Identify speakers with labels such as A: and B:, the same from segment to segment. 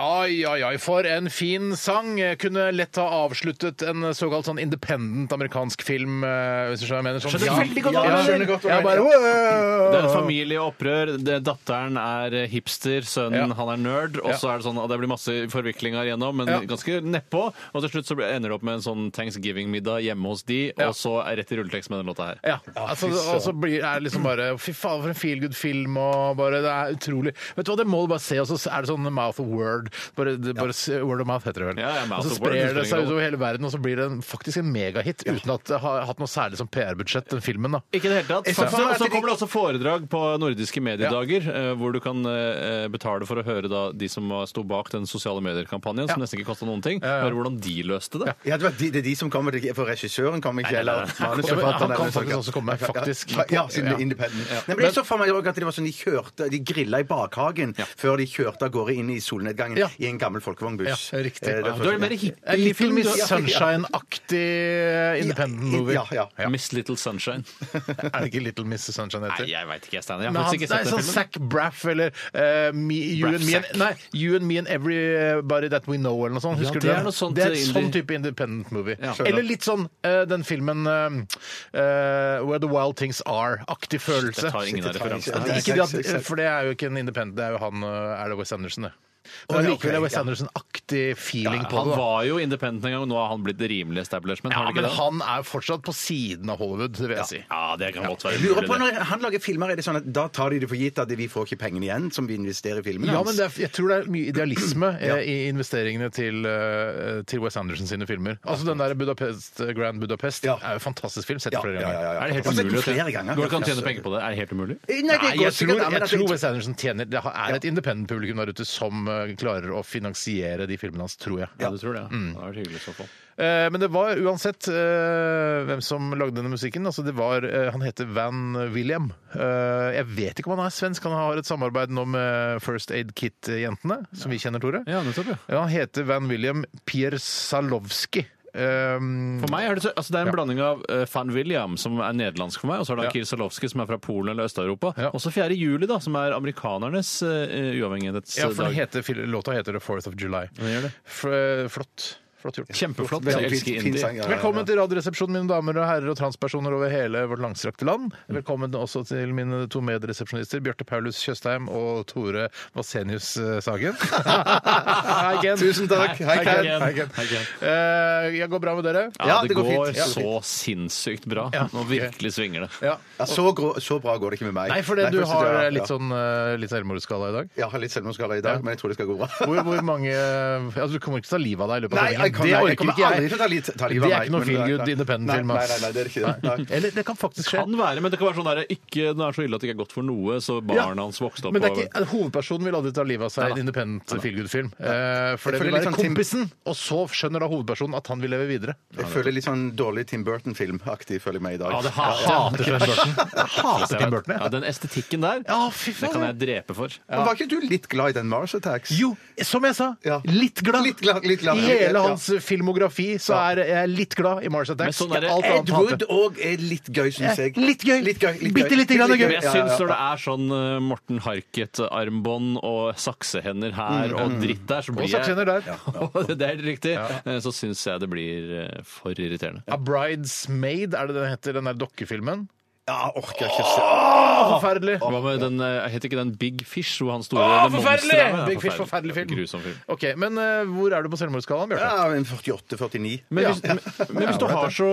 A: Ai, ai, ai, for en fin sang. Jeg kunne lett ha avsluttet en såkalt sånn independent amerikansk film. eh, hvis du skjønner hva jeg mener. Sånn,
B: Skjønner veldig godt
A: ja,
B: hva du
A: jeg
B: mener.
A: skjønner godt hva jeg bare,
B: Det er et familieopprør. Det- Datteren er hipster, sønnen
A: Ja.
B: han er nerd. Og
A: Ja.
B: så er det sånn at det blir masse forviklinger igjennom, men
A: Ja.
B: ganske nedpå. Og til slutt så blir- ender det opp med en sånn thanksgiving-middag hjemme hos de,
A: Ja.
B: og så er rett i rulletekst med den låta her.
A: Ja, altså, og så blir, er det liksom bare Fy faen, for en feel good film. Og bare, det er utrolig. Vet du hva, Det må du bare se. Og så er det sånn mouth of word. Bare, det, bare se- Word of mouth heter det vel.
B: Ja, ja, mouth
A: og så
B: of
A: sprer
B: word,
A: det
B: husker jeg
A: seg
B: ikke
A: utover hele verden, og så blir det en, faktisk en megahit uten at det har hatt noe særlig som PR-budsjett, den filmen. da.
B: Ikke i det hele tatt.
C: Jeg synes
B: Faktisk,
C: det
B: Og
C: er
B: så
C: litt-
B: kommer det også foredrag på nordiske mediedager, eh, hvor du kan eh, betale for å høre da de som var- sto bak den sosiale medierkampanjen, som nesten ikke kosta noen ting, høre hvordan de løste det.
D: Ja, det, var de, det er de som kommer, det er ikke- for regissøren kommer ikke, eller
A: Ja, men han
D: manusforfatteren.
A: kan
D: eller
A: faktisk
D: noe
A: også komme,
D: sånt.
A: faktisk.
D: Ja, ja, siden det er independent. Nei, men jeg så for meg også at det var sånn de kjørte, de grilla i bakhagen før de kjørte av gårde inn i solnedgangen
A: Ja.
D: i en gammel folkevognbuss.
A: Ja, riktig.
D: Eh, det var
B: Du er
D: sånn-
B: mer
A: En
B: hippie.
A: Little Miss
D: Ja, ja.
A: Sunshine-aktig eh, independent movie.
D: Ja, ja.
B: Miss Little Sunshine.
A: Er det ikke Little Miss Sunshine det heter?
B: Nei, jeg veit ikke, jeg, Steinar. Jeg
A: Men
B: har
A: han,
B: faktisk ikke
A: nei,
B: sett
A: sånn
B: den filmen.
A: Zac Braff eller eh, me, you,
B: Braff
A: and me and,
B: Zack.
A: nei, you and me and everybody that we know eller noe sånt.
B: Ja,
A: Husker
B: det er
A: du
B: noe sånt
A: det er et
B: indie-
A: sånn type independent movie.
B: Ja.
A: Eller litt sånn eh, den filmen eh, eh, Where the Wild Things Are-aktig følelse.
B: Jeg tar ingen av referansene.
A: Det er ikke
D: Nei,
A: det
D: sex, sex,
A: at,
D: sex.
A: for det er jo ikke en independent, det er jo han eh, Er det Wes Anderson, det.
D: Å,
A: Men
D: ja,
A: likevel er
D: ok,
A: Wes
D: ja.
A: Anderson-aktig feeling på
B: Han
A: det. da.
B: var jo independent en gang, og nå har han blitt rimelig establishment.
A: Ja,
B: har han ikke
A: men
B: det?
A: han er fortsatt på siden av Hollywood, vil jeg si.
B: ja, det kan godt være.
D: Jeg Lurer på
B: mulig, det.
D: når han lager filmer, er det sånn at da tar de det for gitt at vi får ikke pengene igjen som vi investerer i filmen
A: Ja,
D: hans?
A: men det er, jeg tror det er mye idealisme eh, i investeringene til, eh, til Wes Anderson sine filmer. Altså den der Budapest, eh, Grand Budapest
D: Ja.
A: er jo en fantastisk film. Sett
D: Ja,
A: flere
D: ja,
A: ganger.
D: ja, ja.
B: Er det helt
D: Jeg har sett den
B: umulig? å tjene-
D: flere ganger.
B: Går det ikke an å tjene penger på det? Er det helt umulig?
D: Nei, det
A: Nei,
D: går
A: jeg
D: sikkert
A: tror,
D: an, men
A: jeg
D: at
A: tror Wes Anderson tjener Det er et independent publikum der ute som eh, klarer å finansiere de filmene hans, tror jeg.
B: Ja, du tror det? Ja. Det har vært hyggelig i så fall.
A: Eh, Men det var uansett eh, hvem som lagde denne musikken. Altså det var, eh, han heter Van William. Eh, jeg vet ikke om han er svensk. Han har et samarbeid nå med First Aid Kit-jentene, som vi kjenner, Tore.
B: Ja, nettopp, ja.
A: Ja, han heter Van William Piersalowski. Um,
B: For meg er det, så, altså det er en blanding av eh, Fan William, som er nederlandsk for meg, og så er det
A: Ja.
B: Kirsalowski, som er fra Polen eller Øst-Europa.
A: Ja.
B: Og så 4. juli, da, som er amerikanernes eh, uavhengighetsdag.
A: ja, for den heter, fil- låta heter The 4th of July.
B: gjør det.
A: F- eh, Flott. Flott gjort.
B: Kjempeflott. Jeg
D: Veldig fin-
B: elsker
D: fin
B: indie.
D: sang, ja, ja, ja.
A: Velkommen til Radioresepsjonen, mine damer og herrer og transpersoner over hele vårt langstrakte land. Velkommen også til mine to medresepsjonister, Bjarte Paulus Tjøstheim og Tore Vasenius eh, Sagen. Hei, Ken.
D: Tusen takk. Hei,
A: Hei, Ken.
B: Ken.
A: Hei, Ken.
B: Hei, Ken.
A: Eh, jeg går bra med dere?
B: Ja,
D: Ja,
B: det,
D: det går
B: går,
D: fint. Ja, det går
B: så sinnssykt bra.
A: Ja.
B: Nå virkelig svinger det.
A: Ja.
D: Ja, så, grå, så bra går det ikke med meg.
A: Nei, fordi du
D: faktisk,
A: har
D: ja,
A: eh, litt
D: ja.
A: sånn eh, litt selvmordsskala i dag.
D: Jeg har litt selvmordsskala i dag, men jeg tror det skal gå bra.
A: Hvor, hvor mange ja, Du kommer ikke til å ta livet av deg i løpet av helgen.
D: Nei, jeg kommer,
A: Det
D: jeg
A: orker
D: kommer
A: ikke
D: aldri
A: jeg.
D: til å ta litt ta livet
A: Det
D: av
A: er ikke noe
D: meg, men-
A: feel good
D: nei.
A: independent-film,
D: Nei,
A: ass.
D: nei, nei, det er ikke det. Nei.
A: Eller det kan faktisk skje.
B: Kan være, men det kan være sånn der, ikke, den er så ille at det ikke er godt for noe, så barna hans vokste opp
A: Men det er
B: og-
A: ikke, altså, hovedpersonen vil aldri ta livet av seg i en independent feel good-film. Eh, for det
D: Jeg
A: vil
D: føler
A: være
D: litt sånn Tim-
A: kompisen, og så skjønner da hovedpersonen at han vil leve videre.
D: Jeg føler litt sånn dårlig Tim Burton-filmaktig føler jeg meg i dag.
B: Ja, det hater
A: Jeg hater
B: jeg.
A: Tim Burton. Jeg hater Tim Burton,
B: Ja,
A: jeg.
B: den estetikken der,
A: Ja, fy
B: det kan jeg
A: faen.
B: drepe for.
D: Men Var ikke du litt glad i den Mars Attacks?
A: Jo, som jeg sa,
D: Ja.
A: litt glad.
D: Litt glad, litt glad.
A: I hele
D: Ja.
A: hans filmografi så er jeg litt glad i Mars Attacks.
B: Men sånn er det.
A: Alt annet
D: Ed
A: hater
D: Wood
A: jeg.
D: òg er litt gøy, syns jeg.
A: Ja, litt gøy. Bitte lite grann gøy.
B: Men jeg
D: Ja, ja,
B: syns
D: ja.
B: når det er sånn eh, Morten Harket-armbånd og saksehender her og dritt der, så
A: Mm. Og
B: blir
A: saksehender der.
B: jeg Det er helt riktig. Eh, Så syns jeg det blir eh, for irriterende.
A: A Bride's Maid, er det den heter, den der dokkefilmen?
D: Ja, orker ikke se
A: Forferdelig.
B: Hva med den, eh, heter ikke den Big Fish hvor han store
A: Åh,
B: det
A: forferdelig!
B: monsteret er? Ja,
A: Big Fish, forferdelig film.
B: Grusom film.
A: Ok, Men eh, hvor er du på selvmordsskalaen, Bjarte?
D: Ja, en 48-49.
B: Men,
A: Ja.
B: hvis, men, men hvis, du har så,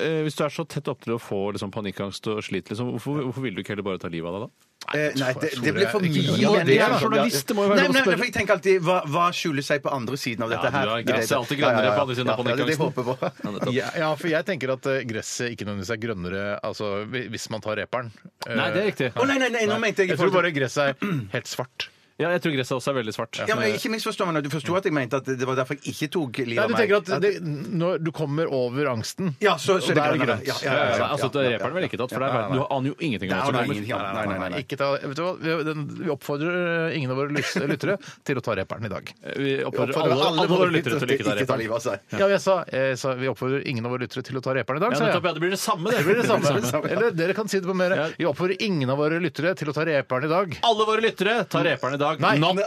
B: eh, hvis du er så tett opp til å få liksom, panikkangst og sliter, liksom, hvorfor, hvorfor vil du ikke heller bare ta livet av deg da?
D: Eh, Nei, det, det blir for
A: Ikke
D: mye.
A: lov.
D: av
B: Det er
D: liksom.
B: journalist, det må jo være
D: Nei,
B: lov å
D: nei,
B: spørre.
D: for Jeg tenker alltid, hva, hva skjuler seg på andre siden av
B: Ja,
D: dette
B: du
D: her?
B: er- gresset er alltid grønnere på andre siden av
D: Ja, ja, det er det jeg
B: panikkangsten.
D: håper på.
B: nettopp.
A: Ja, ja, for jeg tenker at eh, gresset ikke nødvendigvis er grønnere altså, hvi- hvis man tar reperen. Eh,
B: Nei, det er riktig.
D: Å nei, nei, nei, nå mente jeg
A: Jeg tror bare gresset er helt svart.
B: Ja, jeg tror gresset også er veldig svart.
D: Ja, men Ikke misforstå meg nå. Du forsto at jeg mente at det var derfor jeg ikke tok livet
A: Nei,
D: av
A: du
D: meg.
A: tenker at det, når du kommer over angsten
D: Ja, så, så er det
A: Og da er det
D: grønt.
A: grønt.
D: Ja,
B: Ja,
D: ja, ja, ja, ja.
B: altså, Reperen vil ikke tatt, for der vet- du aner jo ingenting om
D: Nei,
B: hva som
D: nei,
B: kommer.
D: ingenting annet. Nei, nei, nei, nei.
A: Ikke ta, vet du hva? Vi- den- Vi oppfordrer eh, ingen av våre lys- lyttere til å ta reperen i dag.
B: Vi oppfordrer alle, alle våre lyttere til å ikke ta
D: ikke ta
B: reperen.
D: livet av seg.
A: Ja, jeg sa, jeg sa Vi oppfordrer ingen av våre lyttere til å ta reperen i dag,
B: Ja,
A: sa jeg.
B: nettopp, ja, det blir det samme, det.
A: Det blir det samme. Eller dere kan si det på
B: Ja.
A: mer. Vi oppfordrer ingen av våre lyttere til å ta reperen i dag.
B: Alle våre lyttere tar reperen i dag.
A: Nei.
B: Not!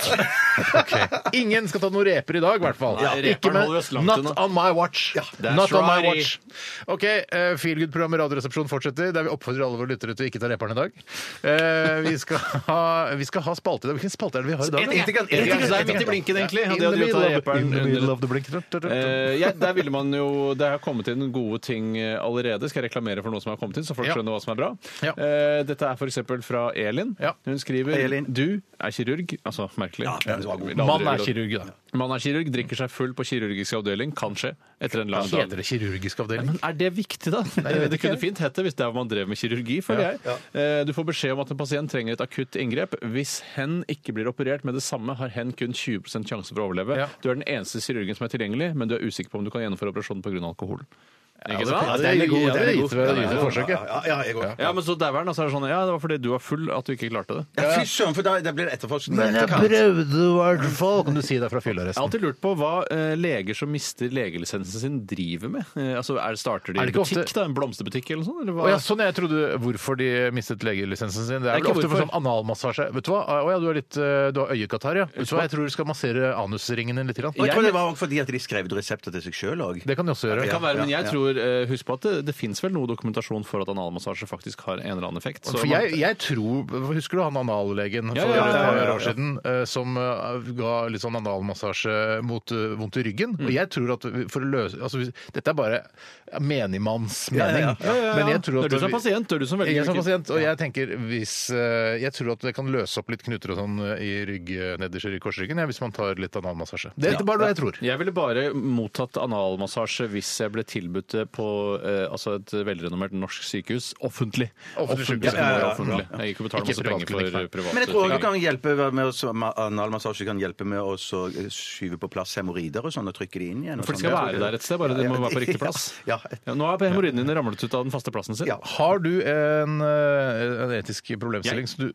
A: Ingen skal ta noen reper i dag, i hvert fall.
B: Nei, reperen
A: Ikke med
B: holder oss langt
A: Not
B: unna.
A: on my watch.
B: that's
A: Not on my
B: righty.
A: watch. Ok, eh, Feelgood-programmet Radioresepsjon fortsetter, der vi oppfordrer alle våre lyttere til å ikke ta reperen i dag. Eh, vi, skal ha, vi skal ha spalte i dag. Hvilken spalte er det vi har i dag? da?
D: Etikk, etikk,
B: Jeg
D: etikk,
B: tenkte det er
D: etikk.
B: midt i blinken, egentlig.
A: In
B: Og
A: the
B: det hadde jo
A: middle
B: tatt
A: of- in the middle
B: reperen
A: of the blink.
B: Eh, ja, der ville man jo, Det har kommet inn gode ting eh, allerede. Skal jeg reklamere for noe som har kommet inn, så folk
A: Ja.
B: skjønner hva som er bra?
A: Ja.
B: Eh, dette er f.eks. fra Elin.
A: Ja.
B: Hun skriver
D: Hei, Elin.
B: Du er kirurg. Altså, merkelig.
D: men du var god.
B: Vil aldri-
A: Mann er kirurg, da.
B: Man er kirurg, drikker seg full på kirurgisk avdeling, kanskje, etter en lang dag.
A: Heter det kirurgisk avdeling?
B: Men er det viktig, da?
A: vet
B: det
A: ikke
B: kunne
A: jeg.
B: fint hett det hvis det er hvor man drev med kirurgi, føler jeg. Eh, Du får beskjed om at en pasient trenger et akutt inngrep. Hvis hen ikke blir operert med det samme, har hen kun 20 sjanse for å overleve.
A: Ja.
B: Du er den eneste kirurgen som er tilgjengelig, men du er usikker på om du kan gjennomføre operasjonen pga. alkohol. Ikke sant?
A: Ja, den er god, den er god.
D: Ja, ja, ja, ja,
A: forsøk, ja.
D: ja, ja, jeg går.
B: Ja, men så dauer den, og så er det sånn Ja, det var fordi du var full at du ikke klarte det.
D: Ja, Fy søren, for da da blir det etterforskning.
A: eh,
D: i etterkant.
A: prøvde i hvert fall. Kan du si det fra
B: Jeg har
A: fyllearresten?
B: alltid lurt på hva eh, leger som mister legelisensen sin, driver med. Eh, altså, er det Starter de
A: Er
B: en
A: det ikke
B: butikk,
A: ofte-
B: da? En blomsterbutikk eller noe sånt? Eller hva?
A: Å ja, sånn jeg trodde hvorfor de mistet legelisensen sin. Det er,
B: Det
A: vel
B: er ikke
A: ofte for
B: hvorfor.
A: sånn analmassasje. Vet du hva? Å ja, du har, litt, eh, du har øyekatarr, ja. Vet du hva? Jeg tror du skal massere anusringen din litt. Grann.
D: Og jeg
B: Jeg-
D: tror det var også fordi at de skrev ut resepter til seg sjøl òg.
A: Det kan de også gjøre.
B: Det kan være, men
D: Ja,
B: jeg
D: ja.
B: tror, eh, husk på at det, det fins vel noe dokumentasjon for at analmassasje faktisk har en eller annen effekt. så
A: For
B: man-
A: jeg, jeg tror Husker du han anallegen for
B: Ja, ja, ja,
A: et par
B: ja, ja, ja.
A: år siden eh, som eh, ga litt sånn analmassasje mot eh, vondt i ryggen?
B: Mm.
A: Og jeg tror at vi- for å løse altså, hvis- Dette er bare menigmanns mening.
D: ja,
B: Ja, ja, ja.
A: Men jeg tror at
B: det er du som er
A: vi-
B: pasient, det er du som velger.
A: Jeg som
B: hvilken-
A: pasient, og jeg tenker hvis eh, Jeg tror at det kan løse opp litt knuter og sånn eh, i rygg, eh, nederst i korsryggen ja, hvis man tar litt analmassasje. Det er bare det jeg tror.
B: Jeg ville bare mottatt analmassasje hvis jeg ble tilbudt det på eh, altså et velrenommert norsk sykehus offentlig.
A: Offentlig sykehus.
B: det må være
D: Ja, ja, ja.
B: offentlig. Jeg gikk og betalte
A: Ikke
B: masse penger
A: privatklinikk, nei.
B: for private
D: Men jeg tror også det
B: ting.
D: kan hjelpe med å analmassasje kan hjelpe med å så skyve på plass hemoroider og sånn, og trykke de inn igjen. og
B: For de
D: sånn.
B: skal være der et sted, bare de må være på riktig plass.
D: Ja,
B: Ja, nå har hemoroidene dine ramlet ut av den faste plassen sin.
D: Ja.
A: Har du en, eh, en etisk problemstilling?
B: Jeg.
A: Så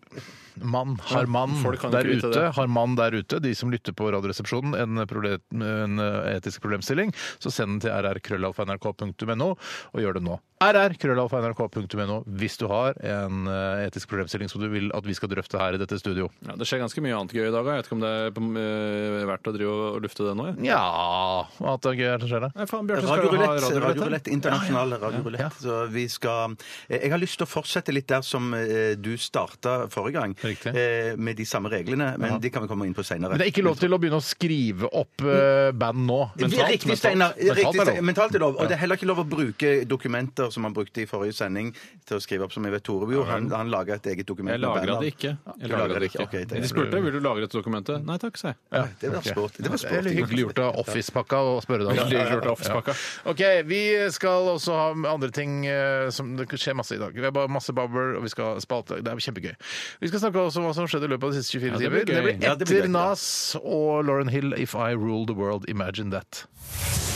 A: du, mann, har mann
B: folk kan
A: der
B: ikke vite
A: ute,
B: det.
A: har mann der ute, de som lytter på Radioresepsjonen, en, proble- en eh, etisk problemstilling, så send den til rrkrøllalfa.nrk.no, og gjør det nå. rrkrøllalfa.nrk.no hvis du har en eh, etisk problemstilling som du vil at vi skal drøfte her i dette studio.
B: Ja, det skjer ganske mye annet gøy i dag. Jeg vet ikke om det er på, eh, verdt å drive og lufte det nå. Jeg.
A: Ja At det er gøy her som skjer, da.
B: Nei, faen, Bjarte, skal du ha
D: Radiorulett.
B: radiorulett? her?
D: Radiorulett, internasjonal radiorulett. Så vi skal eh, Jeg har lyst til å fortsette litt der som eh, du starta forrige gang,
A: Riktig.
D: eh, med de samme reglene, men de kan vi komme inn på seinere.
A: Men det er ikke lov til å begynne å skrive opp eh, band nå. Mentalt,
D: riktig,
A: mentalt.
D: Steinar.
A: Mentalt
D: Riktig,
A: er lov.
D: Steinar. Mentalt er lov. Og det er heller ikke lov å bruke dokumenter som han brukte i forrige sending til å skrive opp, som jeg vet Tore gjorde. Han, han laga et eget dokument.
B: Jeg
D: med
B: lagra
D: banner.
B: det ikke.
D: Du
B: Jeg lagret det ikke.
D: Ok, det,
B: De spurte vil du lagre dette dokumentet. Nei takk, sa jeg.
D: ja, det var sport. Det var
A: Det er
D: sport.
A: litt hyggelig gjort av Office-pakka å spørre deg. om det.
B: Veldig hyggelig gjort av Office-pakka.
A: Ja. OK, vi skal også ha andre ting eh, som Det skjer masse i dag. Vi har bare masse babler, og vi skal ha spalte. Det er kjempegøy. Vi skal snakke også om hva som skjedde i løpet av de siste 24
B: Ja, det
A: timer.
B: blir
A: Det
B: gøy.
A: blir
D: Ja, det blir
A: etter
D: gøy, ja.
A: Nas og Lauren Hill, 'If I Rule The World'. Imagine that.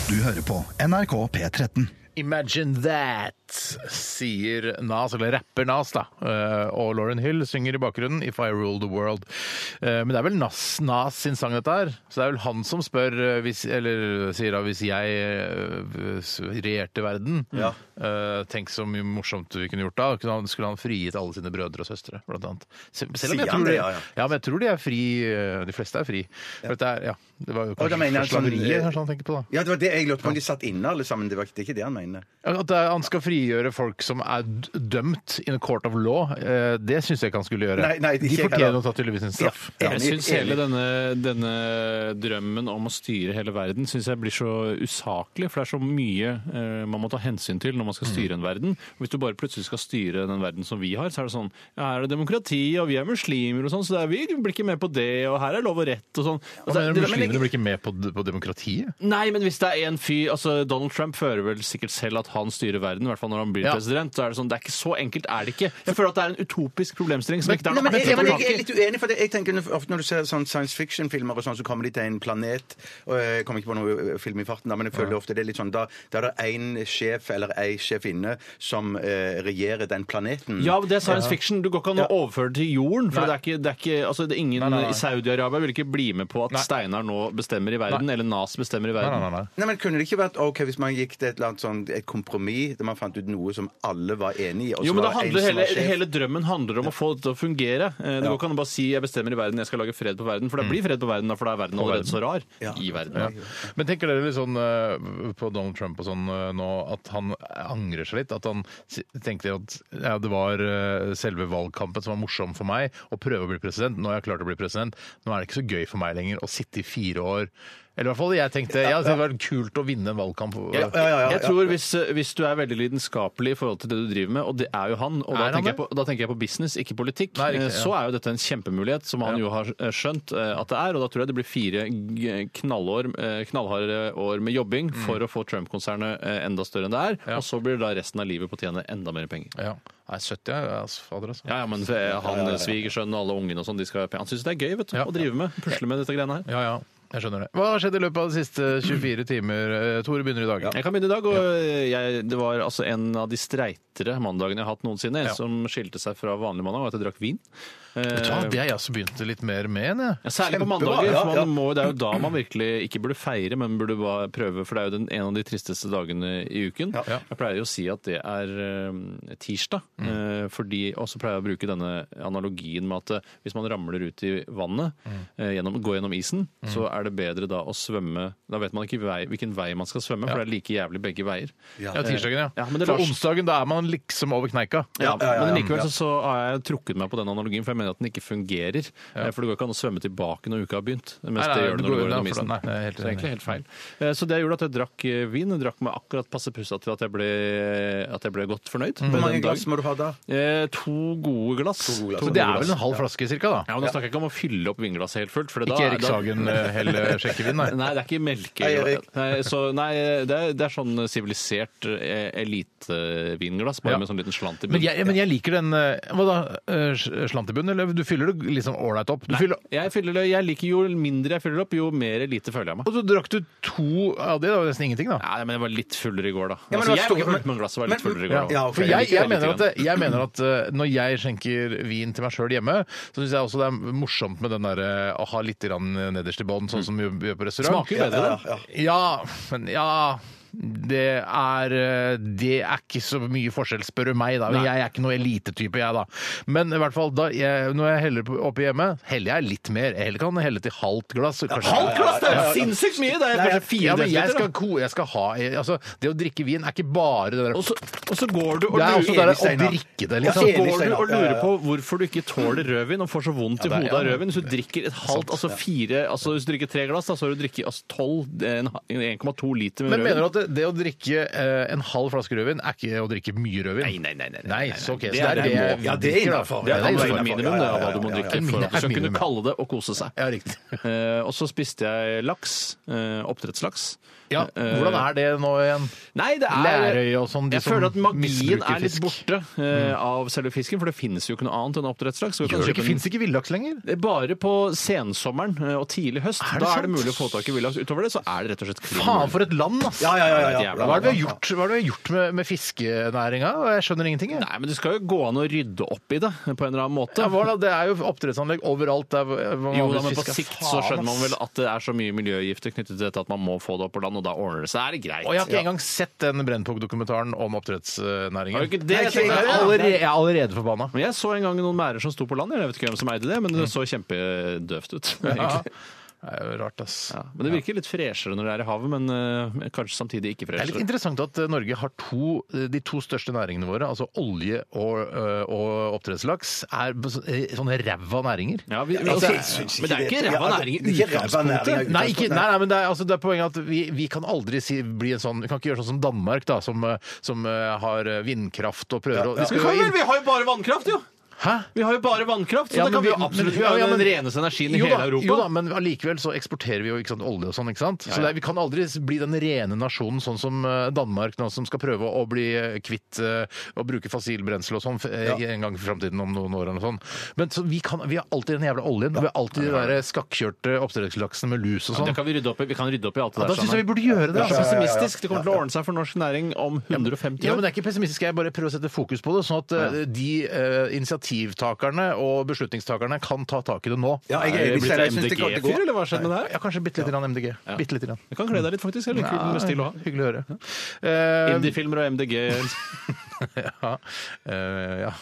C: Du hører på NRK P13.
A: Imagine that, sier Nas, eller rapper Nas, da. Eh, Og Lauren Hill synger i bakgrunnen 'If I Rule The World'. Eh, Men det er vel Nas, Nas sin sang, dette her. Så det er vel han som spør, eh, hvis, eller sier da 'hvis jeg eh, s- regjerte verden',
D: Ja.
A: eh, tenk så mye morsomt vi kunne gjort da. Kunne han- Skulle han frigitt alle sine brødre og søstre, blant annet. Se- Selv om jeg
D: Sier han
A: tror
D: det?
A: de,
D: Ja, ja.
A: ja, men jeg tror de er fri, eh, de fleste er fri. For dette er, ja, det var jo
D: Og da mener
A: kanskje
D: jeg sånn-
A: slaveriet kanskje han tenker på, da.
D: Ja, det var det jeg lurte på om de satt inne alle sammen. Det var ikke det, er ikke det han mener.
A: Ja, At det er- han skal frigjøre folk som er d- dømt in a court of law, eh, det syns jeg ikke han skulle gjøre.
D: Nei, nei, det
A: De
D: er ikke jeg
A: fortjener å
D: heller.
A: ta tydeligvis en straff.
D: Ja,
B: Jeg
D: enig,
B: syns hele
D: enig.
B: denne, denne drømmen om å styre hele verden synes jeg blir så usaklig. For det er så mye eh, man må ta hensyn til når man skal styre en verden. Og hvis du bare plutselig skal styre den verden som vi har, så er det sånn ja, her er det demokrati, og vi er muslimer og sånn, så det er, vi blir ikke med på det, og her er lov og rett og sånn.
A: Hva
B: Altså,
A: mener du,
B: det- men-
A: Muslimene blir ikke med på, d- på demokratiet?
B: Nei, men hvis det er en fyr altså Donald Trump fører vel sikkert selv at han styrer verden, i hvert fall når han blir
A: Ja.
B: president. Så er det sånn, det er ikke så enkelt, er det ikke? Jeg føler at det er en utopisk problemstilling som ikke det
D: Nei,
B: er
D: men
B: noe
D: jeg,
B: enkelt
D: men
B: å
D: jeg,
B: ta
D: er
B: tak i.
D: litt uenig, for det, jeg tenker ofte når du ser sånn science fiction-filmer, og sånn, så kommer de til en planet og Jeg kommer ikke på noe eh, film i farten, da, men jeg føler ofte det er litt sånn Da, da er det én sjef eller ei sjefinne som eh, regjerer den planeten.
B: Ja, men det er science fiction. Du går ikke an å
D: Ja.
B: overføre det til jorden. For det er ikke, det er ikke altså, det er Ingen
A: Nei, nei, nei.
B: i Saudi-Arabia vil ikke bli med på at
A: Nei.
B: Steinar nå bestemmer i verden, eller Nas bestemmer i
A: Nei,
B: verden.
A: nei, nei, nei.
D: Nei, men Kunne det ikke vært ok hvis man gikk til et eller annet sånn, et kompromiss, der man fant ut noe som alle var enig i? og så
B: Jo, men det
D: var en
B: handler
D: som var
B: hele,
D: sjef?
B: hele drømmen handler om å få det til å fungere. Eh, Det går ikke an å bare si 'jeg bestemmer i verden, jeg skal lage fred på verden', for det blir fred på verden, da, for da er verden allerede så rar.
D: Ja.
B: I verden.
A: Ja. Men tenker dere litt sånn eh, på Donald Trump og sånn eh, nå, at han angrer seg litt? At han si- tenkte at ja, det var eh, selve valgkampen som var morsom for meg, å prøve å bli president. Nå har jeg klart å bli president. Nå er det ikke så gøy for meg lenger å sitte i fire år. Eller i hvert fall jeg tenkte ja, det hadde vært kult å vinne en valgkamp.
B: Jeg,
D: Ja, ja, ja,
B: jeg
D: ja.
B: tror hvis, eh, hvis du er veldig lidenskapelig i forhold til det du driver med, og det er jo han, og
A: Er
B: da
A: han
B: tenker, jeg
A: det?
B: på, da tenker jeg på business, ikke politikk,
A: Nei, riktig,
B: eh, så
A: ja.
B: er jo dette en kjempemulighet, som han
A: Ja.
B: jo har eh, skjønt eh, at det er. Og da tror jeg det blir fire g- knallår, eh, knallharde år med jobbing for å få Trump-konsernet eh, enda større enn det er. Og så blir det da resten av livet på å tjene enda mer penger.
A: Ja. Nei, 70 er altså, fader, altså.
B: Ja, ja, men eh, han svigersønnen og alle ungene og sånn, de skal ha penger. Han syns det er gøy vet du,
A: Ja.
B: å drive med, pusle med dette greiene her.
A: Ja, ja. Jeg skjønner det. Hva har skjedd i løpet av de siste 24 timer? Eh, Tore begynner i dag.
B: Jeg kan begynne i dag. og jeg, Det var altså en av de streitere mandagene jeg har hatt noensinne. En
A: Ja.
B: som skilte seg fra vanlig mandag, var at jeg drakk vin.
A: Vet du hva, det har jeg også begynt litt mer med enn jeg.
B: Ja, særlig på
D: Kjempebra,
B: mandager.
D: ja,
B: for man
D: ja.
B: Må, det er jo da man virkelig ikke burde feire, men burde bare prøve. For det er jo den, en av de tristeste dagene i uken.
D: Ja.
B: Jeg pleier jo å si at det er eh, tirsdag.
D: Mm.
B: eh, fordi, og så pleier jeg å bruke denne analogien med at eh, hvis man ramler ut i vannet,
D: Mm.
B: eh, gjennom, går gjennom isen, så er det bedre da å svømme Da vet man ikke vei, hvilken vei man skal svømme, for det er like jævlig begge veier.
A: Ja, tirsdagen, ja.
B: Ja, men det
A: For
B: Lars-
A: onsdagen, da er man liksom over kneika.
B: Ja,
D: ja, ja.
B: Men likevel så, så har jeg trukket meg på den analogien, for jeg mener at den ikke fungerer. Eh, For det går ikke an å svømme tilbake når uka har begynt.
A: Nei,
B: Mens
A: nei,
B: det gjør det
A: det
B: når
A: går
B: du
A: jo
B: går gjennom
A: da, for
B: isen.
A: da- nei, jeg er helt
B: så det er egentlig
A: enig.
B: helt feil. Eh, Så det gjorde at jeg drakk eh, vin. Jeg drakk meg akkurat passe pussa til at jeg ble, at jeg ble godt fornøyd. med
D: Hvor
B: den
D: mange
B: dagen.
D: glass må du ha da?
B: Eh, to gode glass.
D: To gode glass.
A: Så det er vel en halv flaske cirka, da?
B: Ja, men Nå snakker jeg ikke om å fylle opp vinglasset helt fullt. For det
A: Ikke
B: da,
A: Erik
B: da-
A: Sagen eh, helle sjekkevin, nei.
B: Nei, det er ikke melke.
D: Nei, Erik.
B: Nei, så, nei det, er, det er sånn sivilisert eh, elitevinglass, bare
A: Ja.
B: med sånn liten slant i
A: Men
B: bunnen.
A: jeg, men jeg liker den eh, Hva da? eh, sj- Slant i bunnen? Eller du fyller det liksom ålreit opp? Du fyller,
B: Jeg, fyller det, jeg liker Jo mindre jeg fyller opp, jo mer elite føler jeg meg.
A: og så drakk du to av det, det var nesten ingenting, da.
B: Nei, men Jeg var litt fullere i går, da.
D: Ja, men
B: altså,
D: det
B: jeg
D: var
B: var ikke
D: stor-
B: full, men glasset var
D: men-
B: litt fullere i
D: ja,
B: går. da.
D: ja, ok.
A: For jeg,
B: liker
A: jeg,
B: det
A: mener
B: lite
A: at, jeg mener at eh, når jeg skjenker vin til meg sjøl hjemme, så syns jeg også det er morsomt med den der, eh, å ha litt grann nederst i bånn, sånn som vi gjør på restaurant.
B: Smaker jo bedre,
D: Ja, ja,
A: Ja, men ja det er, eh, det er ikke så mye forskjell, spør du meg. da Men Jeg er ikke noe elitetype, jeg, da. Men i hvert fall, da jeg, når jeg heller på- oppi hjemme, heller jeg litt mer. Jeg heller kan helle til halvt glass. kanskje-
B: Halvt glass! Det er jo sinnssykt mye! Det er
A: Nei,
B: kanskje fire
A: ja, men jeg
B: desiliter,
A: skal,
B: da.
A: ko, jeg skal ha altså, Det å drikke vin er ikke bare det der
B: Og så, og så går du og
A: Det er også det
B: lurer
D: enig,
A: der å
D: Steinar.
A: drikke det,
B: så
A: liksom.
B: går
D: enig,
B: du
D: Steinar.
B: og
D: Ja, ja,
B: lurer
D: ja.
B: på hvorfor du ikke tåler rødvin og får så vondt i
A: det er-
B: hodet
A: ja,
B: av rødvin. Hvis du drikker et halvt, altså fire altså Hvis du drikker tre glass, da, så har du drukket altså 12, en- 1,2 liter med
A: Men mener du
B: rødvin.
A: at det, det å drikke eh, en halv flaske rødvin er ikke å drikke mye rødvin?
B: Nei, nei, nei. nei,
A: Nei, så ok, så
B: Det
A: det er
B: er
A: det
B: det må-
D: Ja, det
A: drikker,
D: er
A: da.
D: innenfor.
B: Det
A: Ja,
B: er
A: det er
D: absolutt
B: et
A: innenfor.
B: minimum, det, av hva du må
D: Ja, ja, ja,
B: drikke
D: ja, ja.
B: for at du skal
A: Minimum.
B: kunne kalle det og kose seg.
A: Ja, riktig.
B: Eh, og så spiste jeg laks. Eh, oppdrettslaks.
A: Ja,
B: Eh,
A: hvordan er det nå igjen?
B: Nei, det er
A: Lærøy og sånn, de
B: Jeg
A: som
B: føler at magien
A: misbruker
B: er litt
A: fisk. Mm.
B: borte eh, av selve fisken, for det finnes jo ikke noe annet enn oppdrettslaks. Så vi kan
A: Gjør det
B: kjøpe
A: ikke,
B: den-
A: finnes ikke villaks lenger?
B: Det er Bare på sensommeren eh, og tidlig høst.
A: Er det
B: da er
A: sant?
B: det mulig å få tak i villaks. Utover det så er det rett og slett klim.
A: Faen, for et land, ass!
D: Ja, ja, ja,
B: Det
D: ja,
B: er
D: ja.
B: et jævla
A: Hva er det vi har gjort, hva er det vi har gjort med, med fiskenæringa? Jeg skjønner ingenting. Jeg.
B: Nei, men det skal jo gå an å rydde opp i det på en eller annen måte.
A: Ja, hva da? Det er jo oppdrettsanlegg overalt. Der, hvor- hvor
B: Jo,
A: man
B: da, men på
A: fisker.
B: sikt så
A: Faen,
B: skjønner man
A: ass.
B: vel at det er så mye miljøgifter knyttet til dette at man må få det opp på land, og da ordner det seg. Er det greit?
A: Og jeg har ikke
B: Ja.
A: engang sett den Brennpunkt-dokumentaren om oppdrettsnæringen.
B: Har du ikke det?
D: Nei,
B: Jeg
D: ikke
B: tenkte-
A: Jeg er allerede, jeg er allerede forbanna.
B: Men jeg så en gang noen merder som sto på land. Jeg vet ikke hvem som eide det,
D: Mm.
B: men det så kjempedøvt ut.
A: Ja.
B: egentlig.
A: Det er jo rart, ass.
B: Ja, men Det virker litt freshere når det er i havet, men eh, kanskje samtidig ikke
A: Det er litt
B: freshere.
A: interessant at eh, Norge har to, eh, de to største næringene våre, altså olje og, eh, og oppdrettslaks, er på så- eh, sånne ræva næringer.
B: Ja, vi,
D: Ja,
B: altså,
D: jeg synes
B: men det er
D: ikke
B: ikke ræva
D: det. Ja, altså,
B: næring i
D: det er ikke ræva næring,
B: utgangspunktet.
D: ja.
A: Nei, ikke, nei, nei, men det er, altså, det er poenget at vi, vi kan aldri si, bli en sånn Vi kan ikke gjøre sånn som Danmark, da, som, eh, som eh, har eh, vindkraft og prøver å de skal
B: Vi
A: jo
B: kan
A: inn-
B: vel, vi har jo bare vannkraft, jo!
A: Hæ?
B: Vi har jo bare vannkraft, så
A: Ja,
B: det kan
A: men
B: vi jo
A: vi-
B: absolutt
A: men-
B: Vi har
A: ja,
B: jo
A: ja,
B: den
A: men-
B: reneste energien i
A: Jo
B: hele
A: da,
B: Europa.
A: jo da, men allikevel så eksporterer vi jo ikke sant, olje og sånn, ikke sant? Så
B: Ja, ja.
A: det er, vi kan aldri bli den rene nasjonen sånn som eh, Danmark nå, som skal prøve å bli eh, kvitt eh, å bruke fossilbrensel og sånn eh,
D: Ja.
A: en gang i framtiden om noen år eller noe sånt. Men så vi, kan, vi har alltid den jævla oljen, og vi har alltid de der skakkjørte oppdrettslaksene med lus og
B: Ja,
A: sånn.
B: det kan vi, rydde opp i. vi kan rydde opp i alt det
A: da
B: der
A: syns jeg vi
B: sammen.
A: burde gjøre det.
B: Det er
A: Altså.
B: pessimistisk. Det kommer til å ordne seg for norsk næring om 150
A: Ja, men det er
B: år.
A: ikke pessimistisk. Jeg bare prøver å sette fokus på det, sånn at eh, de eh, initiativtakerne og beslutningstakerne kan ta tak i det nå.
D: Ja,
B: Er
D: jeg,
B: Eh,
D: jeg,
B: det
D: jeg,
B: blitt
D: jeg, synes det går- det
B: MDG-fyr,
D: går.
B: eller hva skjedde med det her?
A: Ja, kanskje bitte litt grann MDG. Bitte lite grann.
B: Det kan kle deg litt, faktisk. Jeg liker den stil å ha.
A: Hyggelig å høre. Eh,
B: Indiefilmer og MDG.
A: ja. Eh, ja.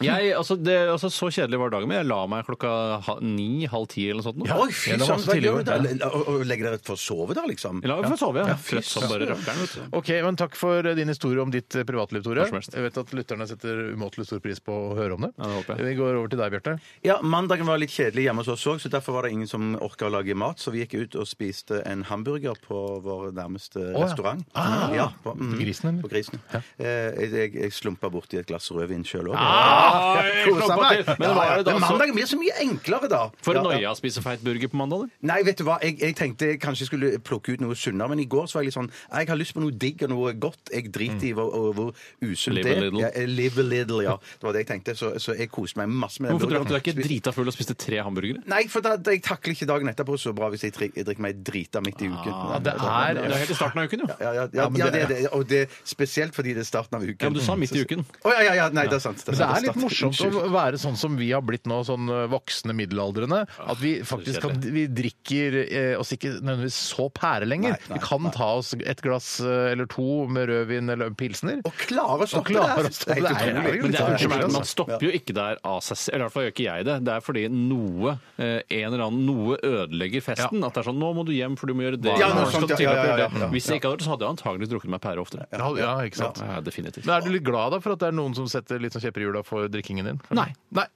B: Jeg, altså, det, altså, så kjedelig var dagen min. Jeg la meg klokka ha- ni, halv ti eller noe sånt. nå.
D: Oi, fy
A: det var
D: søren,
A: masse
D: hva
A: tidligere.
D: gjør du da? Le- og- og Legger dere for å sove der, liksom?
B: Jeg la meg for å sove, jeg.
D: fy
B: Trøtt som bare rakkeren. vet du.
A: Ok, men Takk for din historie om ditt eh, privatliv, Tore.
B: Hva som helst.
A: Jeg vet at lytterne setter umåtelig stor pris på å høre om det.
B: Ja, det håper jeg.
A: Vi går over til deg, Bjarte.
D: Ja, Mandagen var litt kjedelig hjemme hos oss òg, så derfor var det ingen som orka å lage mat. Så vi gikk ut og spiste en hamburger på vår nærmeste
A: ja.
D: restaurant.
A: Ah,
D: ja, på,
A: på
D: mm,
A: grisen, eller?
D: På grisen. Eh, jeg- jeg, jeg slumpa borti et glass rødvin sjøl òg.
B: Ah, jeg
D: Kosa
B: slapp av
D: meg!
B: til. Men var det da
D: Men
B: så
D: mandagen blir så mye enklere, da.
B: For
D: Ja,
B: en
D: ja.
B: noia å spise feit burger på mandag, eller?
D: Nei, vet du hva, jeg, jeg tenkte jeg kanskje skulle plukke ut noe sunnere, men i går så var jeg litt sånn Jeg har lyst på noe digg og noe godt. Jeg driter i hvor, og hvor usunt
B: Mm. Live a
D: det er.
B: little.
D: Ja, eh, live a little, ja. Det var det jeg tenkte, så, så jeg koste meg masse med den
B: Hvorfor drakk du deg ikke
D: burgeren.
B: drita full og spiste tre hamburgere?
D: Nei, for da, da, jeg takler ikke dagen etterpå så bra hvis jeg, tri- jeg drikker meg drita midt i uken.
B: Ah, det er det er helt i starten av uken, jo.
D: ja, ja, ja, ja,
A: Ja, men det-
D: det er det. Og det er spesielt fordi det er starten av uken. Mm.
B: Ja, men du sa midt i uken.
D: Å ja, ja, ja, nei, det er sant.
A: Men det
D: sant,
A: er litt
D: sant.
A: morsomt å
D: Unnskyld.
A: være sånn som vi har blitt nå, sånn eh, voksne middelaldrende.
B: Ah,
A: At vi faktisk kan Vi drikker eh, oss ikke nødvendigvis så pære lenger.
D: Nei, nei,
A: vi kan ta oss et glass eh, eller to med rødvin eller pilsner.
D: Å klare å stoppe
A: klare å
D: det
A: stoppe
D: her!
A: det her,
D: helt
A: ja,
B: Men det er,
D: utrolig. altså.
B: unnskyld meg, man stopper jo ikke der av seg selv. Eller i hvert fall gjør ikke jeg det. Det er fordi noe eh, en eller annen, noe ødelegger festen. At det er sånn 'nå må du hjem, for du må gjøre det'.
D: Ja,
B: Nå
D: noe
B: skal
D: sånt,
B: du til
D: ja,
B: og med
D: ja, ja,
B: gjøre det.
D: ja, ja.
B: Hvis jeg ikke hadde gjort det, så hadde jeg antagelig drukket meg pære oftere.
A: Ja, ja, ikke sant?
B: Ja, definitivt.
A: Men er du litt glad da for at det er noen som setter litt sånn kjepp i hjula for drikkingen din?
B: Nei.
A: Nei.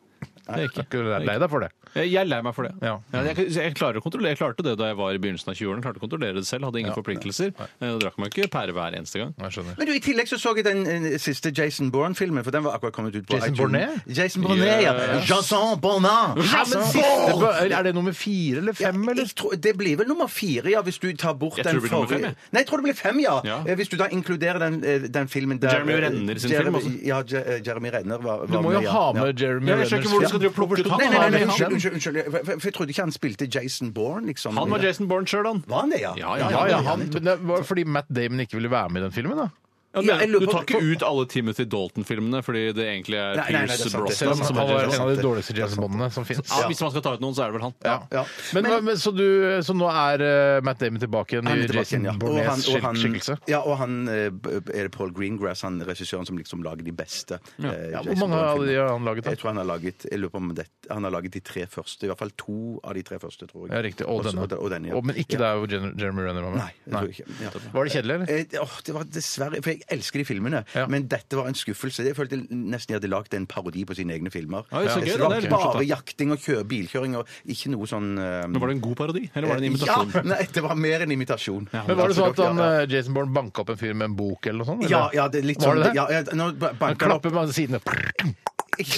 B: Det er
A: Jeg er
B: ikke.
A: ikke lei deg for det.
B: Jeg jeg er lei meg for det.
A: Ja.
B: jeg, jeg, klarer å kontrollere, jeg klarte det da jeg var i begynnelsen av 20-årene. Klarte å kontrollere det selv, hadde ingen forpliktelser. Eh, Drakk meg ikke pære hver eneste gang.
A: Jeg skjønner.
D: Men du, I tillegg så så jeg den eh, siste Jason Bourne-filmen, for den var akkurat kommet ut på
A: Jason
D: iTunes.
A: Bourne?
D: Jason Bourne, ja.
B: Yes.
D: Jason Bourne! Jason
A: Det
D: Bourne!
A: bør- Er det nummer fire eller
D: Ja,
A: fem, eller?
D: jeg tror, det blir vel nummer fire, ja, hvis du tar bort
B: Jeg
D: den
B: tror det blir nummer fem, jeg.
D: Nei, jeg tror det blir fem, ja.
B: Ja.
D: Eh, Hvis du da inkluderer den, eh, den filmen der
B: Jeremy Renner sin film også.
D: Ja, Je- eh, Jeremy Renner var, var
A: Du må jo
D: med, ja.
A: ha
D: Ja.
A: med Jeremy
B: Ja, jeg skjønner ikke hvor du skal drive og plukke ut han.
D: Nei, nei, nei,
B: Han er
D: nei,
B: med
D: unnskyld,
B: han.
D: unnskyld, unnskyld. Jeg- For, for jeg trodde ikke han spilte Jason Bourne, liksom.
B: Han var Jason Bourne sjøl, han.
D: Var han det, ja?
B: Ja, ja,
A: Ja, ja, han, men det var fordi Matt Damon ikke ville være med i den filmen, da.
B: Ja,
D: Ja,
B: men,
D: jeg lurer
B: du
D: på-
B: tar ikke ut alle Timothy Dalton-filmene fordi det egentlig er
D: Nei, nei, nei, det er
B: Pierce
D: sant, det er
A: Selv om
B: Brosnan
D: sant,
B: som
A: han
B: er
A: var
B: Jason.
A: en av de
D: sant.
A: dårligste James-båndene som fins.
B: Ja, hvis man skal ta ut noen, så er det vel han.
D: Ja, ja.
A: Men, hva- men, så, du, så nå er eh, Matt Damon tilbake igjen
D: Han
A: i
D: er tilbake igjen,
A: Jason
D: ja. Og han-
A: Bournes
D: og han-
A: skikkelse?
D: Ja, og han eh, b- er det Paul Greengrass, han regissøren som liksom lager de beste. eh,
A: Ja, hvor
D: Jason
A: mange av de
D: Bourne-filmer.
A: har han laget?
D: Jeg
A: da?
D: tror han har laget jeg lurer på om det, han har laget de tre første. I hvert fall to av de tre første, tror jeg.
A: Ja, riktig. Og
D: Også-
A: denne.
D: Og, og denne ja.
A: Å, Men ikke
D: ja.
A: der hvor Jen- Jeremy Renner var med?
D: Nei, jeg tror ikke. Ja.
A: Var det kjedelig, eller?
D: Eh, åh, det var dessverre, for Jeg elsker de filmene,
A: Ja.
D: men dette var en skuffelse. Jeg følte nesten jeg hadde lagd en parodi på sine egne filmer.
B: Oi, så gøy,
D: Ja.
B: da.
D: det var
B: Det er litt morsomt,
D: bare
B: da.
D: jakting og kjø, bilkjøring og ikke noe sånn eh,
B: Men var det en god parodi, eller var det en imitasjon?
D: Ja, nei, det var mer en imitasjon.
A: Men Var det sånn at
D: Altså,
A: han,
D: ja, ja.
A: eh, Jason Bourne banka opp en fyr med en bok eller noe sånt?
D: Ja,
A: eller?
D: ja, det er litt
A: Var det
D: sånn
A: det?
D: ja, ja, Nå ba-
A: Han
D: banker det opp
A: klapper med sidene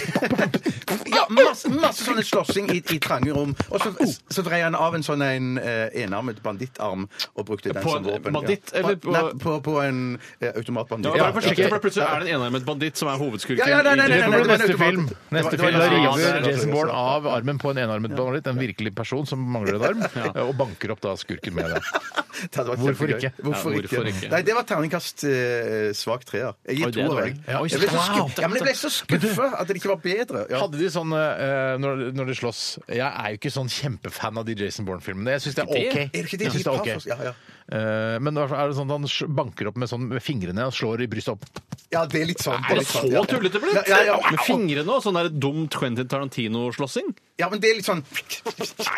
D: ja, masse, masse sånne slåssing i, i trange rom. Og så,
A: Oh.
D: så vrei han av en sånn en eh, enarmet bandittarm og brukte den
B: På
D: som
B: en
D: våpen.
B: banditt,
D: ja.
B: eller
D: på, nei, på, på en eh, automatbanditt.
B: Ja, vær
D: Ja,
B: forsiktig,
D: ja.
B: for plutselig er det en enarmet banditt som er hovedskurken.
D: Ja, ja, nei, nei,
A: Det
D: nei,
B: i-
A: blir
D: det var en
A: neste
D: automat.
A: film.
D: Det var-
A: Neste
D: det var
A: film
D: en
A: Da
D: automat. Ja,
A: river
D: det er
A: Jason
D: det.
A: Bourne av armen på en enarmet banditt, en virkelig person som mangler en arm, og banker opp da skurken med det.
D: Det hadde vært
A: Hvorfor
D: kjempegøy.
A: ikke?
D: Hvorfor,
B: Ja, hvorfor
D: ikke?
B: ikke?
D: Nei, det var terningkast eh, svak treer.
B: Oi,
D: Jeg gir
B: det
D: to
B: er
D: av
B: dårlig.
D: deg.
B: Ja, oi,
D: Jeg ble så
B: wow.
D: skuffet- Ja, men jeg ble så skuffa at det ikke var bedre. Ja.
A: Hadde de sånn eh, når, når de slåss Jeg er jo ikke sånn kjempefan av de Jason Bourne-filmene. Jeg syns det er
B: Ikke
A: OK.
B: det?
D: Er det ikke det?
A: Jeg synes det er ok.
D: Ja, ja.
A: Eh, men i hvert fall er det sånn at han sj- banker opp med, sånn, med fingrene og slår i brystet opp?
D: ja, det er litt sånn.
B: Er det
D: litt
B: så
D: sånn, ja.
B: tullete blitt?
D: Ja, ja,
B: Med
D: ja.
B: fingrene og sånn der dum Quentin Tarantino-slåssing?
D: ja, men det er litt sånn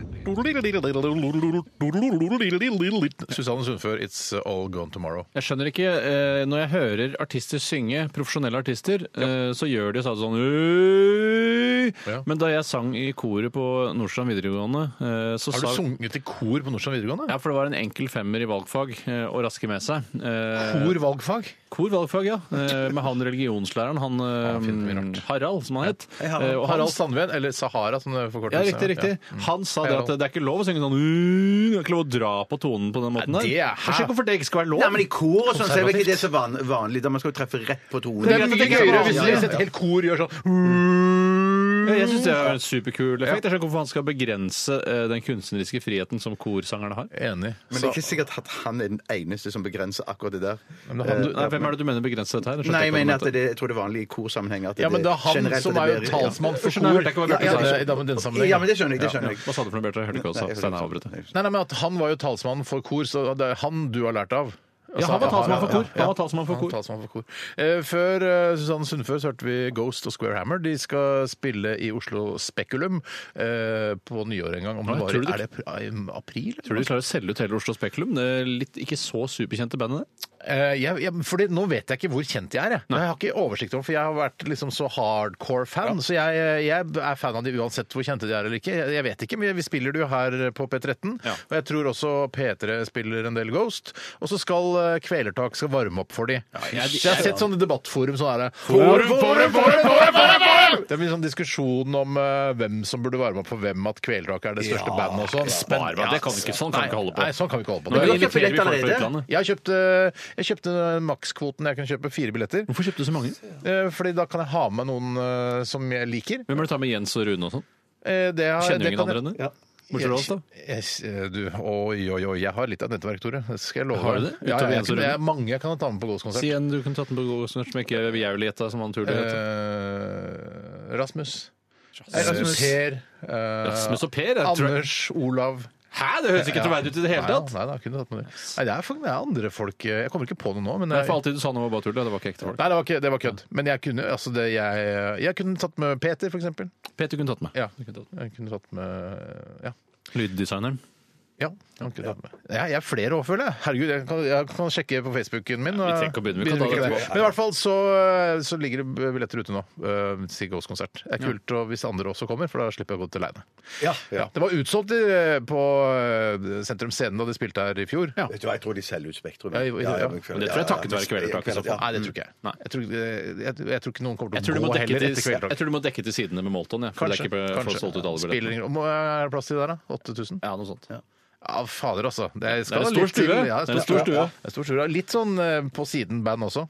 A: Susanne Sundfør, It's All Gone Tomorrow.
B: Jeg skjønner ikke, eh, Når jeg hører artister synge, profesjonelle artister, eh, så gjør de så sånn «Øy».
A: Ja.
B: Men da jeg sang i koret på Nordstrand videregående eh, så
A: Har du
B: sa-
A: sunget i kor på Nordstrand videregående?
B: Ja, for det var en enkel femmer i valgfag eh, og raske med seg. Eh,
A: Kor valgfag?
B: Kor valgfag, ja. Eh, Med han religionslæreren, han eh,
A: han finner mye rart.
B: Harald, som han het. Eh, og
A: Harald,
B: Harald
A: Sandven, eller Sahara som det forkortes.
B: ja, riktig, riktig.
A: Mm.
B: Han sa det at det er ikke lov å synge sånn «Uh», Det er ikke lov å dra på tonen på den måten
A: Nei,
B: der.
A: det er-
B: Jeg skjønner ikke hvorfor det ikke skal være lov.
D: Nei, men i kor og sånn så er vel ikke det så van, vanlig. Da man skal jo treffe rett på tonen.
A: Det er mye gøyere hvis
D: Ja,
A: hvis
D: ja,
A: et
D: ja.
A: helt kor gjør sånn
B: Ja, Jeg syns det er en superkul effekt. Jeg skjønner ikke hvorfor han skal begrense eh, den kunstneriske friheten som korsangerne har.
A: Enig.
D: Men det er ikke sikkert at han er den eneste som begrenser akkurat det der.
A: Men han-
B: Eh, Nei, hvem er det du mener begrenser dette her?
D: Nei, jeg mener at det, jeg tror det er vanlig i korsammenheng. at
A: Ja, men det er han
D: generelt
A: som
D: at
A: er
D: det
A: jo
D: blir- ja.
A: talsmann for
B: Skjønner,
A: kor.
B: jeg hørte ikke hva
A: Ja,
B: Bjarte sa.
A: ja, men den sammenhengen.
D: Ja, men det skjønner jeg. det skjønner jeg.
B: Hva sa du for noe, Bjarte? Jeg hørte ikke hva du sa. Steinar avbrøt. deg.
A: Nei, nei, men at han var jo talsmann for kor, så det er han du har lært av. Altså,
B: Ja, han var talsmann for kor. Han var talsmann for
A: Han var
B: kor.
A: talsmann for kor. Eh, Før eh, Susanne Sundfør så hørte vi Ghost og Square Hammer. De skal spille i Oslo Spekulum eh, på nyåret en gang. Om
B: Nei,
A: det var,
B: tror du
A: i-
B: det-
A: er det pr- eh, april?
B: Tror du de klarer å selge ut hele Oslo Spekulum? Det er litt, ikke så superkjente bandet, det.
A: Eh, jeg, jeg, fordi nå vet jeg ikke hvor kjent jeg er. Jeg, jeg har ikke oversikt over for jeg har vært liksom så hardcore fan. Så jeg, jeg er fan av de uansett hvor kjente de er eller ikke. Jeg, jeg vet ikke, men vi spiller det jo her på P13.
B: Ja.
A: Og jeg tror også P3 spiller en del Ghost. Og så skal eh, Kvelertak skal varme opp for de.
B: jeg-
A: så jeg har sett sånne debattforum sånn her.
B: Forum, forum, forum, forum, forum, forum!
A: Det er mye sånn diskusjon om eh, hvem som burde varme opp for hvem, at Kvelertak er det største bandet og sånn.
B: Spar meg, det kan vi ikke, sånn kan vi ikke holde på.
A: Nei, sånn kan vi ikke holde på.
B: Men
D: Men
B: da
D: da
B: inviterer
D: kjøper
B: vi
D: vi
B: folk fra
D: allerede.
B: utlandet.
A: Jeg kjøpte, jeg kjøpte makskvoten jeg kan kjøpe fire billetter.
B: Hvorfor kjøpte du så mange?
A: Eh, Fordi da kan jeg ha med noen eh, som jeg liker.
B: Hvem er det du tar med Jens og Rune og sånn?
A: Eh, Det har,
B: Kjenner du
A: det
B: ingen
A: kan jeg-
B: andre enn det?
A: Ja.
B: Bortsett fra oss, da?
A: Yes, eh, du, oi, oi, oi, jeg har litt av nettverk, Tore. Det skal jeg love.
B: Har du det?
A: deg. Ja,
B: Utover
A: jeg,
B: Jens og
A: det er
B: Rune?
A: mange jeg kan ta med på Ghost-konsert.
B: Si en du kunne tatt den på Gosner, som ikke jeg ville gjette som han turlig het.
A: Eh, Rasmus. Eh, Rasmus.
B: Rasmus.
A: Per. eh,
B: Rasmus og Per? Jeg tror...
A: Anders, Olav
B: Hæ, det høres ikke troverdig ut i det hele
A: Nei, altså.
B: tatt!
A: Nei, da, kunne jeg tatt med det. Nei, det er, faktisk- det er andre folk eh, Jeg kommer ikke på noe nå, men
B: Det er
A: jeg-
B: for alltid du sa noe var bare tull, ja, det var ikke ekte folk.
A: Nei, det var, ikke, det var kødd. Men jeg kunne, altså det, jeg, jeg kunne tatt med Peter, for eksempel.
B: Peter kunne tatt med.
A: Ja.
B: Du kunne tatt med.
A: Jeg kunne tatt med Ja.
B: Lyddesigneren.
A: ja han kunne tatt med. Jeg, jeg er flere år, føler jeg. Herregud, jeg kan, jeg kan sjekke på Facebooken min.
B: vi trenger ikke å begynne, vi kan
A: Begynner
B: ta det
A: ikke
B: etterpå.
A: Men i hvert fall så, så ligger det billetter ute nå øh, til Ghost-konsert. Det er kult og hvis andre også kommer, for da slipper jeg å gå til leine.
D: Ja, ja.
A: Ja. Det var utsolgt i- på øh, Sentrum Scene da de spilte her i fjor. Ja.
D: Vet du hva, jeg tror de selger ut Spektrum.
A: Ja, jo, jo, ja.
D: men-
B: Men det tror jeg takket være Kvelertak i så fall.
D: Ja.
A: Nei, det tror ikke jeg.
B: Nei.
A: Jeg tror, jeg, jeg tror ikke noen kommer
B: Jeg
A: til
B: tror,
A: å
B: du må
A: gå
B: dekke
A: heller
B: til,
A: etter
B: jeg
A: Kvelertak.
B: tror du må dekke til sidene med Molton. Ja, for det er ikke for- for solgt ut alle
A: Spiller
B: billettene.
A: ingen- Må- Er det plass til der, da? 8000?
B: Ja, noe sånt.
A: Ja, fader, altså. Det, skal
B: Det er en
A: litt
B: stor stue.
A: til. Ja,
B: Det er en stor stue.
A: Det er en stor stue. Litt sånn eh, på siden band også.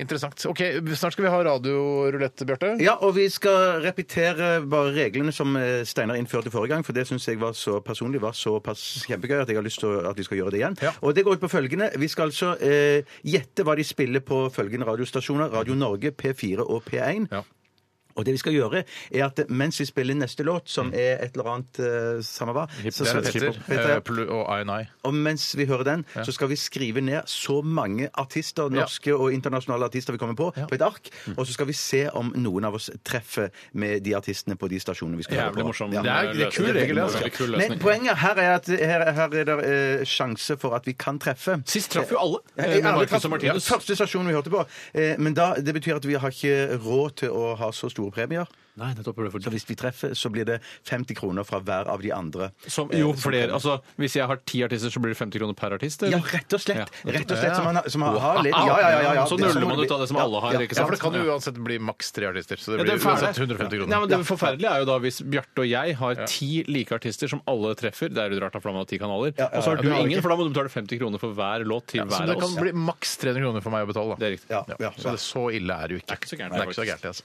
A: Interessant. Ok, Snart skal vi ha radiorulett, Bjarte.
D: Ja, og vi skal repetere bare reglene som eh, Steinar innførte forrige gang, for det syns jeg var så personlig var såpass kjempegøy at jeg har lyst til å- at vi skal gjøre det igjen. Og det går ut på følgende. Vi skal altså eh, gjette hva de spiller på følgende radiostasjoner. Radio Norge, P4 og P1.
A: Ja.
D: Og det vi skal gjøre, er at mens vi spiller neste låt, som er et eller annet uh, samme hva så-
A: Der
D: så-
A: er Petter
D: Petter,
A: eh, plu- og INI.
D: og mens vi hører den, så skal vi skrive ned så mange artister, norske og internasjonale artister vi kommer på, på et ark.
B: Mm.
D: Og så skal vi se om noen av oss treffer med de artistene på de stasjonene vi skal høre
B: Jævlig
D: på.
B: morsom. eh,
D: Ja.
A: Det er- det er kul regel,
B: veldig
A: altså.
B: veldig kul
D: Men
B: løsning.
D: poenget her er at her, her er det eh, sjanse for at vi kan treffe.
B: Sist traff jo alle,
D: Ja,
B: eh,
D: jeg-
B: med
D: alle
B: Marcus
D: traff-
B: og Martinus.
D: Ja, første stasjonen vi hørte på. Eh, men da, det betyr at vi har ikke råd til å ha så store premier.
B: Nei, nettopp, det er for-
D: Så hvis vi treffer, så blir det 50 kroner fra hver av de andre.
B: Som,
D: Eh,
B: jo,
D: som
B: flere.
D: kommer.
B: Altså, hvis jeg har ti artister, så blir det 50 kroner per artist?
D: Ja,
B: eller?
D: rett og slett.
B: Ja.
D: Rett og slett som man, som man har litt. Ja, ja, ja, ja, ja.
B: Så
D: Det er
B: nuller
D: sånn
B: man
D: det
B: ut av det som
D: blir.
B: alle har,
D: Ja,
B: ikke
D: ja,
A: Ja,
B: sant?
A: for det kan
B: Ja.
A: jo uansett bli maks tre artister, så det
B: Ja, det,
A: blir
B: er fæle.
A: uansett 150
B: Nei,
A: kroner.
B: men det forferdelige er jo da hvis Bjarte og jeg har ti like artister som alle treffer, det er jo rart da, for da må man ha ti kanaler,
D: Ja, ja,
B: og så
D: ja,
B: har du
A: du har
B: ingen,
A: ikke-
B: for da må du betale 50 kroner for hver låt til
A: Så
B: hver
A: det
B: av oss.
A: kan bli maks 300 kroner for meg å betale, da.
B: Det er riktig.
D: Ja, ja,
A: Så det er så ille er det jo ikke.
B: Det er ikke så gærent,
A: Det er ikke så
B: faktisk.
A: gærent, altså.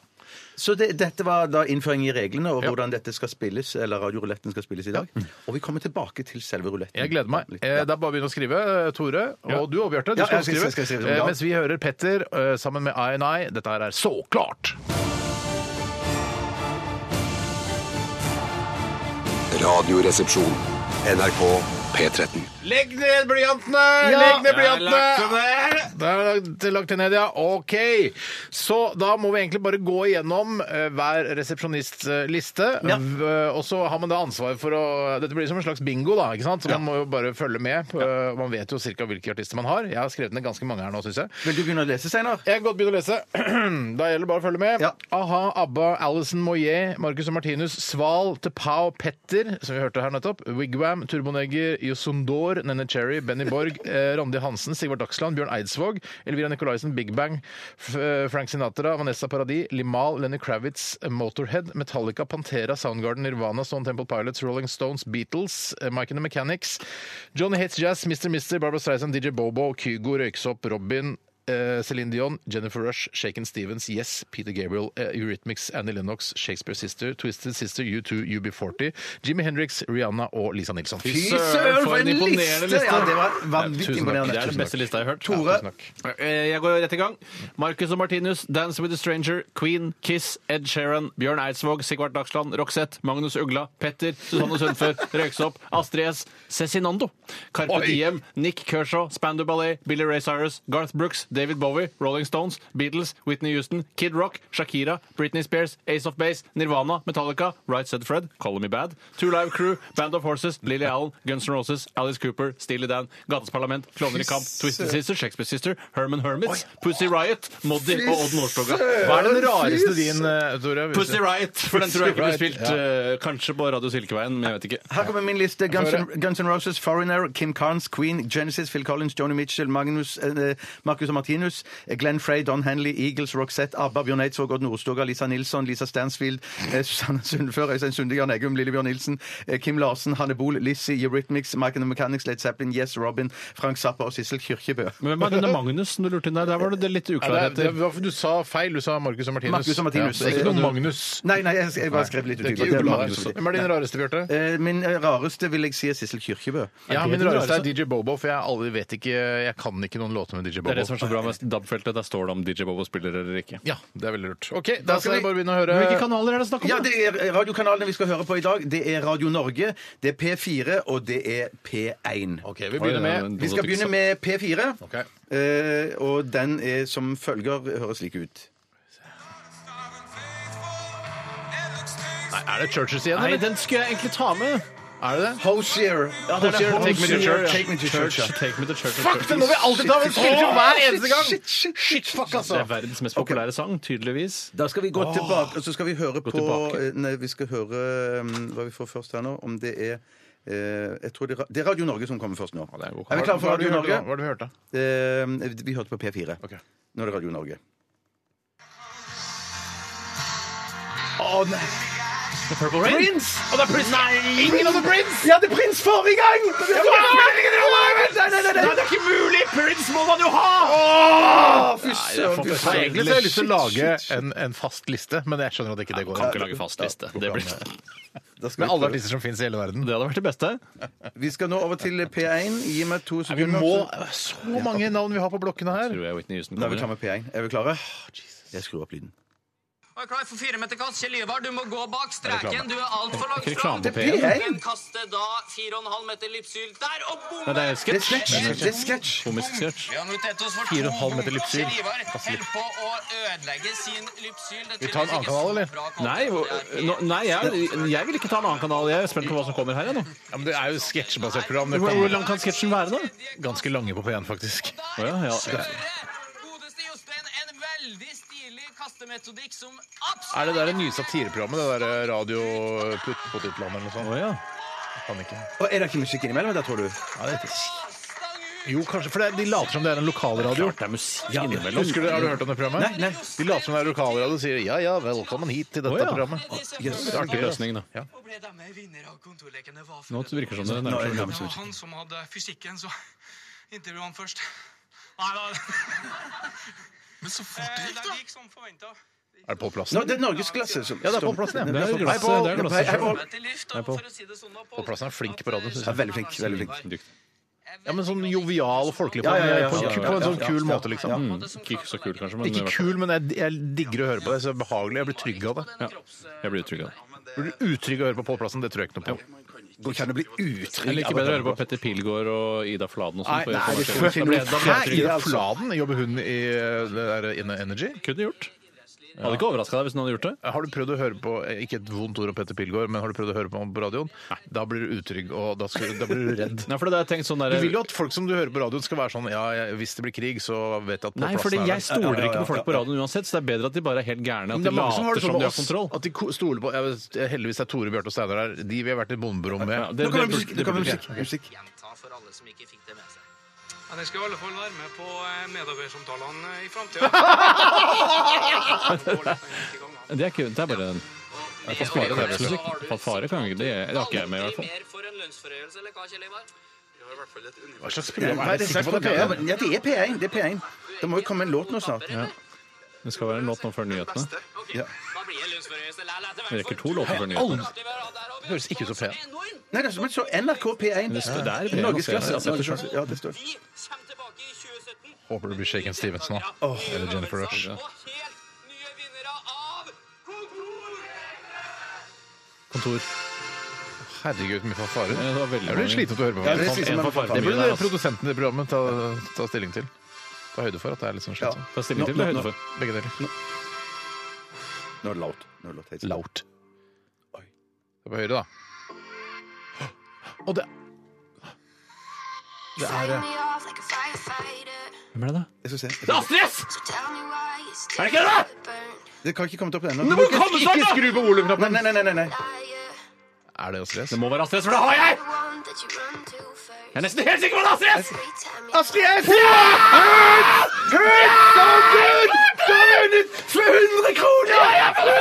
D: Så det, dette var da innføring i reglene og
A: Ja.
D: hvordan dette skal spilles, eller radioruletten skal spilles i dag. Og vi kommer tilbake til selve ruletten.
A: Jeg gleder meg.
D: Ja.
A: Eh, Det er bare å begynne å skrive. Eh, Tore
B: Ja.
A: og du og Bjarte, du
D: Ja,
A: skal
D: jeg skal-
A: skrive.
D: jeg skal skrive som
A: Eh,
D: glad.
A: Mens vi hører Petter eh, sammen med INI. Dette her er så klart!
E: Radioresepsjon. NRK P13.
A: Legg ned blyantene! Legg ned blyantene! Det er lagt- lagt ned, ja. OK. Så da må vi egentlig bare gå igjennom eh, hver resepsjonistliste.
D: Ja.
A: V- Og så har man da ansvar for å Dette blir som en slags bingo, da. ikke sant? Så man må jo bare følge med. på- Man vet jo ca. hvilke artister man har. Jeg har skrevet ned ganske mange her nå, syns jeg.
D: Vil du begynne å lese, Steinar?
A: Jeg kan godt begynne å lese. Da gjelder det bare å følge med.
D: Ja.
A: A-ha, ABBA, Alison Moyet, Marcus og Martinus, Sval, Tepao, Petter, som vi hørte her nettopp, Wigwam, Turbonegger, Yosundor, Nenne Cherry, Benny Borg, eh, Randi Hansen, Sigvard Dagsland, Bjørn Eidsvåg, Elvira Nicolaisen, Big Bang, F eh, Frank Sinatra, Vanessa Paradis, Limal, Lenny Kravitz, Motorhead, Metallica, Pantera, Soundgarden, Nirvana, Stone Temple Pilots, Rolling Stones, Beatles, eh, Mike and the Mechanics, Johnny Hates Jazz, Mr. Mister, Barbra Streisand, DJ Bobo, Kygo, Røyksopp, Robin, Eh, Celine Dion, Jennifer Rush, Shaken Stevens, Yes, Peter Gabriel, eh, Eurythmics, Annie Lennox, Shakespeare Sister, Twisted Sister, U2, UB40, Jimmy Hendrix, Rihanna og Lisa Nilsson.
B: Fy søren, for en imponerende liste!
D: Ja, det var vanvittig
A: Tusen takk.
D: imponerende.
B: Det er den beste lista jeg har hørt.
D: Tore.
B: Ja, tusen takk. Eh, Jeg går rett i gang. Marcus og Martinus, Dance with a Stranger, Queen, Kiss, Ed Sheeran, Bjørn Eidsvåg, Sigvart Dagsland, Roxette, Magnus Ugla, Petter, Susanne Sundfør, Røyksopp, Astrid S, Cezinando, Carpe
A: Oi.
B: Diem, Nick Kershaw, Spandau Ballet, Billy Ray Cyrus, Garth Brooks, David Bowie, Rolling Stones, Beatles, Whitney Houston, Kid Rock, Shakira, Britney Spears, Ace of Base, Nirvana, Metallica, Right Said Fred, Call Me Bad, Two Live Crew, Band of Horses, Lily Allen, Guns N' Roses, Alice Cooper, Steely Dan, Gates Parlament, Klovner i Kamp, Twisted Sister, Shakespeare Sister, Herman Hermits, Pussy Riot, Moddi og Odd Nordstoga.
A: Hva er den rareste din, eh, Tore?
B: Pussy Riot, for den tror jeg ikke
A: Pussy
B: blir
A: Riot,
B: spilt eh, kanskje på Radio Silkeveien, men jeg vet ikke.
D: Her kommer min liste. Guns, N- Guns N' Roses, Foreigner, Kim Carnes, Queen, Genesis, Phil Collins, Joni Mitchell, Magnus, eh, Marcus og Martinus, eh, Glenn Frey, Don Henley, Eagles, Roxette, ABBA, Bjørn Eidsvåg, Odd Nordstoga, Lisa Nilsson, Lisa Stansfield, eh, Susanne Sundfør, Øystein Sunde, Jan Eggum, Lillebjørn Nilsen, eh, Kim Larsen, Hanne Bol, Lizzie, Eurythmics, Mike and the Mechanics, Led Zeppelin, Yes, Robin, Frank Zappa og Sissel Kyrkjebø.
B: Men Hvem er denne Magnus som du lurte inn der? Der var det litt
A: Ja, det er, det
B: uklarheter.
A: er, hvorfor du sa feil. Du sa Marcus og Martinus.
D: Marcus og Martinus.
A: Ja, det er ikke noe Magnus.
D: Nei, nei, jeg, jeg bare skrev litt
A: Det er
D: utydelig.
A: ikke
D: Det er
A: Magnus.
D: Magnus.
A: Hvem er din rareste, Bjarte?
D: Eh, Min eh, rareste vil jeg si er Sissel Kyrkjebø.
A: Ja,
B: det
A: min
B: den
A: rareste er
B: rareste?
A: DJ Bobo, for jeg, aldri vet ikke, jeg kan ikke noen låter med DJ Bobo.
B: Det er det som er så bra med DAB-feltet. Der står det om DJ Bobo spiller eller ikke.
A: Ja, det er veldig lurt. OK, da
D: skal
A: skal vi
D: vi-
A: bare begynne å høre
B: Hvilke kanaler er det snakk om?
D: Ja,
B: da?
D: det er radiokanalene vi skal høre på i dag. Det er Radio Norge, det er P4, og det er P1.
A: OK, vi begynner
B: Oi, ja,
A: med
B: men-
D: Vi skal begynne med P4,
A: Ok.
D: eh, og den er som følger høres slik ut.
A: Nei, Er det Churches igjen,
B: Nei,
A: eller?
B: den skulle jeg egentlig ta med.
A: Er det det?
D: Hosier.
A: Hosier,
D: Hosier, take me to church.
B: ja.
D: Take me to church. ja.
B: Take me to church.
A: Fuck, den må vi alltid ta! Vi spiller jo hver eneste gang!
D: Shit, shit, shit, fuck,
B: Det
D: altså.
B: er verdens mest populære sang, tydeligvis.
D: Da skal vi gå tilbake, og så skal vi høre på
B: tilbake.
D: eh, Nei, vi skal høre mm, hva vi får først her nå, om det er eh, jeg tror det, er Ra- det er Radio Norge som kommer først nå.
B: det er god.
D: Er vi klare for
A: Hva er det
D: Radio
A: vi hørte da?
D: Norge?
A: Hva er det vi hørte?
D: Eh, vi hørte på P4.
A: Ok.
D: Nå er det Radio Norge.
B: Purple Rain. Prince! Og det er Prince. Nei! Ingen av The Prince!
D: Ja, det er prins forrige gang! Det var meningen å lage! Nei, nei, nei, nei.
B: det er ikke mulig! Prince må man jo ha!
D: Å, Fy søren, fy
A: Nei,
D: søren.
A: egentlig så har jeg lyst til å lage en, en fast liste, men jeg skjønner at ikke det går.
B: Kan ikke lage fast liste. Det, blir... det
D: Da
A: Med
D: skal vi
A: alle
D: prøve.
A: artister som fins i hele verden.
B: hadde vært det beste.
D: Vi skal nå over til P1. Gi meg to
A: Vi
D: sekunder.
A: må Så mange navn vi har på blokkene her.
B: Tror jeg Whitney Houston
D: Nå er vi
B: kommer.
D: klare med P1. Er vi klare? Jeg skrur opp lyden.
F: Og er klar for fire meter kast. Kjell Ivar, du må gå bak streken.
A: Reklame.
F: Du er altfor langt
B: Reklame
F: fram.
B: på
D: P1.
F: Men Kaste da 4,5 meter lipsyl der og
B: Nei,
F: bomme!
B: det er
D: Det er
B: sketsj.
D: sketsj. Det er sketsj.
B: Komisk sketsj.
F: Vi har nå tett oss for
A: Fire og en halv
F: to
A: meter
F: gull, og
A: lipsyl.
F: Kjell Ivar
A: Pass litt.
F: holder på å ødelegge sin lipsyl. Det
A: Vi tar en annen
F: tydeligvis ikke
A: kanal,
F: så
A: eller?
F: bra kvalitet.
B: Nei, hvor- nå- nei jeg, jeg vil ikke ta en annen kanal. Jeg er spent på hva som kommer her. Jeg, nå.
A: Ja, men det er jo sketsjbasert program. Det
B: Hvor, hvor lang
A: kan...
B: kan sketsjen være, da?
A: Ganske lange på P1, faktisk.
B: Å ja, ja.
F: Godeste Jostein, en veldig stilig kastemetodikk som absolutt
A: Er det der det nye satireprogrammet? Det der Radio Putt på Tyttland eller noe sånt?
B: Å, ja.
A: Kan ikke.
D: Og er det ikke musikk innimellom der, tror du?
A: Ja, det jo, kanskje. For det, er- de later som det er en lokalradio.
B: Klart det er musikk innimellom.
A: Husker du, Har du hørt om det programmet?
D: Nei, nei.
A: De later som det er lokalradio og sier ja, ja, velkommen hit til dette
B: Å, ja.
A: programmet.
D: Yes.
B: Det er artig løsning, da.
F: Og ble dermed vinner av kontorlekene. Hva for
B: Nå
F: et-
B: virker det som det nærmer seg.
F: Det var han som hadde fysikken, så intervjuet han først. Nei da. Men så fort det gikk, da. Det gikk som forventa.
A: Er det på plassen?
D: Nå, det er norgesklasse som
A: Ja, det er på plassen, ja.
B: Det er
A: Hei,
B: glasset.
A: Pål.
B: Det er
D: Hei, hei,
B: glasset.
D: Pål.
F: Til luft, og for å si det sånn da, Pål,
A: Pål Plassen er flink på radio, synes
D: Ja,
A: jeg.
D: veldig flink. veldig flink.
A: Ja, men sånn jovial, folkelig på,
D: Ja, ja, ja, ja.
A: på,
D: Ja, ja, ja.
A: på en sånn
D: Ja,
A: kul
D: ja.
A: måte, liksom.
B: Mm, Ikke så kul, kanskje, men i
A: Ikke
B: hvert fall.
A: kul, men jeg, jeg digger å høre på det. Så behagelig. Jeg blir trygg av det.
B: Ja. Jeg blir utrygg av det.
A: Blir du utrygg av å høre på Pål Plassen? Det tror jeg ikke noe på.
D: Går ikke an å bli
B: Jeg
D: utrygg
B: liker bedre å høre på Petter Pilgaard og Ida Fladen og sånn. for
D: nei,
B: jeg
D: det
B: får-
D: får vi
B: Da
D: finne
B: blir
D: ut.
B: jeg- da blir jeg
D: Hæ?
B: trygg.
A: Ida Fladen, jobber hun i eh, det der Inne Energy?
B: Kunne gjort. Hadde ikke overraska deg hvis noen hadde gjort det.
A: Har du prøvd å høre på eh, ikke et vondt ord om Petter Pilgaard, men har du prøvd å høre på ham på radioen? Da blir du utrygg, og da, skal, da blir du redd.
B: Nei, for det er tenkt sånn
A: Du
B: der,
A: vil jo at folk som du hører på radioen, skal være sånn Ja, jeg, hvis det blir krig, så vet jeg at på
B: Nei,
A: plassen
B: fordi
A: er
B: jeg
A: det.
B: stoler
D: Ja, ja, ja,
B: ikke på folk på
D: ja, ja.
B: radioen uansett, så det er bedre at de bare er helt gærne. At
A: Men det
B: de
A: er mange som har
B: later
A: det sånn
B: som de
A: med
B: har
A: oss,
B: kontroll.
A: at de ko- stoler på jeg vet, Heldigvis er Tore, Bjarte og Steinar her. De vi har vært i bomberom med.
B: Ja, det,
D: Nå
B: det
D: kommer musikk.
B: burde- det
D: nå kommer
B: burde-
D: musikk, musikk.
F: Gjenta for alle som ikke fikk det med seg. Men jeg skal i alle fall være med på eh, medarbeidersamtalene eh, i framtida.
B: det er ikke Det er bare en
F: Jeg
B: fare kan jeg ikke. Fått fare kan jeg ikke. Det er- det har ikke jeg med, i hvert fall.
F: Mer for en lønnsforhøyelse, eller hva, Kjell Ivar?
A: Hva slags
D: Ja,
A: program
D: men
A: er det? Sikker på det er P1?
D: Ja, det er P1. Det er P1. Det må jo komme en låt nå snart.
B: Det skal være en låt nå før nyhetene.
F: Ok,
D: Ja.
F: da blir det lønnsforhøyelse. Læl, læl, til
B: Vi
F: hvert
B: rekker
F: fall.
B: to låter før
A: Aldri.
B: nyhetene.
F: Det
A: høres ikke ut som P1.
D: Nei, det er som- men så NRK P1.
B: Det står der, P1.
D: Norgesklasse.
B: Ja, det står
D: Norgesklasse. Ja, det står.
F: Vi kommer tilbake i 2017.
A: Håper det blir Shaken Stevens nå. Eller Jennifer Rush.
F: Og helt nye vinnere av
A: Kontor.
F: Kontor!
A: Herregud, mye fanfare.
B: Ja, det var veldig
A: Jeg blir
B: mange.
A: slitete å høre på.
D: Ja, det er slitsomt,
A: En
D: men
A: fanfare.
D: fanfare.
A: det
B: Mye der,
A: burde
B: altså.
A: produsenten i programmet ta, ta stilling til. Ta høyde for at det er litt sånn slitsomt.
B: Ta stilling til det høyde for.
A: Begge deler.
D: Nå er det loud. Nå er det loud. Helt sant.
A: Laut. Det var høyre, da. Og det
G: Det er det.
B: Hvem er det, da?
D: Jeg skal se.
G: Er det ikke det?
D: Det kan ikke komme opp ennå.
A: Ikke skru på volumknappen!
D: Nei, nei, nei, nei, nei.
A: Er det å stress?
B: Det må være Astrid S, for det har jeg! Jeg er nesten helt sikker på det er Astrid S!
G: Astrid!
A: Du har vunnet 200 kroner!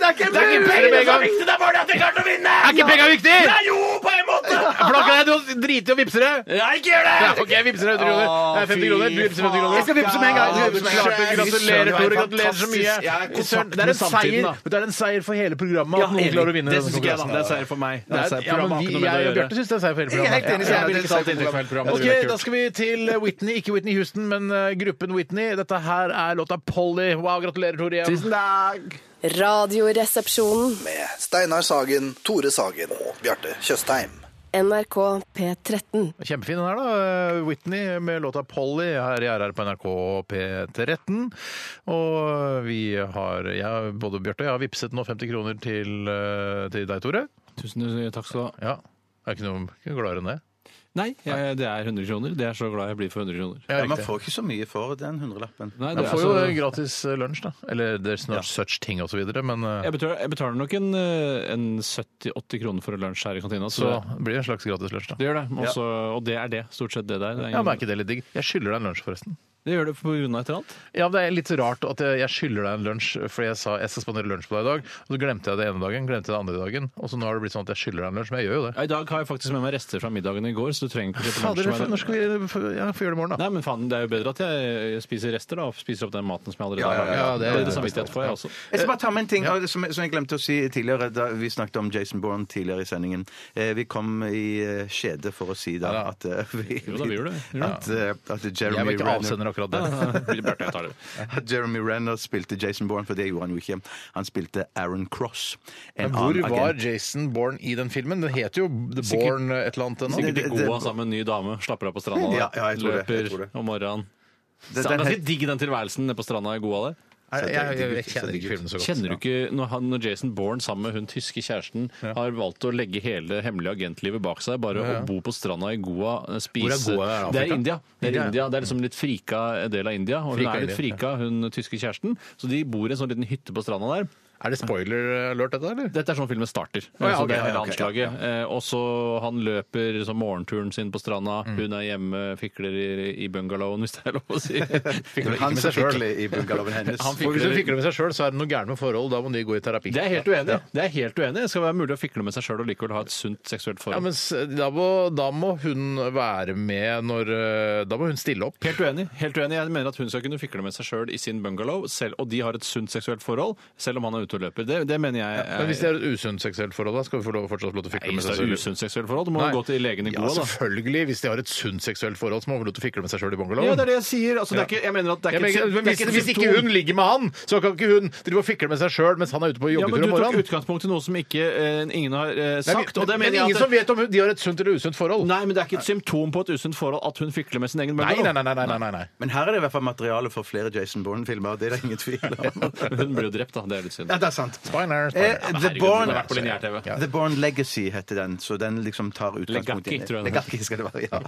A: Det er ikke penger som er viktig, det er bare at jeg klarte å vinne! Er ikke penger viktig? Nei, jo, på en måte! Flakka deg, du driter i å vippse det. Nei, ikke gjør det! ok, jeg vippser 100 kroner. Det er 50 kroner, du vippser 50 kroner.
D: Jeg skal vippse med en gang.
A: Ja, du klarte det. Gratulerer, Tore. Gratulerer så mye.
D: Jeg er i kontakt
A: Det er
D: med
A: en
D: samtiden,
A: seier
D: da.
A: Det er en seier for hele programmet at noen klarer å vinne
B: Det
A: denne
B: synes ikke jeg, da.
A: konkurransen.
B: Det er seier for meg. Det
A: Det er,
B: er seier
A: ja, men
B: programmet har
A: vi,
B: ikke noe med
A: jeg og Bjarte
B: det å gjøre.
A: syns det er seier for hele
D: Jeg er helt
A: programmet. Ja, jeg
D: enig, jeg vil
A: vil ikke ta alt inntrykk fra hele programmet.
B: Det ville
A: Ok,
B: vært
A: Da skal vi til Whitney. Ikke Whitney Houston, men eh, gruppen Whitney. Dette her er låta 'Polly'. Wow, gratulerer, Tore. igjen.
B: Tusen takk!
H: Radioresepsjonen.
I: med Steinar Sagen, Tore Sagen og Bjarte Tjøstheim.
H: NRK P13.
A: Kjempefin den her, da. Eh, Whitney med låta 'Polly' her i RR på NRK P13. Og vi har jeg, Både Bjarte og jeg har vippset nå 50 kroner til, eh, til deg, Tore.
B: Tusen takk skal du ha.
A: Ja. Det er ikke noe ikke noe gladere enn det.
B: Nei, jeg, det er 100 kroner. Det er så glad jeg blir for 100 kroner.
A: Ja,
D: Ja, man
A: riktig.
D: får ikke så mye for den hundrelappen.
B: Nei,
A: Man
B: det er
A: får jo
B: så-
A: eh, gratis eh, lunsj, da. Eller there's no such thing, og så videre. Men eh,
B: Jeg betaler, jeg betaler nok en, eh, en 70-80 kroner for en lunsj her i kantina. Så,
A: så
B: det,
A: blir det en slags gratis lunsj, da.
B: det gjør det. Også, Og det er det. Stort sett det der. Det, er
A: Ja,
B: ingen,
A: men er ikke det litt digg? Jeg skylder deg en lunsj, forresten.
B: det gjør det på grunn av et eller annet.
A: Ja, men Det er litt rart at jeg jeg skylder deg en lunsj, fordi jeg sa jeg skal spandere lunsj på deg i dag. Og så glemte jeg det ene dagen, glemte jeg det andre dagen. Og så nå har det blitt sånn at jeg skylder deg en lunsj, men jeg gjør jo det.
B: Ja, I dag har jeg faktisk med meg rester fra middagen i går, så trenger ikke kjøpe
A: Fader,
B: lunsj
A: for-
B: med
A: når skal vi ja, få gjøre det i morgen, da?
B: Nei, men faen, det er jo bedre at jeg spiser rester, da. og Spiser opp den maten som jeg allerede
D: Ja, ja,
B: har. laget.
D: ja,
A: ja, det
B: det
A: er
B: er
A: det
B: litt samvittighet for, jeg også.
D: Jeg skal bare ta med en ting eh, som, som jeg glemte å si tidligere. da Vi snakket om Jason Bourne tidligere i sendingen. Eh, vi kom i eh, skjede for å si da
A: Ja, da.
D: at eh, vi,
B: Jo da, vi gjorde det. Vi gjorde
D: At, eh, at
A: Jeg
D: Jeremy
A: var ikke
D: Renner
A: avsender akkurat der.
B: Bjarte, jeg tar det.
D: at Jeremy Renner spilte Jason Bourne, for det gjorde han jo ikke. Han spilte Aaron Cross. en
A: Men hvor
D: annen
A: var
D: agent.
A: Jason Bourne i den filmen? Den heter jo The
B: Sikkert-
A: Bourne et eller annet.
D: Sikkert-
A: ennå.
B: Sikkert i
D: det-
B: Goa sammen med en ny dame. Slapper av på stranda.
D: Ja, ja, jeg tror det, jeg
B: løper
D: tror det.
B: om morgenen.
D: Det-
B: Så Det er
D: den
B: ganske digg, den tilværelsen nede på stranda i Goa der.
A: Nei, Jeg, jeg, jeg kjenner ikke filmen så godt.
B: Kjenner du ikke når, han, når Jason Bourne sammen med hun tyske kjæresten har valgt å legge hele hemmelige agentlivet bak seg, bare å bo på stranda i Goa, eh, spise
A: Goa? Er det
B: Det er
A: Afrika?
B: India. Det er,
A: India, ja.
B: India. Det er liksom litt frika del av India. Og hun
A: Frika
B: er litt
A: India,
B: frika, hun tyske kjæresten. Så de bor i en sånn liten hytte på stranda der.
A: Er det spoiler alert, dette, eller?
B: Dette er sånn filmen starter.
A: ja,
B: så
A: ok,
B: det er hele
A: ja, ok,
B: anslaget. Eh, Og så han løper så morgenturen sin på stranda,
A: Mm.
B: hun er hjemme, fikler i, i bungalowen, hvis det er lov å si. fikler ikke
D: Han
B: med
D: som
B: seg selv.
D: fikler i bungalowen hennes.
B: Han
A: For hvis du
B: fikler-
A: fikler med seg sjøl, så er det noe gærent med forhold. Da må de gå i terapi.
B: Det er jeg helt uenig. i. Det er jeg helt uenig. i. Det skal være mulig å fikle med seg sjøl og likevel ha et sunt seksuelt
A: Ja,
B: forhold.
A: men s- da må, da må hun være med når eh, Da må hun stille opp.
B: Helt uenig. helt uenig. Jeg mener at hun skal kunne fikle med seg sjøl i sin bungalow, selv, og de har et sunt seksuelt forhold, selv om han er ute og løper. Det, det mener jeg er
A: Men hvis det er et usunt seksuelt forhold, da skal vi få lov, fortsatt få lov til å
B: Nei,
A: fikle med
B: hvis det
A: seg
B: er
A: selv?
B: usunt seksuelt forhold, du må
A: Nei.
B: jo gå til legen i
A: Ja,
B: Goa, da.
A: selvfølgelig. Hvis de har et sunt seksuelt forhold, så må hun få lov til å fikle med seg sjøl i bungalowen.
B: Ja, det er det jeg sier. Altså, det er ikke, jeg mener at det er
A: Jeg
B: ikke,
A: mener,
B: et-
A: men
B: det er
A: hvis,
B: et
A: hvis ikke
B: symptom.
A: hun ligger med han, så kan ikke hun drive og fikle med seg sjøl mens han er ute på
B: ja, men
A: joggetur om
B: Du tok
A: morgenen.
B: utgangspunkt i noe som ikke eh, ingen har eh,
A: Nei,
B: sagt. og det
A: men,
B: mener
A: men
B: jeg
A: ingen
B: at
A: som vet om hun- de har et sunt eller usunt forhold.
B: Nei, men det er ikke et symptom på et usunt forhold at hun fikler med sin egen
A: Nei,
B: bungalow.
A: nei, nei. nei, nei, nei, nei.
D: Men her er det i hvert fall materiale for flere Jason Bourne-filmer. Det er det ingen tvil om.
B: Hun blir jo drept, da. Det er litt synd.
D: Ja, det er sant.
A: Spiner,
D: Eh,
A: spiner.
D: The Bourne
B: det har vært på lineær-TV.
D: The Bourne Legacy heter den, så den liksom tar utgangspunkt i
B: Legaki, tror jeg det
D: Legaki skal det være, ja.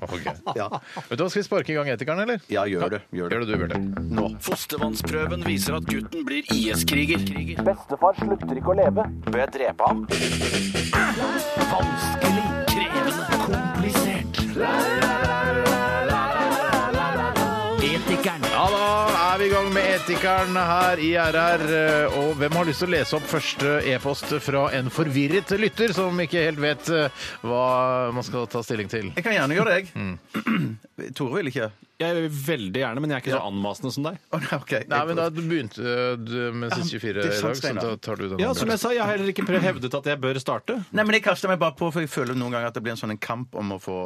D: ja.
A: Vet du hva, Skal vi sparke i gang etikeren, eller?
D: Ja, gjør det.
A: Gjør
D: Gjør det.
A: det du, Bjarte.
G: Fostervannsprøven viser at gutten blir IS-kriger.
J: Bestefar slutter ikke å leve. Bør jeg drepe ham?
G: Vanskelig, krevende, komplisert. Etikeren.
A: Ja, da er vi i gang med Etikeren her i RR. Og hvem har lyst til å lese opp første e-post fra en forvirret lytter som ikke helt vet eh, hva man skal ta stilling til?
D: Jeg kan gjerne gjøre det, jeg.
A: Mm.
D: Tore vil ikke.
B: Jeg vil veldig gjerne, men jeg er ikke så anmasende som deg.
D: Å nei, OK.
A: Nei, men da du begynte eh, du med siste
D: Ja,
A: 24
D: det
A: i
D: er sant,
A: dag, så
D: Steinar.
A: da tar du den.
B: Ja, som jeg sa, jeg har heller ikke pre- hevdet at jeg bør starte.
D: Nei, men Jeg kaster meg bare på, for jeg føler noen ganger at det blir en sånn en kamp om å få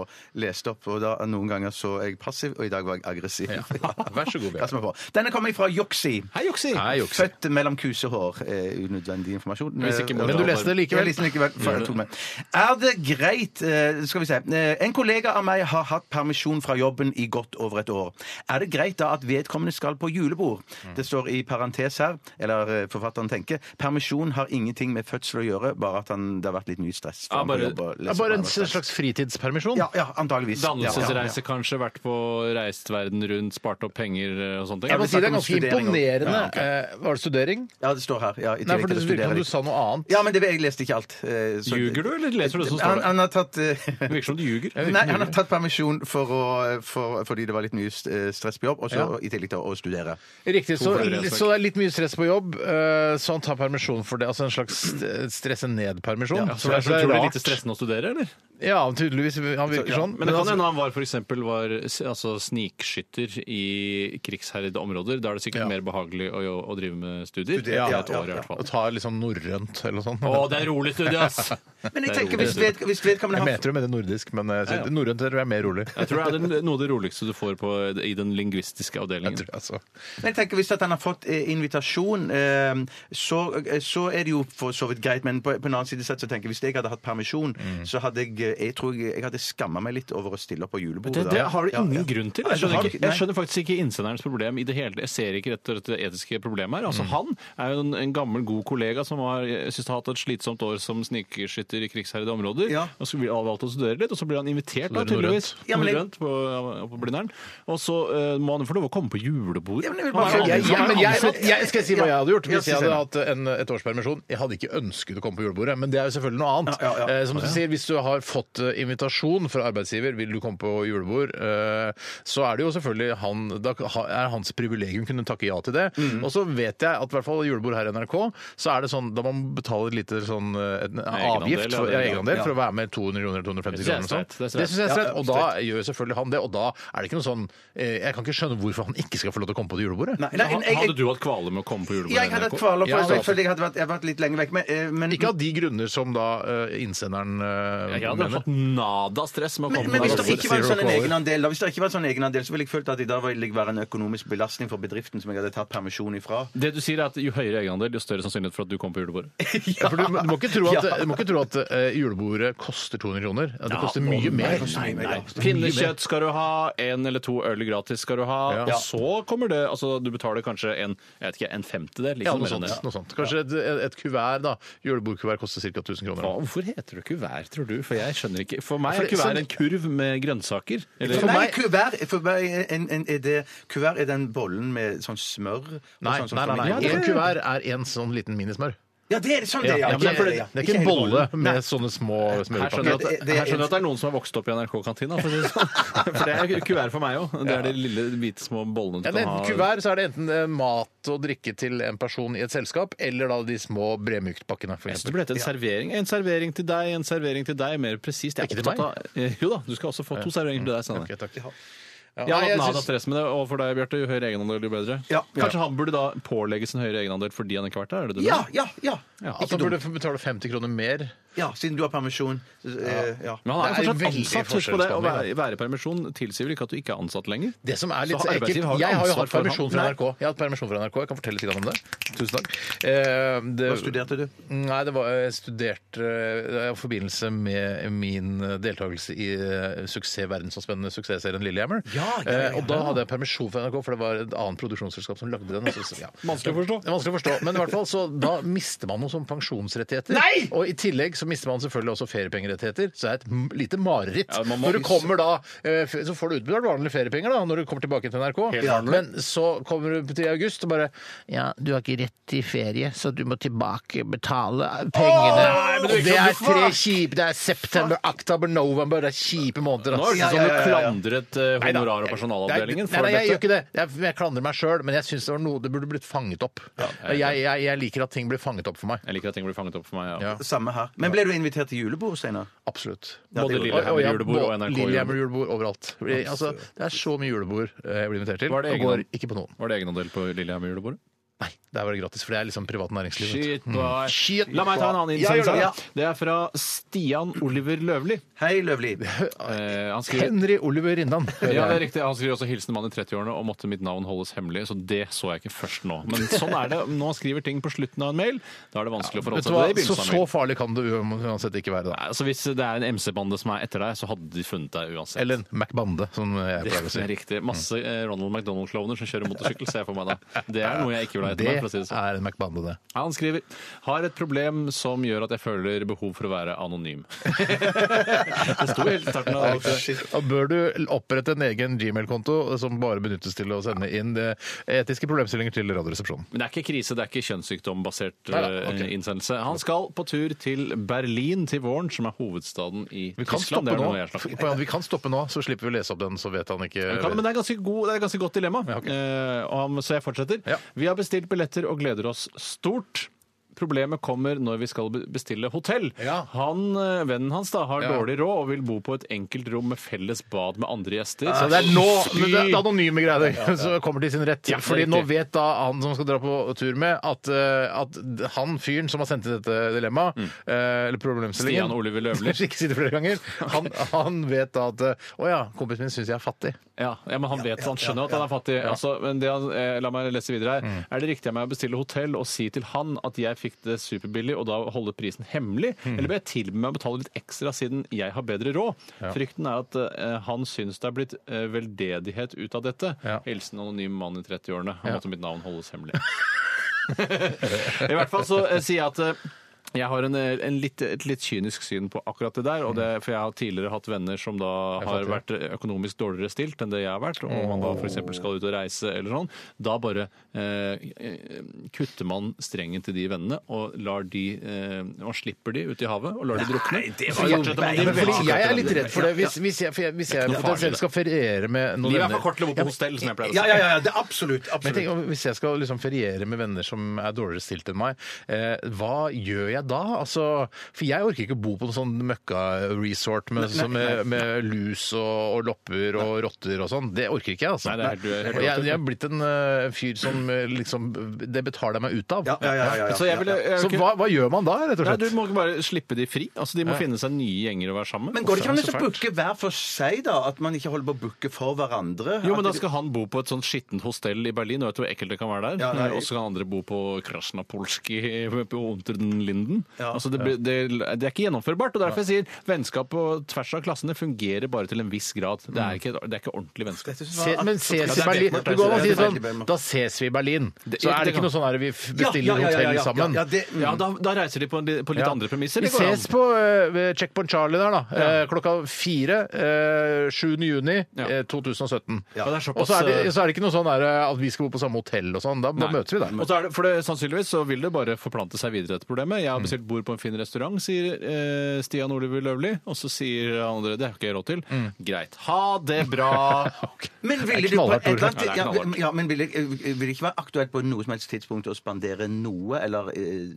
D: lest opp. og da Noen ganger så er jeg passiv, og i dag var jeg aggressiv.
A: Vær så god, Bjørn.
D: Kaster meg på. Denne kommer fra Joksi.
B: Hei, Joksi!
A: Nei, juks.
D: Født mellom kusehår. Eh, unødvendig informasjon.
B: Hvis ikke må
D: Eh,
A: Men du leste det
D: Jeg
A: likevel?
D: leste den likevel, for jeg tok med. Er det greit eh, Skal vi se. eh, En kollega av meg har hatt permisjon fra jobben i godt over et år. Er det greit da at vedkommende skal på julebord?
B: Mm.
D: Det står i parentes her, eller eh, forfatteren tenker. Permisjon har ingenting med fødsel å gjøre, bare at han, det har vært litt mye stress. for
B: Ja,
D: han på
B: bare-
D: jobb og
A: Ja,
D: leser
A: bare en
D: på arbeid.
A: slags fritidspermisjon?
D: Ja, ja, antageligvis.
B: Dannelsesreise, kanskje. Vært på reist verden rundt, spart opp penger eh, og sånne ting.
A: Jeg må si det er ganske
D: Studering også.
A: imponerende.
D: Ja, ok.
A: Eh, Var det studering?
D: Ja, ja, det står her. Ja, i
A: Nei,
D: tillegg
A: for
D: til
A: det
D: å
A: virker
D: studere
A: som
D: litt.
A: du sa noe annet.
D: Ja, men det, jeg leste ikke alt. eh, så-
B: Ljuger du, eller leser du det som står
D: Han,
B: der?
D: han har tatt eh,
B: Det virker som du ljuger.
D: Nei, han har tatt permisjon for å, for, fordi det var litt mye st- stress på jobb, og så i tillegg til å studere.
A: Riktig, så,
B: flere, altså.
A: så det er litt mye stress på jobb, eh, så han tar permisjon for det. Altså en slags st- stresse ned-permisjon.
B: Ja,
A: Så
B: så det er, så tror du det er
A: rart.
B: lite stressende å studere, eller?
A: Ja, tydeligvis. Han virker sånn.
B: Men det kan
A: altså-
B: hende han var for eksempel var s- altså, snikskytter i krigsherjede områder. Da er det sikkert
A: Ja.
B: mer behagelig å, å drive med studier.
D: Studier, ja,
B: I et
D: ja,
B: år, i
D: ja.
B: hvert fall.
A: Og tar litt sånn norrønt eller noe sånt.
B: Å, det er rolig studie, ass! Det
D: Men jeg
B: er
D: tenker
B: rolig
D: hvis,
B: studie.
D: ved, hvis vedkommende
A: Jeg
D: har
A: mente jo med det nordisk, men eh, så-
B: Ja, ja.
A: norrønt tror jeg er mer rolig.
B: Jeg tror det er den- noe av det roligste du får på, i den lingvistiske
A: Jeg
B: avdelingen.
A: tror det, altså.
D: Men jeg tenker hvis at han har fått eh, invitasjon, eh, så, eh, så er det jo for så vidt greit. Men på, på en annen side sett så tenker jeg hvis jeg hadde hatt permisjon,
B: Mm.
D: så hadde jeg eh, jeg tror jeg, jeg hadde skamma meg litt over å stille opp på
B: Det,
D: julebordet.
B: det
D: da.
B: har du
D: Ja,
B: ingen
D: ja.
B: grunn til.
D: Nei,
B: Jeg skjønner,
D: det
B: ikke,
D: har-
B: jeg skjønner faktisk ikke innsenderens problem i det hele tatt. Jeg ser ikke rett og slett det etiske problemet her. Altså, Han er jo en, en gammel, god kollega som har jeg synes, har hatt et slitsomt år som snikskytter i krigsherjede områder.
D: Ja.
B: Og så blir han valgt å studere litt, og så blir han invitert da,
A: Studere
B: tydeligvis
D: Ja, men jeg-
B: norrønt på oppå Blindern. Og så eh, må han få lov å komme på julebordet.
D: Ja, men jeg
B: Han
D: vil
B: er
D: bare si-
B: ansatt,
A: Jeg,
D: Ja,
B: han er
A: men jeg,
B: ansatt.
A: jeg skal jeg si hva jeg hadde gjort
D: Ja,
A: hvis
D: si
A: jeg hadde
D: selv.
A: hatt en, et års permisjon. Jeg hadde ikke ønsket å komme på julebordet, men det er jo selvfølgelig noe annet.
D: Ja, ja, ja.
A: Eh, Som du sier, Hvis du har fått eh, invitasjon fra arbeidsgiver, vil du komme på julebord, eh, så er det jo selvfølgelig han, da er hans privilegium å kunne takke ja til det. Og så vet jeg at i hvert fall julebord her i NRK, så er det sånn da man betaler et lite sånn eh, en avgift,
B: eller-
A: for, ja, egenandel,
D: ja.
A: for å være med 200 kroner eller 250
B: Det synes jeg
A: kroner. og
B: er
A: sånn.
B: streit, det synes jeg er
A: Det syns jeg er
D: streit.
A: streit, og da gjør selvfølgelig han det. Og da er det ikke noe sånn eh, Jeg kan ikke skjønne hvorfor han ikke skal få lov til å komme på det julebordet.
D: Nei, nei, jeg- jeg-
B: Hadde du hatt kvale med å komme på julebordet?
D: Jeg hadde
B: NRK?
D: hatt
B: altså.
D: kvaler, for
A: Ja,
D: jeg følte jeg hadde vært, jeg hadde vært litt lenger vekk. Men, eh, men,
A: Ikke av de grunner som da eh, innsenderen eh,
B: Jeg hadde
A: mener.
B: hatt nada stress med å
D: men,
B: komme
D: men hvis
B: på
D: det
B: julebordet.
D: ikke var en
A: Zero
D: sånn en
A: kvaler.
D: egenandel, da, hvis det ikke var en sånn egenandel, så ville jeg følt at det da ville jeg være en økonomisk belastning for bedriften som jeg hadde tatt permisjon ifra.
B: Det du sier er at Jo høyere egenandel, jo større sannsynlighet for at du kommer på julebordet.
A: Ja, for du, du må ikke tro at,
D: Ja.
A: du må ikke tro at eh, julebordet koster 200 kroner. Ja, det koster mye mer.
D: nei, nei, nei.
B: Pinnekjøtt skal du ha, én eller to øl gratis skal du
A: Ja.
B: ha. Og så kommer det altså Du betaler kanskje en, jeg vet ikke, en femtedel.
A: Ja,
B: Liksom,
A: noe
B: mer enn
A: sånt,
B: det.
A: noe sånt. Kanskje et, eh, et kuvert, da. Julebordkuvert koster ca. 1000
B: Hva,
A: kroner.
B: hvorfor heter det kuvert, tror du? For jeg skjønner ikke. For meg
A: For
B: er
A: det-
B: kuvert
A: sånn-
B: en kurv med grønnsaker. Eller,
D: For meg, kuvert, for meg en, en, er det, kuvert er den bollen med sånn smør og
A: Nei,
D: sånn, som
A: nei, nei,
D: kommer i-
A: nei. En kuvert er en sånn liten minismør.
D: Ja, det er det, sånn det, er,
A: Ja,
D: ja.
A: men det, er fordi, det er ikke en bolle med sånne små
B: her skjønner jeg
A: smørpakker.
B: at,
D: Det- det-
B: her skjønner jeg at det er noen som har vokst opp i NRK-kantina. For, å si det sånn. for det er kuvert for meg òg. Det er de lille, hvite små bollene du
A: Ja, det er
B: kan ha.
A: enten kuvert så er det enten eh, mat og drikke til en person i et selskap, eller da de små bremyktpakkene. for
B: Jeg
A: eksempel.
B: synes det burde hete en servering. En servering til deg, en servering til deg. Mer presist. Jeg
A: Ikke
B: er
A: til Mm.
B: opptatt av Eh, Jo da, du skal også få to serveringer til deg. Sanne.
A: Ok, takk. Ja,
B: Jeg
A: nei,
B: har hatt
A: jeg
B: nada
A: syns-
B: stress med det, og for deg, Bjarte, jo høyere egenandel, jo bedre.
D: Ja, ja.
B: Kanskje han burde da pålegges en høyere egenandel fordi han ikke har vært der? Er det det du
D: Ja,
B: mener?
D: ja, ja.
A: At han burde få betale 50 kroner mer.
D: Ja, siden du har permisjon. så, eh, Ja.
B: Men han er
A: Det
B: jo
A: er
B: fortsatt
A: veldig
B: ansatt. Husk på det. Å
A: forskjellsbehandling,
B: være, være i permisjon tilsier vel ikke at du ikke er ansatt lenger?
A: Det som er litt
B: Så
A: ekkelt,
B: arbeidsgiver har jo
A: Jeg har jo
B: ansvar
A: hatt
B: for
A: permisjon
B: han.
A: fra
B: Nei.
A: NRK. Jeg har hatt permisjon fra NRK, jeg kan fortelle litt grann om det. Tusen takk. Eh, det,
D: Hva studerte du?
A: Nei, det var, jeg studerte eh, i forbindelse med min deltakelse i eh, suksess, verdensomspennende suksessserien Lillehammer.
D: Ja, ja, ja, ja.
A: Eh, Og da hadde jeg permisjon fra NRK, for det var et annet produksjonsselskap som lagde den. og så- ja.
B: Vanskelig å forstå.
A: Det er vanskelig å forstå. Men i hvert fall, så da mister man noe sånn pensjonsrettigheter.
D: Nei!
A: Og i tillegg så mister man selvfølgelig også feriepengerettigheter, så det er et m- lite mareritt.
B: Ja, man må-
A: når du kommer da, eh, f- så får du utbetalt vanlige feriepenger da, når du kommer tilbake til NRK. Ja, Men så kommer du til august og bare, ja, du har ikke rett til ferie, så du må tilbake betale pengene.
B: men
A: det,
B: det er ikke
A: er
B: sant, du-
A: tre kjipe, det er september, oktober, november, det er kjipe måneder.
B: Nå
A: ass.
B: er det ikke
D: Ja,
B: sånn
D: ja,
B: du
D: ja, ja, ja.
B: klandret eh,
A: Neida.
B: honorar- og personalavdelingen
A: Nei,
B: for
A: nei, jeg gjør
B: dette.
A: ikke det. Jeg, jeg klandrer meg sjøl, men jeg syns det var noe det burde blitt fanget opp. jeg, jeg, jeg liker at ting blir fanget opp for meg.
B: Jeg liker at ting blir fanget opp for meg. Ja.
A: Ja.
D: Samme her. Men ble du invitert til julebord, Steinar?
A: Absolutt.
D: Ja, det
B: Både
A: Og- og jeg-
D: gjorde
B: Lillehammer-julebord og NRK-julebord.
A: Lillehammer-julebord overalt. Fordi, altså, det er så mye julebord eh, jeg blir invitert til,
B: Var
A: og
B: det
A: går
B: egen-
A: ikke på noen.
B: Var det egenandel på Lillehammer-julebordet?
A: Nei, der var det gratis, for det er liksom privat næringsliv. vet du.
B: Shit, boy.
A: Shit,
B: La meg ta en annen
D: Ja, gjør
B: innsendelse.
D: det, ja.
B: Det er fra Stian Oliver Løvli.
D: Hei, Løvli.
B: Eh, han skriver
A: Henry Oliver Rindan.
B: ja, det er riktig. Han skriver også 'Hilsen mann i 30-årene' og 'måtte mitt navn holdes hemmelig'. Så det så jeg ikke først nå. Men sånn er det. Når man skriver ting på slutten av en mail, da er det vanskelig å
A: Vet du
B: forholde seg
A: hva,
B: til det i
A: så,
B: begynnelsen av en
A: så
B: mail.
A: farlig kan det uansett ikke være, da.
B: Nei, Altså, hvis det er en MC-bande som er etter deg, så hadde de funnet deg uansett.
A: Eller en Mac-bande, som jeg
B: det
A: pleier å si.
B: er riktig. Masse eh, Ronald McDonald-klovner som kjører motorsykkel, ser jeg for meg da. Det er noe jeg ikke vil ha etter meg. for å si det sånn.
A: er en Mac-bande, det.
B: Han skriver har et problem som gjør at jeg føler behov for å være anonym. det sto helt i starten av det.
A: Da bør du opprette en egen Gmail-konto som bare benyttes til å sende inn eh, etiske problemstillinger til Radioresepsjonen.
B: Men det er ikke krise, det er ikke kjønnssykdombasert
A: Nei, nei, ok.
B: eh, innsendelse. Han skal på tur til Berlin til våren, som er hovedstaden i
A: Vi kan,
B: Tyskland.
A: stoppe
B: det er
A: nå.
B: noe jeg slapp.
A: F- vi kan stoppe nå, så slipper vi å lese opp den, så vet han ikke
B: Jeg Kan, men det er, ganske god, det er et ganske godt dilemma,
A: Ja, ok.
B: Eh, og han- så jeg fortsetter.
A: Ja.
B: Vi har bestilt billetter og gleder oss stort. Problemet kommer når vi skal be- bestille hotell.
A: Ja.
B: Han, eh, Vennen hans da, har
A: Ja.
B: dårlig råd og vil bo på et enkeltrom med felles bad med andre gjester.
A: Så det er nå men det er
B: Fy!
A: anonyme greier som kommer til sin rett.
B: Ja, det er
A: Fordi nå
B: riktig.
A: vet da han som skal dra på tur med, at, eh, at han fyren som har sendt inn dette dilemmaet, eh, eller problemstillingen
B: Mm. Stian Oliver Løvli.
A: Jeg skal ikke si det flere ganger. Han, han vet da at eh, Å ja, kompisen min syns jeg er fattig.
B: Ja, ja, men han vet, han skjønner at han er fattig. Altså, men det han, eh, la meg lese videre her. Er det riktig av meg å bestille hotell og si til han at jeg fikk det superbillig, og da holde prisen hemmelig? Eller bør jeg tilby meg å betale litt ekstra siden jeg har bedre råd? Frykten er at eh, han syns det er blitt eh, veldedighet ut av dette.
A: Ja.
B: Hilsen anonym mann i 30-årene. Han måtte mitt navn holdes hemmelig. I hvert fall så eh, sier jeg at eh, Jeg har en, en litt, et litt kynisk syn på akkurat det der. Og det, for jeg har tidligere hatt venner som da har vært økonomisk dårligere stilt enn det jeg har vært, og man da f.eks. skal ut og reise eller sånn. Da bare eh, eh, kutter man strengen til de vennene og lar de eh, Man slipper de ut i havet og lar de drukne.
D: det
B: Så
D: var jo-
B: fortsetter man
A: Men
D: Nei,
B: med det.
A: fordi jeg er litt redd for det. Hvis, hvis jeg, for jeg, hvis jeg
B: noe farlig,
A: potensielt
B: det.
A: skal feriere med noen
B: Livet er for
A: venner
B: kort til å bo på hostell, som jeg pleier å si.
D: Ja, ja, ja, ja, det er absolutt.
A: men tenk,
D: absolutt.
A: om- Hvis jeg skal liksom feriere med venner som er dårligere stilt enn meg, eh, hva gjør jeg da? Altså, for jeg orker ikke bo på en sånn møkka-resort med, som- med, med lus og, og lopper og rotter og sånn. Det orker ikke jeg, altså.
B: Nei, det er helt- du er helt
A: Og jeg, jeg er blitt en eh, fyr som eh, liksom Det betaler jeg meg ut av.
D: Ja, ja, ja, ja, ja.
B: Så jeg ville jeg
A: Så
B: kunne-
A: hva, hva gjør man da, rett og
B: Nei,
A: slett?
B: du må ikke bare slippe de fri. Altså, De må
A: Ja.
B: finne seg nye gjenger å være sammen med.
D: Men går det ikke
B: Hvorfor
D: an
B: er
D: å
B: så fælt?
D: booke hver for seg, da? At man ikke holder på å booke for hverandre?
B: Jo, men
D: At
B: da
D: det-
B: skal han bo på et sånt skittent hostell i Berlin. Du vet hvor ekkelt det kan være der.
D: Ja, nei.
B: Og så kan andre bo på Krasjnapolski på Unterlinden.
D: Ja.
B: Altså, det, blir- det, det er ikke gjennomførbart. og Derfor jeg sier vennskap på tvers av klassene fungerer bare til en viss grad. Det er ikke, det er ikke ordentlig vennskap.
D: Dette synes
A: Se,
D: jeg var-
A: men ses i
B: det er
A: Berlin
B: Bedmore,
A: Du går an å si
D: det er
A: sånn
D: Bedmore.
A: Da ses vi i Berlin.
B: Det-
A: Så er
B: det
A: det ikke
B: kan-
A: noe sånn her vi f- bestiller
D: Ja, ja, ja, ja,
A: hotell
D: ja,
A: sammen.
D: Ja, det,
B: Mm. Ja, da, da reiser de på, en, på litt andre premisser.
A: Vi
B: det går an.
A: ses på eh, ved Checkpoint Charlie der, da. Eh, Klokka fire. eh, 7. juni
B: Ja.
A: eh, 2017.
B: Ja, det er såpass,
A: Og så er, det,
B: eh,
A: så er det ikke noe sånn der, eh, at vi skal bo på samme hotell og sånn. Da, da
B: Nei.
A: møtes vi der.
B: Og så er det, for det, sannsynligvis så vil det bare forplante seg videre etter problemet. Jeg har bestilt bord på en fin restaurant, sier eh, Stian Oliver Løvli. Og så sier han andre det har ikke jeg råd til. Greit. Ha det bra!
D: Men
A: Det er
D: ville det på
A: knallhardt,
D: et eller
B: Tore. Ja,
D: annet,
B: det er
D: ja,
B: knallhardt.
D: ja, men ville vil det ikke være aktuelt på noe som helst tidspunkt å spandere noe, eller eh,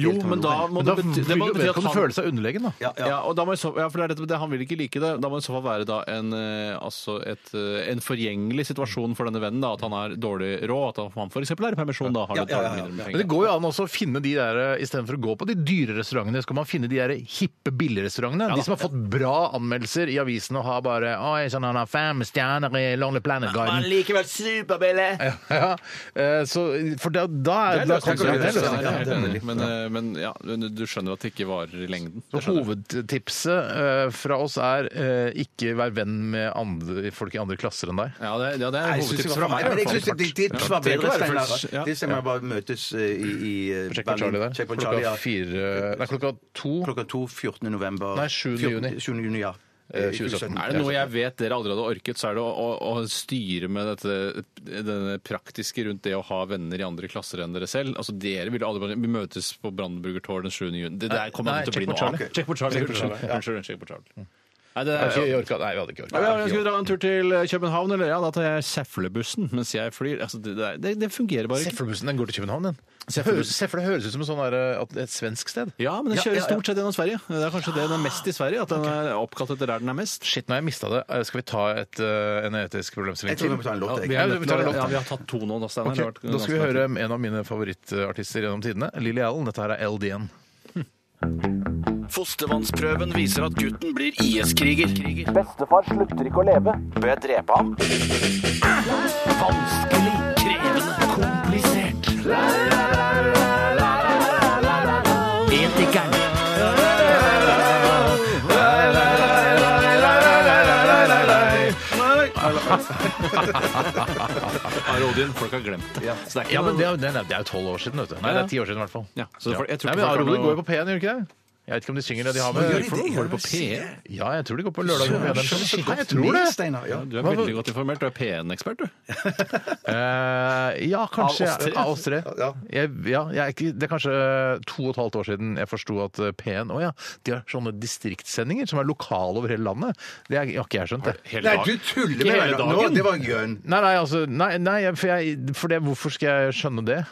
B: Jo,
D: delta
B: men da
D: noe?
B: må
A: Men
B: det
A: da
B: bety,
A: vil
B: det må
A: jo
B: bety at
A: vedkommende
B: han
A: føle seg underlegen, da.
D: ja,
B: ja.
D: ja.
B: og da må i så, ja, for det er dette, det, Han vil ikke like det. Da må det i så fall være da en, eh, altså et, eh, en forgjengelig situasjon for denne vennen. da, At han er dårlig råd, at han- han f.eks. er i permisjon. da har
D: Ja,
B: det
D: ja, ja,
B: dårlig
D: ja.
B: mindre med
A: Men det
B: penger.
A: går jo an også å finne de der eh, Istedenfor å gå på de dyre restaurantene, så kan man finne de der hippe billigrestaurantene. de som har fått bra anmeldelser i avisene og har bare Oi, sånn han har fem stjerner i Lonely Planet Garden.
B: likevel superbillig!
A: Ja, ja. Eh, Så, for da, da er da kan
B: Det er
A: ikke det
B: løsning.
A: løsning.
B: Ja, jeg er helt
D: Ja,
B: enig. Men, eh, men ja, du du skjønner at det ikke varer i lengden.
A: Så
B: Det skjønner jeg.
A: hovedtipset eh, fra oss er eh, ikke vær venn med andre, folk i andre klasser enn deg.
B: Ja, det, ja, det er
D: Nei, jeg synes
B: hovedtipset
D: det
B: fra
D: var-
B: meg. i
D: Men
B: hvert fall.
D: jeg synes det, det, det var
B: trenger ikke
D: bedre,
B: være
D: Steinar.
B: fullt- ja.
D: Det stemmer jeg bare møtes eh, i, i eh,
A: Check på
D: Berlin.
A: Charlie der.
D: Check on Charlie,
A: klokka
D: ja.
A: fire Nei, klokka to.
D: Klokka 2, 14. november.
A: Nei, 7. juni.
D: 7. juni, ja.
A: Eh, 2017.
B: Er det noe jeg vet dere aldri hadde orket, så er det å, å, å styre med dette, denne praktiske rundt det å ha venner i andre klasser enn dere selv. Altså, dere ville aldri bare Vi møtes på Brandenburgertårn den 7. juni. Det der kommer
A: Nei,
B: aldri til å
A: check
B: bli
A: på
B: noe av.
A: Charlie.
B: Check på Charlie. Unnskyld. Unnskyld, check på Charlie. Nei, det
A: Nei,
B: er,
A: vi orka- Nei, vi hadde ikke
B: Ja,
A: orka.
B: jeg skulle dra en tur til eh, København, eller ja, da tar jeg Seflebussen mens jeg flyr. Altså, det, det, er- det, det fungerer bare ikke.
A: Seflebussen den går til København, den.
B: Seflebussen.
A: Høres- Sefle høres ut som en sånn der, eh, at- et svensk sted.
B: Ja, men den
D: Ja,
B: kjører
D: ja, ja.
B: stort sett gjennom Sverige. Det er kanskje det den er mest i Sverige, at den er oppkalt etter der den er mest.
A: Shit, nå har jeg mista det. Eh, Skal vi ta et, eh, en etisk problemstilling
D: Jeg tror vi må
A: til?
D: ta en låt. jeg.
A: vi er- vi tar en låt,
B: ja,
A: da.
B: vi har tatt to nå, da, Steinar.
A: Ok,
B: Det har vært
A: Da skal vi
B: ganske
A: høre en av mine favorittartister gjennom tidene, Lily Allen. Dette her er LDN.
G: Fostervannsprøven viser at gutten blir IS-kriger.
J: Bestefar slutter ikke å leve. Bør jeg drepe ham?
G: Vanskelig, krevende, komplisert. Etikeren.
D: altså,
B: lenge. Ja, Rodin, folk har glemt det. Så det er ikke
A: Ja, men det
B: noe-
A: er, det er- det er jo tolv år siden, vet du. Nei, det er ti år siden i hvert fall.
B: Ja, så det- for- jeg tror
A: Nei,
B: ikke
A: men
B: folk har
A: Arodo
B: noe-
A: går jo på P1, gjør de ikke det? Jeg vet ikke om de synger det de har med.
D: Gjør de det?
A: Går de på P1? Ja, jeg tror de går på lørdag. på P1. Nei, jeg tror det.
D: Med Steinar, ja.
B: Du er veldig godt informert. Du er PN-ekspert, du.
A: Eh, ja, kanskje.
B: Av oss tre?
A: Av oss tre.
D: Ja.
A: Jeg, ja, jeg, er ikke- det er kanskje eh, to og et halvt år siden jeg forsto at eh, P1 Å ja, de har sånne distriktssendinger som er lokale over hele landet. Det er- har ikke jeg skjønt, det.
B: Hele
D: Nei,
B: dag.
D: du tuller
B: Ikke
D: med
B: hele
D: meg nå!
B: dagen.
D: Det var gøn.
A: Nei, nei, altså, nei, nei jeg- for, jeg, for det, hvorfor skal jeg skjønne det?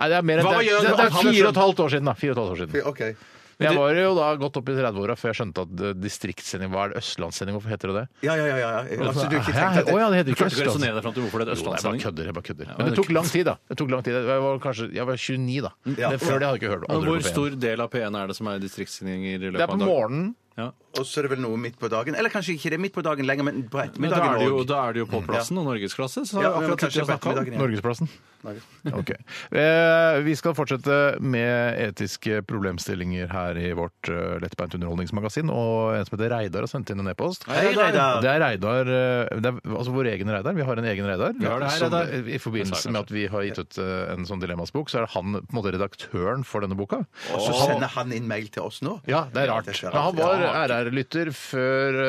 A: Nei, det er mer enn
B: Hva
A: det,
B: gjør
A: er- det, er- det er
B: han med
A: fire og et halvt år siden, da. Fire og et halvt år siden.
D: OK.
A: Men Jeg var jo da godt opp i 30-åra før jeg skjønte at eh, distriktssending Hva er det? Østlandssending? Hvorfor heter det det?
D: Ja, ja, ja. ja. Altså, du har ikke
A: Hæ?
D: tenkt at
A: Å ja, det heter
B: Du
A: ikke
B: klarte ikke å resonnere
A: Østlands...
B: deg fram til hvorfor det er
A: Jo, jeg bare
B: Østlandssending.
A: kødder. jeg bare kødder.
B: Ja,
A: Men det
B: det
A: tok
B: er
A: lang tid, da. Det tok lang tid. Jeg var kanskje jeg var 29 da.
D: Ja.
A: Men før det hadde jeg ikke hørt om.
B: Men
A: aldri på
B: Hvor
A: P1.
B: stor del av PN er det som er distriktssending i løpet
A: Det er
B: av
A: på
B: en dag?
A: morgenen
B: Ja.
D: og så er det vel noe midt på dagen. Eller kanskje ikke det er midt på dagen lenger, men
B: Men
D: på
B: da er det
D: ettermiddagen
B: jo,
D: òg.
B: da er det jo på plassen og norgesklasse. Så
D: Ja,
B: har vi
D: men
B: akkurat tid
D: kanskje
B: til å
D: på
B: snakke om.
D: ettermiddagen.
A: Norgesplassen? Ok. Eh, vi skal fortsette med etiske problemstillinger her i vårt eh, lettbeint underholdningsmagasin. Og en som heter Reidar har sendt inn en e-post.
D: Hei, Reidar.
A: Det er Reidar eh, det er, Altså vår egen Reidar. Vi har en egen Reidar.
B: Vi har det her,
A: som,
B: Reidar. altså.
A: eh, I forbindelse med at vi har gitt ut eh, en sånn dilemmasbok, så er det han på en måte redaktøren for denne boka.
D: Og så sender han inn mail til oss nå.
A: Ja, det er rart.
D: det er
A: Men han
D: rart.
A: var
D: Ja.
A: RR-lytter før,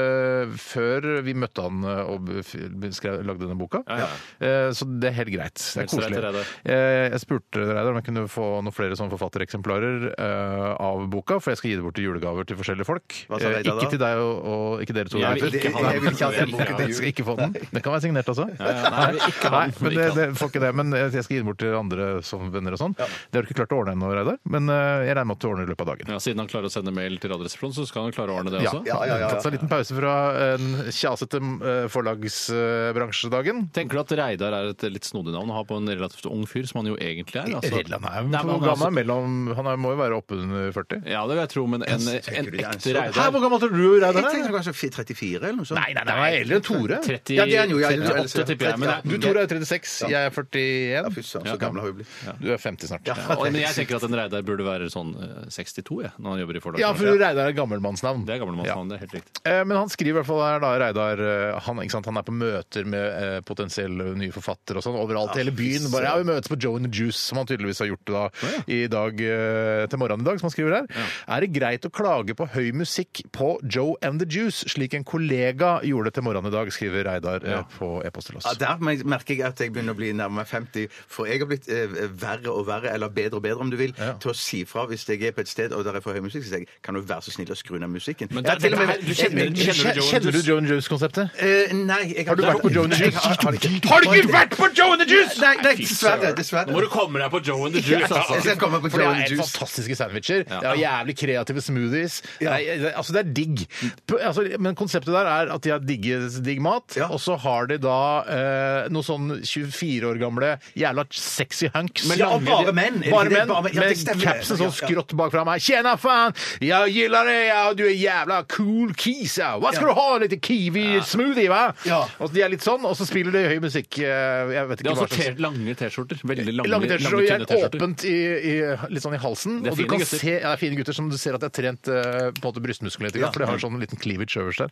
A: eh, før vi møtte han eh, og b- f- skrev, lagde denne boka.
B: Ja, ja.
A: Eh, Så det er helt greit. Det er
B: Hilser deg til
A: koselig.
B: Reidar.
A: Eh, Jeg spurte Reidar om jeg kunne få noen flere sånne forfattereksemplarer eh, av boka, for jeg skal gi det bort til julegaver til forskjellige folk.
D: Hva sa
A: Eh,
D: Reidar da?
A: Ikke til deg og, og ikke dere to.
B: Jeg vil
A: Reidar.
B: ikke ha den.
A: Jeg vil ikke ha den
B: Jeg vil ikke ha
A: boka.
B: den.
A: Jeg skal ikke få den. Den kan være signert, altså.
B: ja, nei, jeg vil ikke ha den.
A: Nei, men det, det får ikke det. Men eh, jeg skal gi den bort til andre som venner og sånn. Det har du ikke klart å ordne ennå, Reidar, men eh, jeg regner med at du ordner i løpet av dagen.
B: Ja, siden han klarer å sende mail til Radioresepsjonen, så skal han klare å ordne det
A: Ja.
B: også.
A: Ja, ja, ja. Tatt seg en liten pause fra en kjasete eh, forlagsbransjedagen.
B: Tenker du at Reidar er et litt snodig navn å ha på en relativt ung fyr, som han jo egentlig er? altså?
A: Redland er jo
B: Nei, men
A: hvor
B: han er
A: gammel
B: altså-
A: er mellom Han er, må jo være oppunder 40?
B: Ja, det vil jeg tro, men en, en
D: tenker du det er en
B: ekte
A: Hæ,
D: snodig-
B: Reidar
A: hvor gammel tror du
D: Jeg
A: Reidar er?
D: tenkte kanskje 34 eller noe sånt.
A: Nei, nei, nei, jeg er eldre enn Tore.
B: 30,
D: Ja, det er han jo, ja,
B: 38, tipper jeg. Men,
A: Du,
B: jeg-
A: Tore, er 36. Jeg er 41.
D: Fy søren, så gammel har vi blitt.
A: Du er 50 snart.
B: Ja, og- men jeg tenker at en Reidar burde være sånn eh, 62 jeg, når han jobber i forlaget.
A: Ja, for Reidar er gammelmannsnavn.
B: Det er gamlemannsnavn, det er helt riktig.
A: Eh, Men han skriver i hvert fall her, da, Reidar eh, han, ikke sant, han er på møter med eh, potensielle nye forfattere og sånn overalt i hele byen. Bare, ja, Vi møtes på Joe and the Juice, som han tydeligvis har gjort da, i dag, eh, til morgenen i dag, som han skriver her. Er det greit å klage på høy musikk på Joe and the Juice, slik en kollega gjorde til morgenen i dag, skriver Reidar eh, på e-post til oss.
D: Ja, der mer- merker jeg at jeg begynner å bli nærmere 50, for jeg har blitt eh, verre og verre, eller bedre og bedre om du vil, til å si fra hvis jeg er på et sted og der er for høy musikk, så sier jeg kan du være så snill å skru ned musikken.
B: Men
D: Ja,
B: der-
D: til og med-
B: her- du kjenner- kjenner
D: jeg-
B: du Joe and
A: Kjenner du Joe and the Juice-konseptet?
D: Eh, nei, jeg
A: Har du vært på Joe and the
D: Jeg
A: Juice?
D: har- har ikke-
A: Har du ikke vært på Joe and the Juice?!
D: Nei, nei, dessverre. dessverre.
B: Nå må du komme deg på Joe and the Juice,
D: Jeg
B: altså!
D: skal komme på
A: For det
D: Joe and
A: er
D: the
A: helt
D: Juice.
A: fantastiske sandwicher. Det er jævlig kreative smoothies. Det, er, altså, det er digg. P- Altså, men konseptet der er at de har digge, digg mat,
D: Ja.
A: og så har de da eh, noe sånn 24 år gamle jævla sexy hunks.
D: Men Ja, lange- bare menn. Er det
A: Bare
D: ikke det?
A: menn
D: Bare menn. Ja, det
A: med
D: stemmer.
A: capsen
D: Ja,
A: sånn
D: ja.
A: skrått bakfra meg. Tjena, faen! Jeg gillar det! Ja, du er jævla cool kis, ja! Hva skal
D: Ja.
A: du ha? Litt kiwi-smoothie, hva?
D: Ja.
A: Og de er litt sånn, og så spiller de høy musikk. eh, Jeg vet
B: De
A: ikke
B: har
A: hva
B: også
A: slags
B: te- lange T-skjorter. Veldig lange,
A: Lange
B: lange,
A: T-skjorter og
B: tynne
A: gjerne
B: T-skjorter.
A: åpent i, i, litt sånn i halsen.
B: Det er
A: og du
B: fine
A: kan
B: gutter.
A: se, ja, det er fine gutter som du ser at de har trent eh, på en måte brystmusklene litt,
B: Ja.
A: for de har sånn liten cleavage øverst der.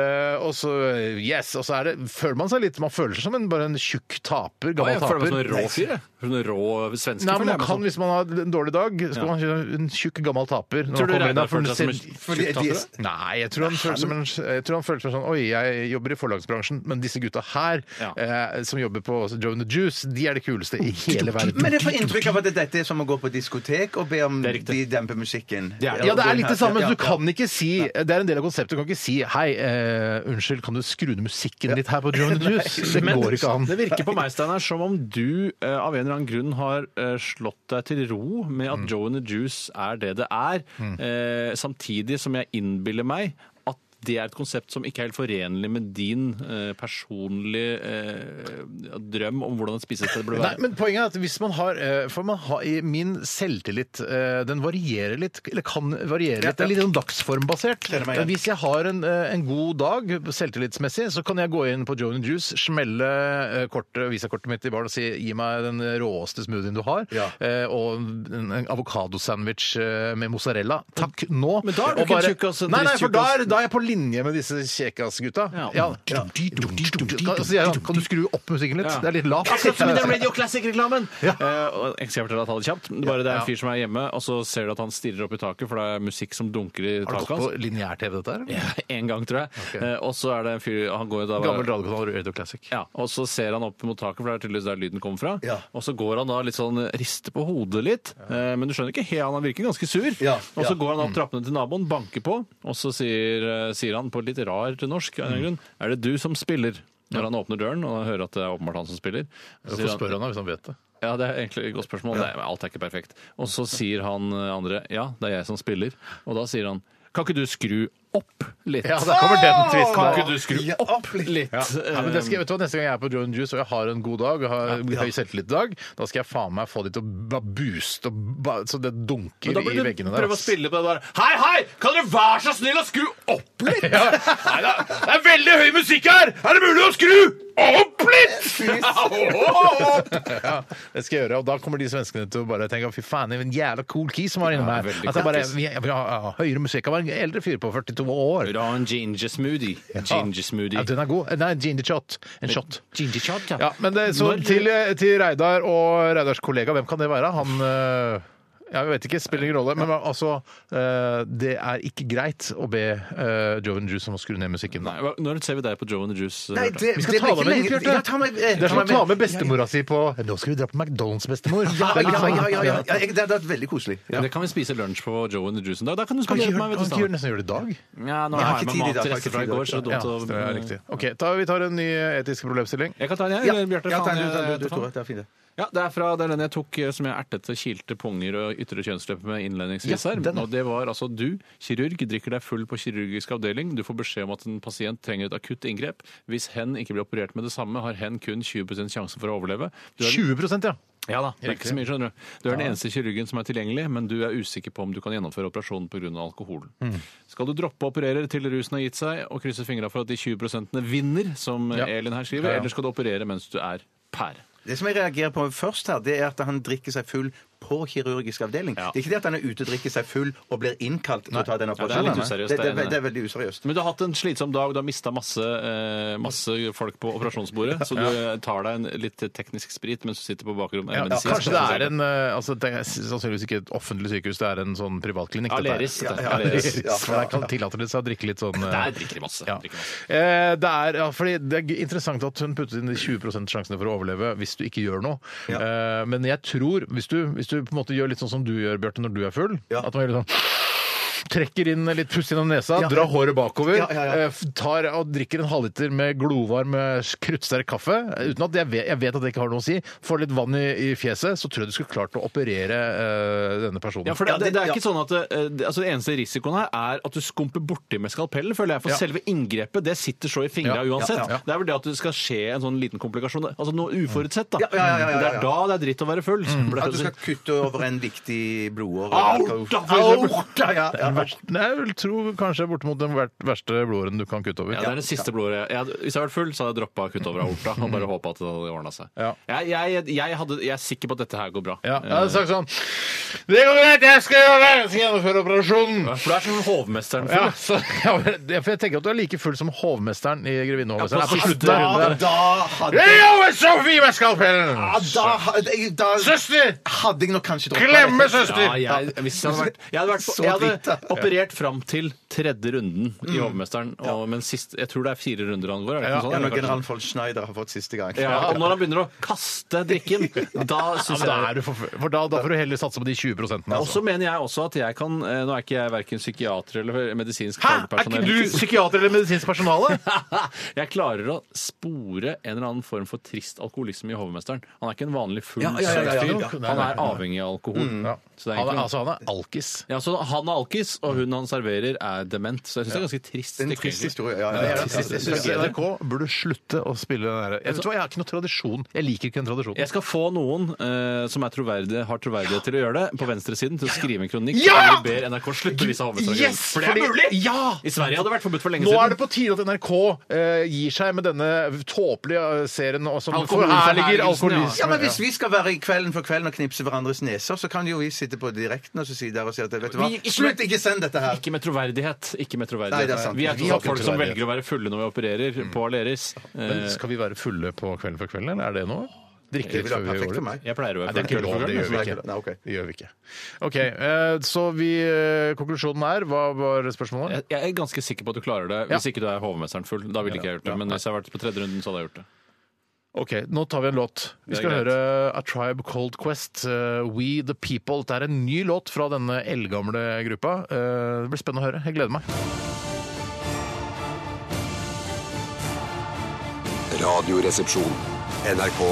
A: Eh, og så eh, yes, og så er det, føler man seg litt Man føler seg som en, bare en tjukk taper,
B: Ja,
A: gammel
B: jeg føler
A: taper.
B: meg som en rå fyr, jeg. Som en rå svenske.
A: Nei, men
B: føler
A: man
B: jeg meg
A: kan,
B: som.
A: Hvis man har en dårlig dag, så
B: sånn. Ja.
A: kan man kjøre en tjukk, gammel taper. når man
B: Tror du
A: kommer inn der,
B: Reidar
A: for
B: føler seg som
A: det
B: en
A: ser-
D: Fordi
B: tjukk
D: de-
B: tapere?
A: Nei, jeg tror han føler seg som en, jeg tror han føler seg sånn Oi, jeg jobber i forlagsbransjen, men disse gutta her,
B: Ja.
A: eh, som jobber på Joe and the Juice, de er de kuleste i hele verden.
D: Men jeg får inntrykk av at dette er som å gå på diskotek og be om
B: Det er riktig.
D: de demper musikken.
A: Ja, det er litt det samme. Du kan ikke si Det er en del av konseptet. Du kan ikke si 'Hei, eh, unnskyld, kan du skru ned musikken litt her på Joe and the Juice?' Det
B: Men
A: går ikke an.
B: Det virker på meg, Steinar, som om du eh, av en eller annen grunn har eh, slått deg til ro med
A: Mm.
B: at Joe and the Juice er det det er, eh, samtidig som jeg innbiller meg at det er et konsept som ikke er helt forenlig med din eh, personlige eh, drøm om hvordan et spisested burde
A: Nei,
B: være.
A: men poenget er at hvis man har eh, For man har i min selvtillit eh, Den varierer litt, eller kan variere litt. Det er litt sånn dagsformbasert.
D: Kjenner meg igjen.
A: Hvis jeg har en, eh, en god dag selvtillitsmessig, så kan jeg gå inn på Joe and the Juice, smelle eh, kortet, visakortet mitt i baren og si 'gi meg den råeste smoothien du har',
D: Ja.
A: eh, og en, en avokadosandwich eh, med mozzarella. Takk nå.
B: Men da er du
A: Og
B: ikke en tjukkas, en
A: Nei, nei,
B: trist
A: for da
B: tjukkas.
A: er, da er jeg på linje med disse kjekasgutta.
B: Ja.
A: Ja. Ja. Kan, sier jeg, kan du skru opp musikken litt?
B: Ja.
A: Det er litt lavt.
B: Akkurat som i den Radio Classic-reklamen! Eh, og jeg skal fortelle deg å ta det kjapt. Det er bare det er en fyr som er hjemme, og så ser du at han stirrer opp i taket, for det er musikk som dunker i
A: Har du gått
B: taket
A: på
B: hans.
A: lineær-TV, dette her? eller?
B: Ja, en gang, tror jeg. Eh, og så er det en fyr Han går jo da
A: Gammel radiokanal Radio Classic.
B: Ja, og så ser han opp mot taket, for det er tydeligvis der lyden kommer fra.
D: Ja.
B: Og så går han da litt sånn rister på hodet litt, eh, men du skjønner ikke helt, han virker ganske sur.
D: Ja,
B: Og så
D: ja.
B: går han
A: Mm.
B: opp trappene til naboen, banker på, og så sier, eh, sier han på litt rar til norsk, av en eller annen grunn, er det du som spiller? Når han åpner døren og han hører at det er åpenbart han som spiller. så sier
A: Hvorfor spør han da, hvis han vet det?
B: Ja, det er egentlig et godt spørsmål. Nei, men alt er ikke perfekt. Og så sier han eh, andre ja, det er jeg som spiller. Og da sier han Kan ikke du skru opp litt?
A: Ja, der kommer den tvisten.
B: Kan
A: der.
B: ikke du skru opp litt?
A: Ja. Ja, men det skal, jeg- vet du hva, Neste gang jeg er på Joan Juice og jeg har en god dag, og har høy selvtillit-dag, da skal jeg faen meg få de til å ba- booste og ba- så det dunker
B: Men da
A: i
B: burde du
A: veggene der.
B: prøve å
A: ass.
B: spille på det der. Hei, hei! Kan dere være så snill å skru opp litt? Nei, da, det er veldig høy musikk her! Er det mulig å skru opp litt?
A: Ja, det skal jeg gjøre, og da kommer de svenskene til å bare tenke fy faen, det er en jævla cool kis som var inne her.
B: veldig
A: At det
B: cool
A: bare,
B: kis.
A: vi, vi har har høyere musikk. Han var en eldre fyr på 42 år.
B: Bra, en ginger smoothie. Ginger smoothie.
A: Ja, den er god. Nei, ginger shot. En shot.
B: Ginger shot,
A: Ja, men det, så
B: Når-
A: til, til Reidar og Reidars kollega, hvem kan det være? Han øh, ja, Jeg vet ikke, spiller ingen rolle. Men altså, øh, det er ikke greit å be øh, Joe and Juice om å skru ned musikken.
B: Nei, hva- når ser vi deg på Joe and the Juice? eh,
D: Nei,
B: Bjarte?
D: det,
A: Vi
D: det
A: skal
D: var
A: ta deg
D: ikke
A: med
D: lenge-
A: hit, Bjarte.
D: Ja, ta meg- eh,
A: Det er som
D: ta
A: å
D: meg
A: ta med bestemora si på Nå skal vi dra på McDonald's, bestemor.
D: Ja,
A: Det er
D: ja,
A: litt sånn.
D: ja, ja, ja, ja. Jeg- Det hadde vært veldig koselig. Ja.
B: Det kan vi spise lunsj på Joe and the Juice en dag. Da kan du
A: Kan vi
B: spandere
A: ikke
B: på
A: gjøre-
B: meg.
A: kan vi ikke
B: vet du,
A: gjøre
B: Steinar.
A: det nesten gjorde i dag?
B: Ja, nå
D: Jeg har
B: har jeg med mat
D: ikke tid i dag,
B: til
D: jeg har ikke
B: rester fra i
D: tid i
B: går, så det er
D: dag.
A: Ja,
B: dumt å
A: det er riktig. OK, ta, vi tar en ny etisk problemstilling.
B: Jeg kan ta den, jeg.
D: Ja.
B: eller Bjarte.
D: Ja, ta
B: faen,
D: den, du, ta
B: jeg-
D: den, du, Tore. Det er fint, det.
B: Ja, det er fra det er den jeg tok eh, som jeg ertet og kilte punger og ytre kjønnsleppe med innledningsvis
A: Ja,
B: her.
A: den, ja.
B: og det var altså du, kirurg, drikker deg full på kirurgisk avdeling. Du får beskjed om at en pasient trenger et akutt inngrep. Hvis hen ikke blir operert med det samme, har hen kun 20 sjanse for å overleve. Du er,
A: 20 ja.
B: ja da, det er ikke så mye, skjønner du. Du er den eneste kirurgen som er tilgjengelig, men du er usikker på om du kan gjennomføre operasjonen pga. alkoholen.
A: Mm.
B: Skal du droppe å operere til rusen har gitt seg, og krysse fingra for at de 20 vinner, som eh, Elin her skriver,
A: Ja, ja.
B: eller skal du operere mens du er pære?
D: Det som jeg reagerer på først her, det er at han drikker seg full på kirurgisk avdeling.
B: Ja.
D: Det er ikke det at han er ute og drikker seg full og blir innkalt til å ta den
B: Ja, det er
D: operasjonen.
B: litt useriøst,
D: det, det,
B: det er det.
D: det er veldig useriøst.
B: Men du har hatt en slitsom dag, du har mista masse, eh, masse folk på operasjonsbordet, så du eh, tar deg en litt teknisk sprit mens du sitter på bakrommet.
A: Ja,
B: Eh, medisinsk-
A: kanskje det er en eh, altså, Det er sannsynligvis ikke et offentlig sykehus, det er en sånn privatklinikk.
B: Ja,
A: dette her.
B: Aleris. dette.
D: Ja, ja,
B: Aleris.
D: Ja, ja,
A: For der kan tillater det seg å drikke litt sånn eh,
B: Der drikker de masse.
A: ja.
B: Drikker masse.
A: Eh, det, er, ja, fordi det er interessant at hun puttet inn de 20 sjansene for å overleve hvis du ikke gjør noe. Eh, men jeg tror, hvis du, hvis du på en måte gjør litt sånn som du gjør, Bjarte, når du er full
D: Ja.
A: At man gjør litt sånn Trekker inn litt pust gjennom nesa,
D: Ja.
A: drar håret bakover,
D: Ja, ja, ja.
A: eh, f- tar og drikker en halvliter med glovarm, eh, kruttsterk kaffe eh, Uten at jeg vet, jeg vet at det ikke har noe å si. Får litt vann i, i fjeset, så tror jeg du skulle klart å operere eh, denne personen.
B: Ja, for det,
D: Ja,
B: det,
D: det-
B: det er
D: ja.
B: ikke sånn at eh, det, altså det eneste risikoen her er at du skumper borti med skalpellen, føler jeg. For
A: Ja.
B: selve inngrepet det sitter så i fingra
A: Ja, ja,
B: uansett.
A: ja.
B: Det er vel det at det skal skje en sånn liten komplikasjon. Altså noe uforutsett, da.
D: Ja, ja, ja, ja, ja,
B: Det
D: ja.
B: er da det er dritt å være full. som ble
D: At du
B: det-
D: skal kutte over en viktig blodåre.
B: Au, da, for eksempel.
D: Au, da, ja, ja.
A: Nei, jeg vil tro kanskje bortimot den ver- verste blodåren du kan kutte over.
B: Ja, det er den siste blodåret. Jeg hadde- Hvis jeg hadde vært full, så hadde jeg droppa å kutte over aorta og bare håpa at det hadde ordna seg.
A: Ja.
B: Jeg, jeg, jeg, hadde, jeg er sikker på at dette her går bra.
A: Ja, jeg hadde sagt sånn Det går greit, jeg skal gjøre det! Jeg skal gjennomføre operasjonen!
B: Eh, For du er som hovmesteren
A: Ja,
B: full.
A: så, ja, men det- for jeg tenker at du er like full som hovmesteren i Grevinne og
B: Ja,
A: hovmesteren. Ja,
B: på
A: på
B: siste
A: slutten av
D: Da,
A: runden.
D: da hadde
A: Det er over, Sofie med skalpellen!
D: Ja, da, hadde jeg- da
A: Søster!
D: hadde jeg nok kanskje droppet
A: Klemme,
D: det.
A: søster!
B: Ja, jeg, hvis jeg hadde vært, jeg hadde, vært på,
D: Så
B: jeg hadde
D: dritt, da.
B: operert fram til tredje runden i Hovmesteren, og, men sist, jeg tror det er fire runder han går. Er
A: Mm.
B: det
A: Ja,
B: ikke noe sånt?
D: Ja,
B: Eller
D: når
B: kanskje-
D: general von Schneider har fått siste gang.
B: ja, og når han begynner å kaste drikken, da
A: Ja,
B: syns
A: men da, er
B: jeg
A: du for, full. for da, da får du heller satse på de 20 prosentene.
B: og så
A: Altså.
B: mener jeg også at jeg kan eh, Nå er ikke jeg verken psykiater eller medisinsk
A: Hæ? Er ikke du psykiater eller medisinsk personale?
B: jeg klarer å spore en eller annen form for trist alkoholisme i hovmesteren. Han er ikke en vanlig full
D: Ja, ja, ja, ja,
B: søt
D: ja.
B: fyr. Han er avhengig av alkohol.
D: Mm,
A: Ja.
B: Så det er
A: Han er,
B: egentlig-
A: altså, han er alkis.
B: Ja, så Han er alkis, og hun han serverer, er dement. Så jeg syns det er ganske trist.
D: Det er En
B: stykke,
D: trist
B: egentlig.
D: historie. Ja, ja, ja, ja,
A: Jeg
D: ja,
A: synes
D: ja, ja.
A: NRK burde slutte å spille den der. Jeg, vet du hva, jeg har ikke noe tradisjon. Jeg liker ikke den tradisjonen.
B: Jeg skal få noen eh, som er troverdige, har troverdighet til å gjøre det, på venstresiden til å skrive en kronikk
A: Ja!
B: der de ber NRK slutte å vise hovmesteren. For det er mulig!
A: Ja!
B: I Sverige hadde det vært forbudt for lenge
A: Nå er
B: siden.
A: det på tide at NRK eh, gir seg med denne tåpelige eh, serien og som forherliger
B: Alkoholforherligelsen, ja.
A: alkoholisme.
D: Ja, men Hvis vi skal være i Kvelden for kvelden og knipse hverandres neser, så kan jo vi sitte på direkten og så si der og si at vet du hva,
B: Vi- ikke-
D: slutt, ikke send dette her!
B: Ikke med troverdighet. Ikke med
D: Nei, det er
B: troverdighet.
D: sant.
B: vi er
D: Vi
B: ikke
D: har Mm.
B: sånn folk som
A: troverdighet.
B: velger å være fulle når vi opererer på Aleris.
A: Men
B: Eh,
A: skal vi være fulle på Kvelden for kvelden, eller er det noe? Drikke
D: Det
A: litt
D: ville
A: før
D: vært
A: vi gjør
D: perfekt for
A: det?
D: meg.
B: Jeg pleier å
A: Nei,
B: være
A: det er ikke
B: full.
A: lov, det gjør vi ikke.
D: Nei, ok.
A: Det gjør vi ikke. OK, eh, så vi eh, Konklusjonen er Hva var spørsmålet?
B: Jeg jeg er ganske sikker på at du klarer det hvis ikke du er hovmesteren full. Da ville ikke jeg gjort det. Men hvis jeg hadde vært på tredje runden, så hadde jeg gjort det.
A: OK, nå tar vi en låt. Vi
B: Det er
A: skal
B: greit.
A: høre A Tribe Cold Quest, eh, We The People. Det er en ny låt fra denne eldgamle gruppa. Eh, det blir spennende å høre. Jeg gleder meg.
E: Radioresepsjon. NRK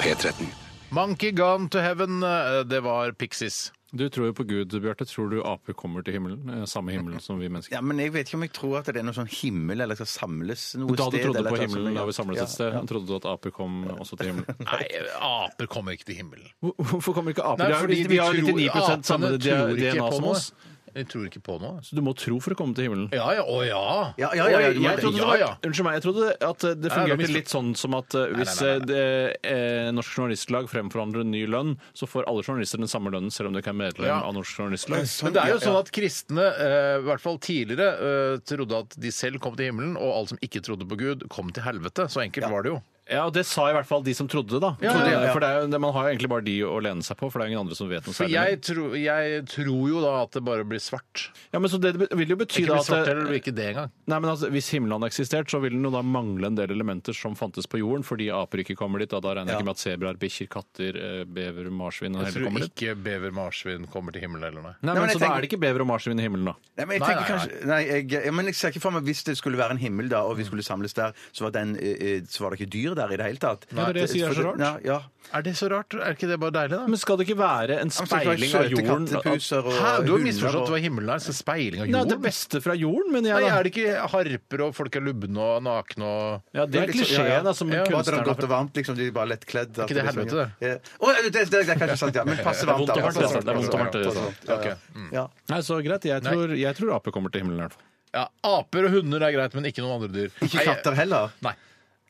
E: P13.
A: Monkey Gone to Heaven, eh, det var Pixies.
B: Du tror jo på Gud, Bjarte. Tror du aper kommer til himmelen? eh, Samme himmelen som vi mennesker?
D: Ja, men jeg vet ikke om jeg tror at det er noe sånn himmel, eller skal samles noe
B: Da du
D: sted.
B: trodde
D: eller
B: på
D: et eller annet
B: himmelen
D: sånt.
B: da vi samles
D: Ja,
B: et sted,
D: ja.
B: trodde du at aper kom også til himmelen?
A: Nei, aper kommer ikke til himmelen.
B: Hvor- Hvorfor kommer ikke aper?
A: Nei,
B: Det er jo
A: fordi
B: litt- vi har
A: tror-
B: 99 samme
A: apene tror ikke
B: DNA
A: på
B: som
A: noe.
B: oss.
A: De tror ikke på noe.
B: Så du må tro for å komme til himmelen?
A: Ja, ja, å ja.
D: Ja, ja, ja, ja, du må
B: Jeg
D: det.
B: trodde, det
A: Ja,
B: var, unnskyld meg, jeg trodde at det
A: Nei, det var
B: fungerte
A: misforstått.
B: litt sånn som at eh, hvis
A: nei, nei,
B: eh, det, eh, Norsk Journalistlag fremforhandler en ny lønn, så får alle journalister den samme lønnen, selv om du ikke er medlem
A: Ja.
B: av Norsk Journalistlag.
A: Men det er jo sånn at kristne, eh, i hvert fall tidligere, eh, trodde at de selv kom til himmelen, og alle som ikke trodde på Gud, kom til helvete. Så enkelt var det jo.
B: Ja, og Det sa i hvert fall de som trodde det, da.
A: ja,
B: Trodde-
A: ja.
B: For det er, jo- det- Man har jo egentlig bare de å lene seg på, for det er ingen andre som vet noe
A: For
B: særlig.
A: jeg, tro, jeg tror jo da at det bare blir svart.
B: ja, men så Det vil jo
A: Ikke
B: bety da
A: blir
B: at
A: svart
B: det-
A: eller blir ikke det engang.
B: Nei, men altså, Hvis himmelen hadde eksistert, så ville den jo da mangle en del elementer som fantes på jorden, fordi aper ikke kommer dit. Da, da regner jeg ikke med at sebraer, bikkjer, katter, eh, bever, marsvin og
A: Jeg
B: hele
A: tror
B: kommer dit.
A: ikke bever marsvin kommer til himmelen eller nei.
B: Nei, men
D: Nei, men
B: Så
D: jeg
B: da
D: tenker-
B: er det ikke bever og marsvin i himmelen, da?
D: Nei, men jeg
A: Nei, nei, nei.
D: tenker kanskje nei, jeg, ja, men jeg ser ikke for meg Hvis det skulle være en himmel, da, og vi skulle samles der, så var, den, eh, eh, så var det ikke dyr der i det hele tatt.
B: Nei, det er det jeg sier er så rart.
D: Ja, ja.
A: Er det så rart? Er ikke det bare deilig, da?
B: Men skal det ikke være en
D: Men så skal det
B: speiling
D: være
B: av
D: søte
B: jorden?
D: kattepuser og
A: Hæ, du har
D: hunder
A: misforstått
D: og-
A: hva himmelen er. Så speiling av
B: Nei, det
A: jorden?
B: beste fra jorden, mener
A: Nei,
B: jeg.
A: er
B: Da.
A: det ikke harper og folk er lubne og nakne og
B: Ja, det er
D: Litt sånn,
B: klisjeen da, som
A: Ja,
D: Bare at det
B: kunstneren
D: er
B: har
D: godt og varmt, liksom. De er bare lettkledd. at
A: ikke det
D: liksom-
A: helvete,
D: Ja. Å, det, det, det er kanskje sant, ja. Men passe varmt,
B: Det er vondt og
D: Passe
B: hardt, det er
D: varmt,
B: vondt og hardt, det er
D: passe
B: sant.
D: varmt, ja,
A: Ok, Mm.
D: ja. Ja.
B: Nei, så greit. Jeg
A: Nei.
B: tror, jeg tror ape kommer til himmelen i hvert fall.
A: Ja, Aper og hunder er greit, men ikke noen andre dyr.
D: Ikke katter heller.
A: Nei.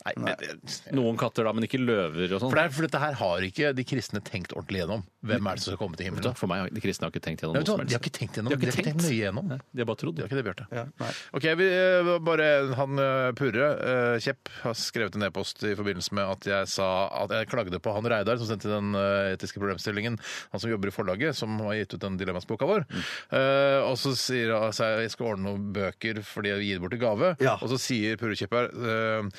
A: Nei, men, for,
B: Noen katter, da, men ikke løver og sånn.
A: det er, for dette her har ikke de kristne tenkt ordentlig gjennom. Hvem er det som skal komme til
B: Vet du hva,
A: himmelen?
B: For meg, har- de kristne har ikke tenkt gjennom
A: Nei, vet
B: noe
A: du hva,
B: som helst.
A: de har ikke tenkt gjennom.
B: De har ikke
A: De har ikke
B: tenkt
A: tenkt nøye gjennom.
B: Nei, De har bare trodd.
A: Det er ikke det, Bjarte.
D: Ja, nei.
A: Ok, vi, eh, bare han eh, Purre eh, Kjepp har skrevet en e-post i forbindelse med at jeg sa at jeg klagde på han Reidar som sendte den eh, etiske problemstillingen, han som jobber i forlaget, som har gitt ut den dilemmasboka vår.
D: Mm.
A: Eh, og så sier han altså, jeg skal ordne noen bøker fordi jeg gir det bort i gave.
D: Ja.
A: Og så sier Purre Kjepp her eh,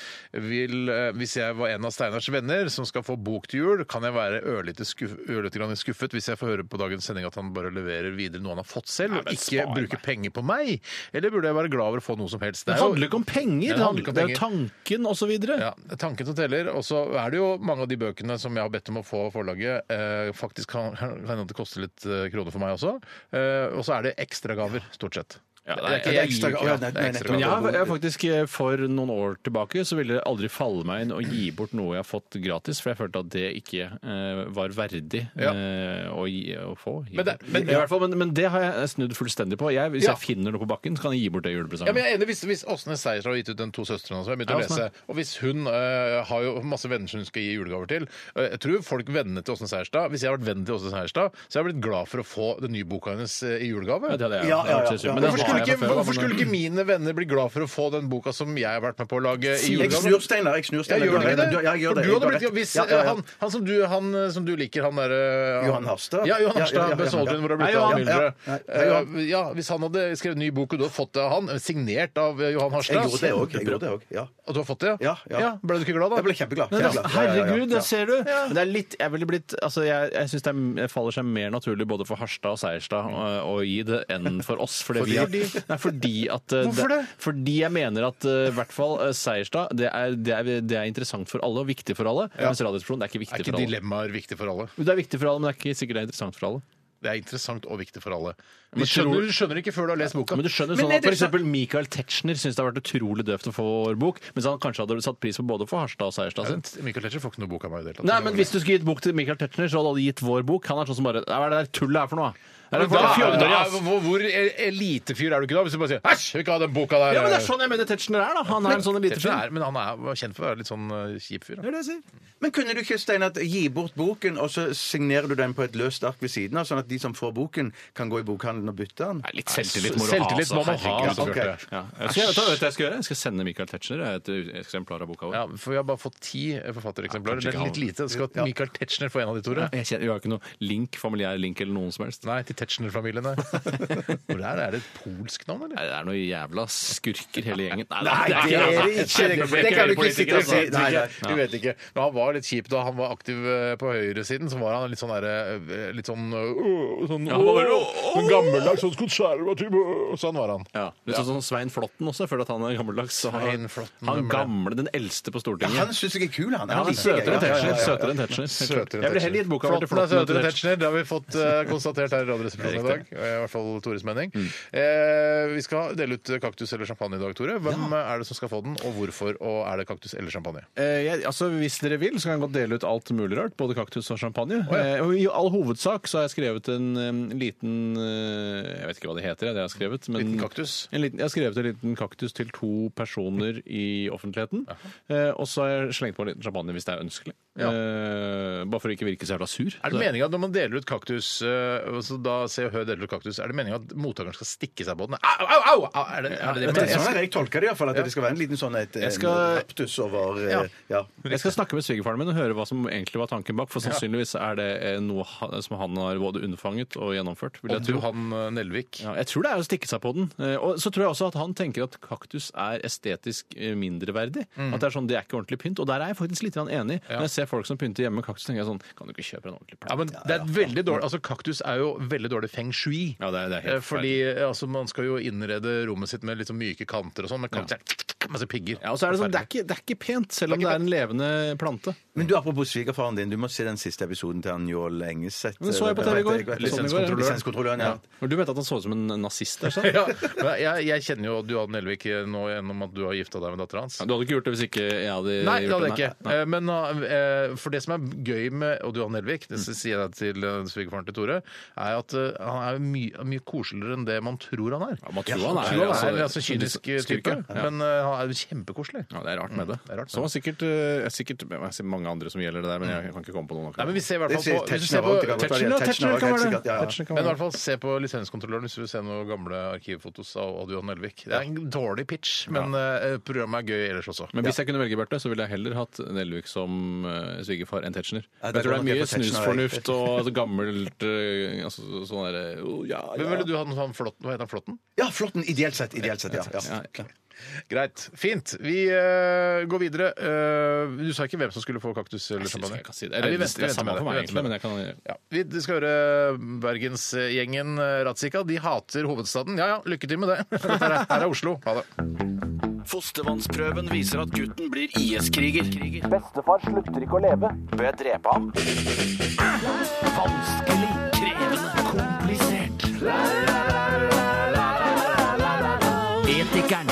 A: vil, eh, hvis jeg var en av Steinars venner som skal få bok til jul, kan jeg være ørlite, skuff, ørlite grann skuffet hvis jeg får høre på dagens sending at han bare leverer videre noe han har fått selv, og ikke bruker penger på meg? Eller burde jeg være glad over å få noe som helst? er
B: Det
A: jo-
B: handler ikke om penger!
A: Nei,
B: Det,
A: det handler ikke om
B: handler, det er jo tanken og så videre.
A: ja, det er tanken som teller. Og så er det jo mange av de bøkene som jeg har bedt om å få av forlaget, eh, faktisk kan kan hende at det koster litt eh, kroner for meg også. Eh, og så er det ekstragaver, stort sett.
B: Ja, det er-
A: ikke-
B: det er
D: ekstra-
A: ikke-
D: ja, nei,
A: det er
D: nei,
A: ekstra
D: nettopp.
B: Men jeg,
A: gaver.
B: har- jeg har faktisk eh, For noen år tilbake så ville det aldri falle meg inn å gi bort noe jeg har fått gratis, for jeg følte at det ikke eh, var verdig
A: Ja.
B: eh, å, gi, å få. Gi
A: Men det-
B: bort.
A: men-
B: I hvert fall, men, men det har jeg snudd fullstendig på. Jeg, hvis
A: Ja.
B: jeg finner noe på bakken, så kan jeg gi bort det i
A: Ja, men
B: julepresangen.
A: jeg er enig, Hvis, hvis Åsne Seierstad har gitt ut den to søstrene hans, og jeg begynte å
B: Ja,
A: lese, og hvis hun eh, har jo masse venner som hun skal gi julegaver til eh, Jeg tror folk vennene til Åsne Seierstad Hvis jeg har vært venn til Åsne Seierstad, så hadde jeg blitt glad for å få den nye boka hennes eh, i julegave.
B: Ja, det hadde jeg-
D: Ja,
B: det hadde
D: ja,
B: vært
D: ja.
B: men det
A: Hvorfor skulle,
B: har jeg
A: ikke,
B: fra før, da,
A: hvorfor
B: men-
A: skulle ikke mine venner bli glad for å få den boka som jeg har vært med på å lage i
D: Jeg
A: julegave?
D: snur steiner. Jeg snur
A: Jeg
D: steiner.
A: gjør det ikke det?
D: Ja, jeg gjør
A: For
D: det.
A: du
D: Jeg
A: hadde
D: har
A: blitt,
D: rett.
A: hvis eh,
D: Ja, ja, ja.
A: Han, han, som du, han eh, som du liker, han derre eh,
D: Johan Harstad?
A: Ja, Johan
D: Ja, ja, ja,
A: Harstad
D: ja.
A: med Soldieren, hvor det
D: Nei,
A: ble av
D: Johan, ja. Nei, nei, Johan.
A: Myldre. Eh, Ja, hvis han hadde skrevet ny bok, og du hadde fått det av han, eh, signert av eh, Johan
D: Jeg gjorde det
A: Harstad
D: òg. Jeg gjorde det òg. Ja.
A: Og du har fått det,
D: Ja, ja.
A: Ble du ikke glad, da?
D: Jeg ble kjempeglad.
B: Nei, det,
D: kjempeglad. Ja, ja, ja, ja.
B: herregud, det
D: Ja.
B: ser du! Men Det er litt, jeg ville blitt, altså jeg, jeg syns det er- faller seg mer naturlig både for Harstad og Seierstad å- å gi det enn for oss. Fordi, vi har, nei, fordi at eh,
A: Hvorfor det?
B: Fordi jeg mener at eh, i hvert fall eh, Seierstad det er, det, er, det er interessant for alle og viktig for alle. Mens Radioresepsjonen det er ikke viktig
A: Er ikke
B: for alle.
A: dilemmaer viktig for alle?
B: Det er viktig for alle, men det er ikke sikkert det er interessant for alle.
A: Det er interessant og viktig for alle. Du
B: Men tror-
A: skjønner, du skjønner ikke før du har lest boka.
B: Men du skjønner
D: Men
B: sånn
D: er
B: at for
D: det så-
B: eksempel Michael Tetzschner syns det har vært utrolig døvt å få vår bok, mens han kanskje hadde satt pris på både for Harstad og Seierstad sin.
A: Michael Tetzschner får ikke noe bok av meg i det hele tatt.
B: Nei, men hvis du skulle gitt bok til Michael Tetzschner, så hadde du gitt vår bok. Han er sånn som bare Hva er det der tullet her for noe? da? Er det
A: Men
B: for
A: da-
B: noe fjolleri,
A: da-
B: ass?
A: hvor, hvor elitefyr er du ikke da, hvis du bare sier 'æsj, jeg vil ikke ha den boka der'?
B: Ja, men det er sånn jeg mener Tetzschner er, da. Han er en sånn elite
A: Tetzschner er, men han er var kjent for å være litt sånn eh, kjip fyr. da.
D: Men kunne du ikke, Steinar, gi bort boken, og så signerer du den på et løst ark ved siden av, sånn at de som får boken, kan gå i bokhandelen og bytte den?
B: Litt
A: selvtillit må du ha, Selvtillit må altså. man ha,
D: altså, Bjarte.
B: Ja. Jeg skal, vet du hva jeg skal gjøre? Jeg skal sende Michael Tetzschner et eksemplar av boka vår.
A: Ja, for Vi har bare fått ti forfattereksemplarer.
B: Ja,
A: det
B: kanskje
A: er litt
B: ikke
A: lite. Skal Michael Tetzschner få en av de, Tore?
B: Jeg, kjenner, jeg har ikke noe link, familiær link eller noen som helst.
A: Nei, til Tetzschner-familien, nei. Hvor er det? Er det et polsk navn, eller?
B: Nei, det er noen jævla skurker hele gjengen.
D: Nei, det
B: altså.
D: er det ikke. Det- det kan du ikke sitte og si.
A: Nei,
D: Nei,
A: altså. nei,
D: nei.
A: Du vet ikke. Men han var litt kjip da han var aktiv eh, på høyresiden. Så var han litt sånn derre eh, Litt sånn eh, «Å, «Åh», sånn,
B: Ja, han var veldig,
A: «Åh», sånn gammeldags sånn konservativ «Åh», Sånn var han.
B: Ja, litt sånn som Svein Flåtten også. Jeg føler at han er gammeldags. så Han,
A: Svein Flåtten,
B: han
A: hvem er det?
B: gamle, den eldste på Stortinget.
D: Han syns jeg er kul, han.
B: Ja, han er
D: liker jeg.
B: søtere enn
D: Ja, ja, ja,
B: Tetzschner.
D: ja.
B: Søtere enn Tetzschner.
A: Søtere enn
B: Jeg ville heller gitt boka vår til
A: Flåtten er
B: Flåtten. enn til
A: søtere enn
B: Tetzschner.
A: Tetzschner. Det har vi fått eh, konstatert her i Radioresepsjonen i dag. Eh, I hvert fall Tores mening. Eh, vi skal dele ut kaktus eller champagne i dag, Tore. Hvem eh, er det som skal få den, og hvorfor? Og er det kaktus eller champagne?
B: Eh, jeg, altså, Hvis dere vil, så kan jeg godt dele ut alt mulig rart. Både kaktus og champagne.
A: Å, ja.
B: Eh, og I all hovedsak så har jeg skrevet en em, liten eh, Jeg vet ikke hva det heter, jeg, det jeg har skrevet. Men
A: Liten kaktus?
B: En liten, jeg har skrevet en liten kaktus til to personer i offentligheten. Eh, og så har jeg slengt på en liten champagne hvis det er ønskelig.
A: Ja.
B: Eh, bare for å ikke virke så jævla sur.
A: Er det meningen at når man deler ut kaktus, eh, altså da Se og Hør deler ut kaktus, er det meningen at mottakeren skal stikke seg på den? Au, au, au! au! Er det er det, det,
D: Men
A: det,
D: det er sånn jeg tolker det iallfall, at det skal være en liten sånn et, en
B: skal-
D: raptus over eh,
A: Ja.
D: ja.
B: Jeg skal snakke med svigerfaren min og høre hva som egentlig var tanken bak. For sannsynligvis er det eh, noe han- som han har både unnfanget og gjennomført. Vil jeg
A: Om du,
B: tro.
A: han eh, Nelvik.
B: sånn. Ja, jeg tror det er å stikke seg på den. Eh, Og så tror jeg også at han tenker at kaktus er estetisk eh, mindreverdig.
A: Mm.
B: At det er sånn, det er ikke ordentlig pynt. Og der er jeg faktisk litt grann enig. Når jeg ser folk som pynter hjemme med kaktus, tenker jeg sånn, kan du ikke kjøpe en ordentlig
A: Ja,
B: plante?
A: men det er et veldig dårlig, altså Kaktus er jo veldig dårlig feng shui.
B: Ja, det er- det er helt
A: Eh, Fordi eh, altså, Man skal jo innrede rommet sitt med litt sånn myke kanter og sånn, men kaktus er masse pigger.
B: Ja, og så er det sånn, det er ikke, det er ikke pent, selv om det
A: Det
B: er,
A: er
B: en levende plante.
D: Men du, apropos svigerfaren din, du må se den siste episoden til han Njål Engeseth. Eh,
B: Den så jeg på TV i går.
D: vet-
B: Lisenskontrolløren.
D: Lisenskontrolløren, ja.
B: Og du vet at han så ut som en nazist der, sant?
A: Ja, men jeg, jeg kjenner jo Duan Nelvik eh, nå gjennom at du har gifta deg med dattera hans.
B: Ja, Du hadde ikke gjort det hvis ikke jeg hadde
A: Nei, det
B: gjort
A: hadde jeg ikke.
B: Nei, nei.
A: Eh, Men eh, for det som er gøy med Odd Johan Nelvik,
B: Mm.
A: det sier jeg til eh, svigerfaren til Tore, er at eh, han er mye, mye koseligere enn det man tror han er.
B: Ja, man tror han er,
A: Tror han er
B: altså,
A: altså, kynisk eh,
B: skurk,
A: type,
B: ja. Ja.
A: men eh, han er kjempekoselig.
B: Ja, det er rart med det.
A: det er rart med
B: så var sikkert, eh, sikkert jeg ser mange andre som gjelder det der, men jeg kan ikke komme på noen akkurat.
A: Nei, men vi ser i hvert
D: Det
A: fall
D: sier
A: på, hvis du
D: Tetzschner
A: ser på
D: også, det kan godt være.
B: Tetzschner, Tetzschner kan
D: også,
B: være det.
D: sikkert, ja, ja.
B: Tetzschner kan
A: Men i
B: være
A: hvert fall se på lisenskontrolløren hvis du vil se noen gamle arkivfotos av Odd Johan Nelvik. Det er en dårlig pitch, men eh, programmet er gøy ellers også.
B: Men hvis jeg kunne velge, Bjarte, så ville jeg heller hatt Nelvik som eh, svigerfar enn Tetzschner.
D: Ja,
B: jeg
D: det
B: tror det
D: går
B: er
D: nok
B: mye
D: jeg for Tetzschner,
B: snusfornuft og altså, gammelt eh, altså, sånn derre oh, ja,
A: Hvem ville
B: ja.
A: du hatt han flåtten? Hva heter han flåtten?
D: Ja, Flåtten. Ideelt sett. Ideelt sett, ja. ja.
A: Greit. Fint. Vi eh, går videre. Eh, du sa ikke hvem som skulle få kaktus eller
B: Jeg synes
A: champagne?
B: jeg kan si det.
A: Nei,
B: Eller,
A: vi
B: det
A: venter- venter
B: er
A: med
B: samme
A: det.
B: for meg,
A: Vi venter
B: egentlig,
A: med
B: men
A: det.
B: jeg kan ja.
A: Ja, vi skal høre bergensgjengen eh, Ratzika. De hater hovedstaden. Ja ja, lykke til med det. Dette er, her er Oslo. Ha det.
G: Fostervannsprøven viser at gutten blir IS-kriger.
J: Bestefar slutter ikke å leve. Bør jeg drepe ham?
G: Vanskelig, krevende, komplisert. Etikeren.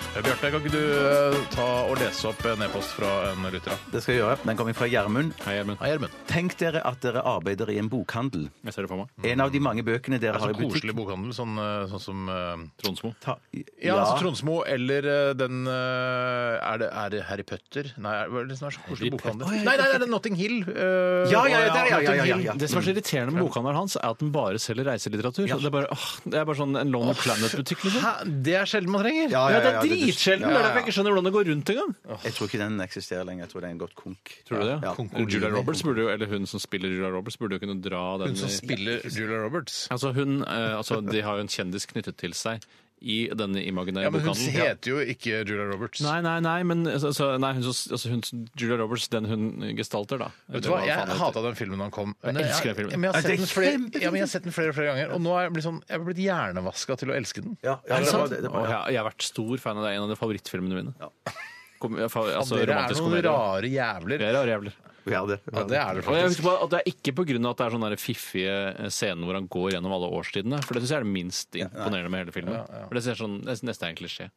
A: Eh, Bjarte, kan ikke du eh, ta og lese opp en e-post fra en lytter? da?
D: Det skal jeg gjøre. Den kommer fra Gjermund.
B: Hei, Gjermund.
A: Hei, Gjermund.
D: Tenk dere at dere arbeider i en bokhandel.
B: Jeg ser det for meg.
D: En av de mange bøkene dere
A: Det er
D: har i
A: sånn koselig
D: butikk.
A: bokhandel, sånn, eh, sånn som eh,
B: Tronsmo.
D: Ta-
A: Ja, altså Tronsmo eller eh, den eh, Er det, er det Harry Putter? Nei, er- hva er det som er så koselig bokhandel? Nei, nei, nei, det er Notting Hill. eh,
D: Ja, ja, ja, der, ja, ja,
A: Notting
D: ja,
A: Hill.
D: ja.
B: Det som er så irriterende med bokhandelen hans, er at den bare selger reiselitteratur. Det, er bare, åh, det er bare sånn en Lonely Planet-butikk, liksom.
A: Hæ? Det er sjelden man trenger.
B: Ja,
D: Ja,
B: det er
D: ja, det-
B: dritsjelden! Det er derfor jeg ikke skjønner hvordan det går rundt engang.
D: Jeg tror ikke den eksisterer lenger. Jeg tror det er en godt konk.
B: Tror du det?
D: Ja.
B: Eller Julia Roberts burde jo, eller hun som spiller Julia Roberts, burde jo kunne dra den
A: Hun som
B: i-
A: spiller Julia Roberts.
B: Altså hun, eh, altså De har jo en kjendis knyttet til seg i denne imaginære
A: Ja, men hun
B: bokhandelen.
A: heter jo ikke Julia Roberts.
B: Nei, nei, nei, men altså, nei, hun, som- altså, hun, Julia Roberts, den hun gestalter, da.
A: Vet du hva, Jeg hata den filmen han kom. Men
B: elsker den filmen.
A: Men jeg har
D: Ja, det
A: sett
D: er
A: den flere,
D: kjempefint.
A: ja, men jeg har sett den flere og flere ganger, og nå er jeg blitt, sånn, jeg er blitt hjernevaska til å elske den.
D: Ja, ja,
B: Er det
D: det var-
B: sant?
D: det- det
B: Å,
D: var- ja.
B: jeg, jeg har vært stor fan av det. En av de favorittfilmene mine. Kom, jeg, fa, altså,
A: Dere er
B: romantisk
A: noen
B: komedie.
A: rare jævler.
B: Dere er rare jævler.
D: Vi har det.
A: Ja, det er det
B: Og jeg
A: faktisk.
B: husker på at Det er ikke pga. at det er sånne der fiffige scener hvor han går gjennom alle årstidene. For det syns jeg er det minst imponerende med hele filmen. For det ser sånn, det er nesten en klisjé.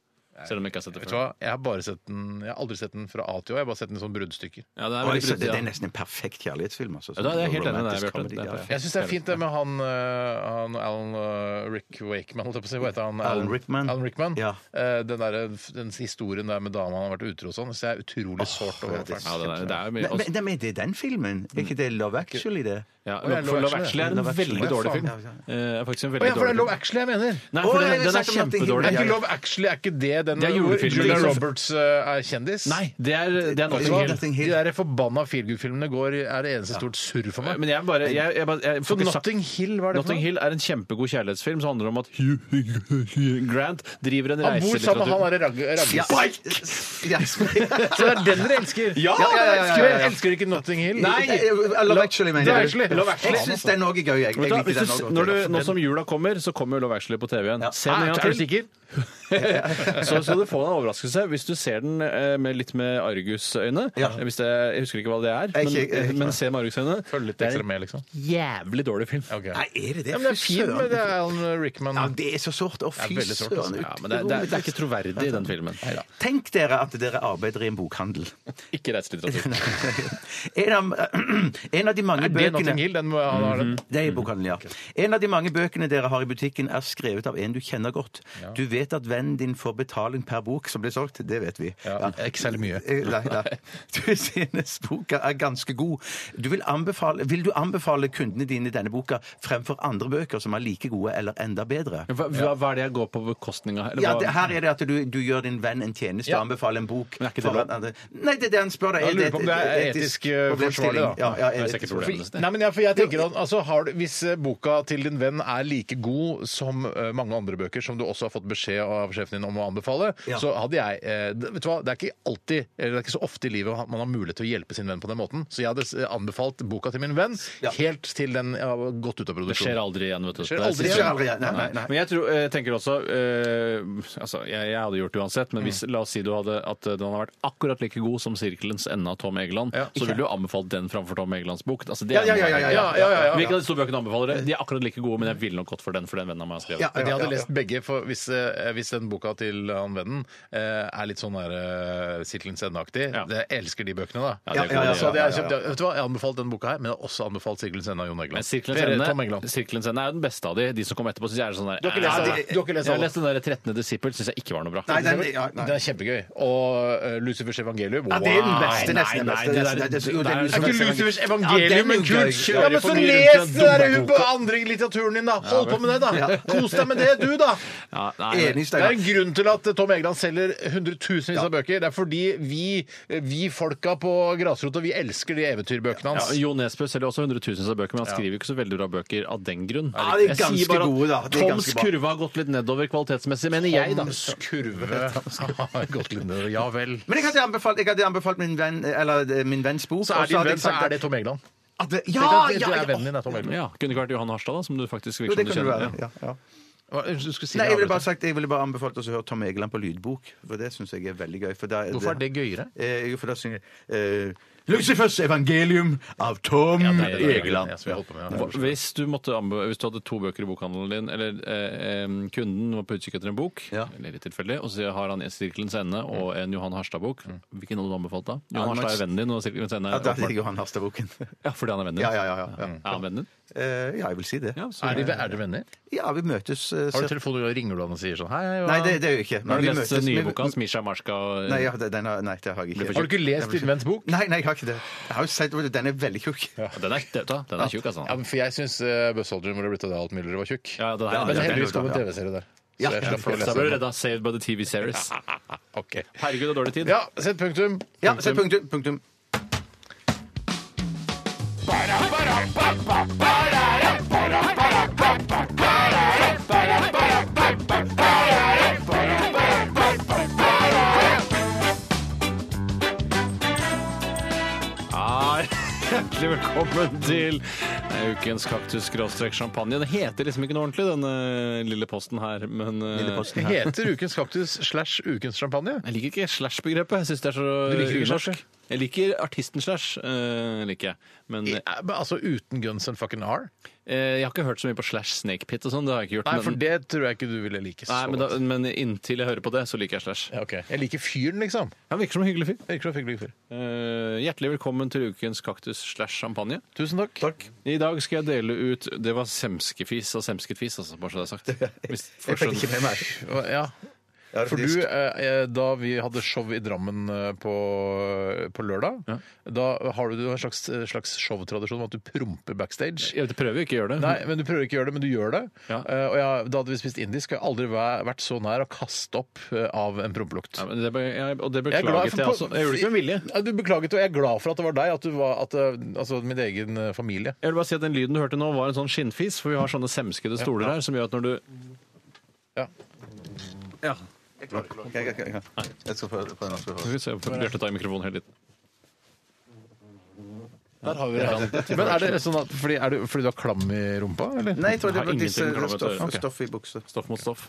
B: Selv om jeg ikke har sett det
A: Vet du
B: før.
A: hva, jeg har bare sett den Jeg har aldri sett den fra A til Å. Jeg har bare sett den som bruddstykker.
B: Ja, det er
D: Oi,
B: veldig
D: så det, det
B: brutal.
D: er nesten en perfekt kjærlighetsfilm. Altså,
B: Ja, da er jeg helt enig med deg,
D: Romantisk
B: Bjarte. Det
D: comedy,
B: er
D: ja, ja.
B: perfekt.
A: Jeg syns det er fint det med han, eh, han Alan eh, Rick Wakeman, holdt jeg på å si. Hva heter han? eh,
D: Alan Rickman.
A: Alan Rickman.
D: Ja.
A: Eh, Den, der, den historien der med dama han har vært utro og sånn, så jeg er utrolig sårt
D: ja,
A: over.
D: det er
B: Ja, det er, det er jo mye
D: Men, men, nei, men det er den filmen? Er ikke det Love Actually, det?
B: Ja,
A: Å, ja,
B: for Love
A: Love
B: Actually er en
D: Love Actually.
B: veldig dårlig
A: Ja,
B: film.
D: faen.
B: Eh, er faktisk en
A: Å
B: veldig
A: ja, for det
B: dårlig
A: er
B: film.
A: Love Actually jeg mener!
B: Nei,
D: Å,
B: for
D: ja,
B: den,
D: vi
B: den er
D: snakket om at det ikke-
A: Er
B: kjempedårlig.
D: Ja,
A: ikke
D: ja.
A: Love Actually er ikke det den
B: Det er
A: hvor
B: julefilmen.
A: Julia
B: Liksom.
A: Roberts eh, er kjendis?
B: Nei, det er, det er Notting
D: Hva?
B: Hill.
D: Notting
A: De
D: Hill.
A: der forbanna feelgood-filmene går er det eneste stort surr for meg.
B: Men jeg bare, jeg, jeg, bare-
A: Så
B: jeg får ikke sagt-
A: Notting Hill, hva er det for
B: Notting
A: noe?
B: Hill er en kjempegod kjærlighetsfilm som handler om at Grant driver en
A: Han bor sammen med han
B: reiselitteratur.
A: derre Rag- Ragnhild.
D: Ja. Ja, Spike!
A: Så det er den dere elsker?
B: Ja,
D: ja, ja, ja, ja, ja.
A: Dere elsker ikke Notting Hill?
D: Nei! Love Actually, mener
A: Love
D: jeg.
A: Actually. Love Actually.
D: Jeg syns den òg er gøy. Jeg, jeg
B: Vet du hva,
D: liker
B: hvis
D: den
B: du,
D: også.
B: når du, nå som jula kommer, så kommer Love Actually på TV igjen. Se den
A: Hæ, er
B: en
A: du
B: gang til.
A: sikker?
B: Så skal du få en overraskelse hvis du ser den eh, med litt med argusøyne.
D: Ja.
B: Hvis det, jeg husker ikke hva det er,
D: Jeg
B: men,
D: ikke- jeg ikke-
B: men se med argusøyne.
A: Følg litt
B: Det er
A: ekstra
B: en
A: med, liksom.
B: jævlig dårlig film.
A: Ok.
D: Nei, er det det?
A: Ja, men det er
D: Fy
A: fin
D: søren.
A: med det er Alan Rickman.
D: Ja, det er så sårt. Å,
A: Det
D: fy
A: er veldig sårt, altså.
D: søren.
B: Ja, men det, er- det, er- det er ikke troverdig, den filmen.
D: Tenk dere at dere arbeider i en bokhandel.
B: Ikke reiselitteratur.
D: En av, en av de mange
A: Er det Notting
D: bøkene
A: Hill? Den må han ha den.
D: det er i bokhandelen, ja. En av de mange bøkene dere har i butikken, er skrevet av en du kjenner godt. Du vet at vennen din får betaling per bok som blir solgt. Det vet vi. Ja.
A: Ikke særlig mye.
D: Eh, Nei, nei. Du synes boka er ganske god. Du vil, anbefale, vil du anbefale kundene dine denne boka fremfor andre bøker som er like gode eller enda bedre?
B: Hva, hva hva er det jeg går på bekostning av? eller
D: Ja,
B: hva-
D: det, her er det at du, du gjør din venn en tjeneste
A: Ja.
D: og anbefaler en bok.
B: Men er ikke det
D: foran
B: lov?
D: andre. Nei, det er det han spør deg.
A: Jeg lurer på om det er
D: et
A: etisk, eh,
D: problemstilling?
A: forsvarlig, da.
D: Ja, ja,
B: Jeg ser
D: etisk
B: ikke problemet.
D: forsvarlig.
B: Det-
A: Nei, men jeg, for jeg tenker at altså, har du, Hvis eh, boka til din venn er like god som eh, mange andre bøker som du også har fått beskjed av sjefen din om å anbefale,
D: Ja.
A: så hadde jeg eh, det- Vet du hva, det er ikke alltid, eller det er ikke så ofte i livet at man har mulighet til å hjelpe sin venn på den måten, så jeg hadde eh, anbefalt boka til min venn
D: Ja.
A: helt til den har gått ut av
B: Det skjer
A: produksjonen.
B: aldri igjen, vet du.
A: skjer
B: Det er
A: aldri
D: Det
B: siste
D: skjer
A: igjen.
D: aldri igjen. Nei, nei, nei.
B: Men jeg tror, eh, tenker også eh, altså, jeg, jeg hadde gjort det uansett, men hvis,
A: Mm.
B: la oss si du hadde at eh, den hadde vært akkurat like god som Sirkelens ende av Tom Egeland,
A: Ja.
B: så ville du anbefalt den framfor Tom Egelands bok. Altså, det
D: Ja,
B: er
D: ja,
B: noe
D: ja, ja,
B: av det.
D: ja, ja, ja, ja, ja.
B: Hvilke av de to bøkene
A: Eh,
B: anbefaler dere? De er akkurat like gode, men jeg ville nok gått for den, for den vennen av meg har skrevet.
D: Ja,
A: Men jeg hadde
D: ja, ja.
A: lest begge, for hvis, eh, hvis den boka til han vennen eh, er litt sånn der eh, Sirkelens ende-aktig
B: Ja.
A: Jeg elsker de bøkene, da.
B: Ja, det
D: Ja, ja, ja,
B: kan
A: Så
B: jeg-
A: hadde jeg, kjøpt, vet du hva, jeg anbefalt den boka her, men jeg har også anbefalt Sirkelens ende av Jon Egeland.
B: Men Sirkelens
A: Per-
B: ende,
A: Tom Egeland.
B: Sirkelens ende er jo den beste av de. De som kom etterpå, syns jeg er sånn der
A: Du har ikke lest
B: eh,
A: alle. Du har ikke lest
B: Jeg har
A: alle.
B: lest den der 13. disippel, syns jeg ikke var noe bra.
D: Nei, den, ja, nei.
A: Det er kjempegøy. Og eh, Lucifers evangelium
D: Ja, det er den beste,
B: Nei,
D: nesten den
B: nei,
D: beste.
B: det
D: nesten.
B: der-
D: Det er- jo,
B: det
D: det er
B: er-
D: Lucifers
B: Er
A: Lucifers
B: ikke
D: evangelium. Ja, den er
A: evangelium, men
D: jo
A: kult!
D: gøy.
A: Ja, men så
B: for mye
A: les
B: rundt
A: den
B: den
A: der
B: dumme
A: hubbe andring litteraturen din, da! Hold på med det, da! Kos deg med det, du, da!
B: Ja, nei, men-
D: Enig,
A: Det er
D: Steinar.
A: en grunn til at Tom Egeland selger hundretusenvis av bøker. Det er fordi vi, vi folka på grasrota, vi elsker de eventyrbøkene hans.
B: Ja, Jo Nesbø selger også hundretusenvis av bøker, men han skriver jo ikke så veldig bra bøker av den grunn.
D: Ja, de er
B: Jeg sier
D: ganske
B: bare at
D: gode, da. De er
B: Toms
D: ganske bra.
B: kurve har gått litt nedover kvalitetsmessig, mener jeg, da.
A: Hans kurve har gått litt nedover. Ah, Ja vel.
D: Men jeg hadde anbefalt, jeg hadde anbefalt min, venn, eller, eh, min venns bok.
A: Så
D: og
A: er, din
D: hadde jeg
A: venn, så
D: sagt
A: er det Tom Egeland.
D: at- at- Ja,
A: Tenk at
D: ja,
A: du
D: ja.
A: er vennen din, er Tom Egeland.
B: Ja, Kunne ikke vært Johan Harstad, da, som du faktisk
D: Jo,
B: virker
D: det
B: som du
D: kan du
B: kjenner.
D: være. Ja, ja.
A: Hva- Du skulle si
D: Nei,
A: det,
D: jeg ville bare
A: Albert.
D: sagt, jeg ville bare anbefalt oss å høre Tom Egeland på lydbok. For det syns jeg er veldig gøy. For da,
A: Hvorfor er det gøyere?
D: Eh, jo, for da synger eh, Lucifers evangelium av Tom
B: det er det.
D: Egeland.
A: Ja, som jeg holdt på med, ja.
B: Hva- Hvis du, måtte anbe hvis du hadde to bøker i bokhandelen din, eller eh, eh, kunden var på utkikk etter en bok,
D: Ja.
B: eller litt tilfeldig, og så har han en Sirkelens ende og en Johan Harstad-bok, hvilken hadde du anbefalt da? Johan
D: men-
B: Harstad er vennen din, og Sirkelens ende
D: Ja,
B: er
D: da ligger
B: åpenbart-
D: Johan Harstad-boken.
B: Ja, fordi han er vennen din.
D: Ja, ja, ja. ja. ja.
B: Er han vennen din?
D: Eh, ja, jeg vil si det.
B: Mm. Ja, så-
A: Er de- er dere venner?
D: Ja, vi møtes eh,
A: Har du
D: så-
A: telefon og ringer du han og sier sånn Hei, hei, hva-
D: Nei, det, det er jo ikke. Men
B: Har du
D: vi
B: lest
D: møtes-
B: den nye
D: vi-
B: boka hans, Misha Marska? og-
D: Nei, ja, det- den har, nei, det har jeg ikke.
A: Har du ikke lest din venns bok?
D: Nei, nei, jeg har ikke det. Jeg har jo sett, Den er veldig tjukk.
B: Den er, vet du hva, den er tjukk, altså.
A: Ja, men for jeg syns uh, Buzz Aldrin ville blitt av det alt Müller var tjukk.
B: Ja, den er-
A: men
B: den er-
A: heldigvis kom en TV-serie der.
D: Ja.
A: Så jeg slapp å
B: Så jeg ble
A: lese den.
B: redda. Saved by the TV series.
A: Ok.
B: Herregud, det er dårlig tid.
A: Ja, sett punktum.
D: Ja, så punktum. punktum.
B: Nei. Hjertelig velkommen til eh, ukens kaktus-champagne. Den heter liksom ikke noe ordentlig, denne lille posten her, men eh,
D: Lille posten.
A: Det heter Ukens kaktus slash Ukens champagne.
B: Jeg liker ikke slash-begrepet. Jeg synes det er så
A: Du liker ikke
B: unorsk.
A: slash?
B: Jeg liker artisten slash, eh, liker jeg. Men
A: I-
B: eh,
A: eh, men Altså uten guns and fucking R?
B: jeg har ikke hørt så mye på slash snake pit og sånn. Det har jeg ikke gjort.
A: Nei,
B: men-
A: for det tror jeg ikke du ville like så
B: Nei, men, da,
A: godt.
B: men inntil jeg hører på det, så liker jeg slash.
A: Ja, ok. Jeg liker fyren, liksom.
B: Han virker som en hyggelig fyr.
A: Jeg liker så hyggelig fyr.
B: Eh, hjertelig velkommen til ukens kaktus slash champagne.
A: Tusen takk.
B: I dag skal jeg dele ut Det var semskefis og semsketfis, altså, bare så det er sagt. Hvis folk
D: Jeg fikk ikke
B: skjønner.
D: med meg.
A: Og- Ja.
D: Ja, det er
A: For du,
D: trist.
A: eh, da vi hadde show i Drammen eh, på, på lørdag, da har du en slags, slags showtradisjon med at du promper backstage.
B: Jeg prøver jo ikke å gjøre det.
A: Nei, men du prøver ikke å gjøre det, men du gjør det.
B: Ja.
A: Eh, og jeg, da hadde vi spist indisk, og jeg har aldri væ- vært så nær å kaste opp eh, av en prompelukt.
B: Ja, men det, be- jeg, og det
A: Jeg er glad
B: beklaget jeg,
A: for-
B: også. Jeg gjorde det ikke med vilje.
A: Ja, Du beklaget, og jeg er glad for at det var deg, at du var at, eh, altså, min egen eh, familie.
B: Jeg vil bare si at Den lyden du hørte nå, var en sånn skinnfis, for vi har sånne semskede stoler her som gjør at når du
A: Ja.
B: Ja.
D: Ok, ok, ok. Jeg skal prøve prøve en annen spørsmål.
B: Skal vi se på Bjarte tar i mikrofonen hele tiden.
A: Der har vi det. Men er det sånn at, fordi, er du, fordi du har klam i rumpa, eller?
D: Nei, jeg tror
B: Jeg
D: det
B: har
D: var disse
B: ingenting med klamhet å gjøre.
D: stoff,
B: Ok.
D: stoff i buksa.
B: Stoff mot stoff.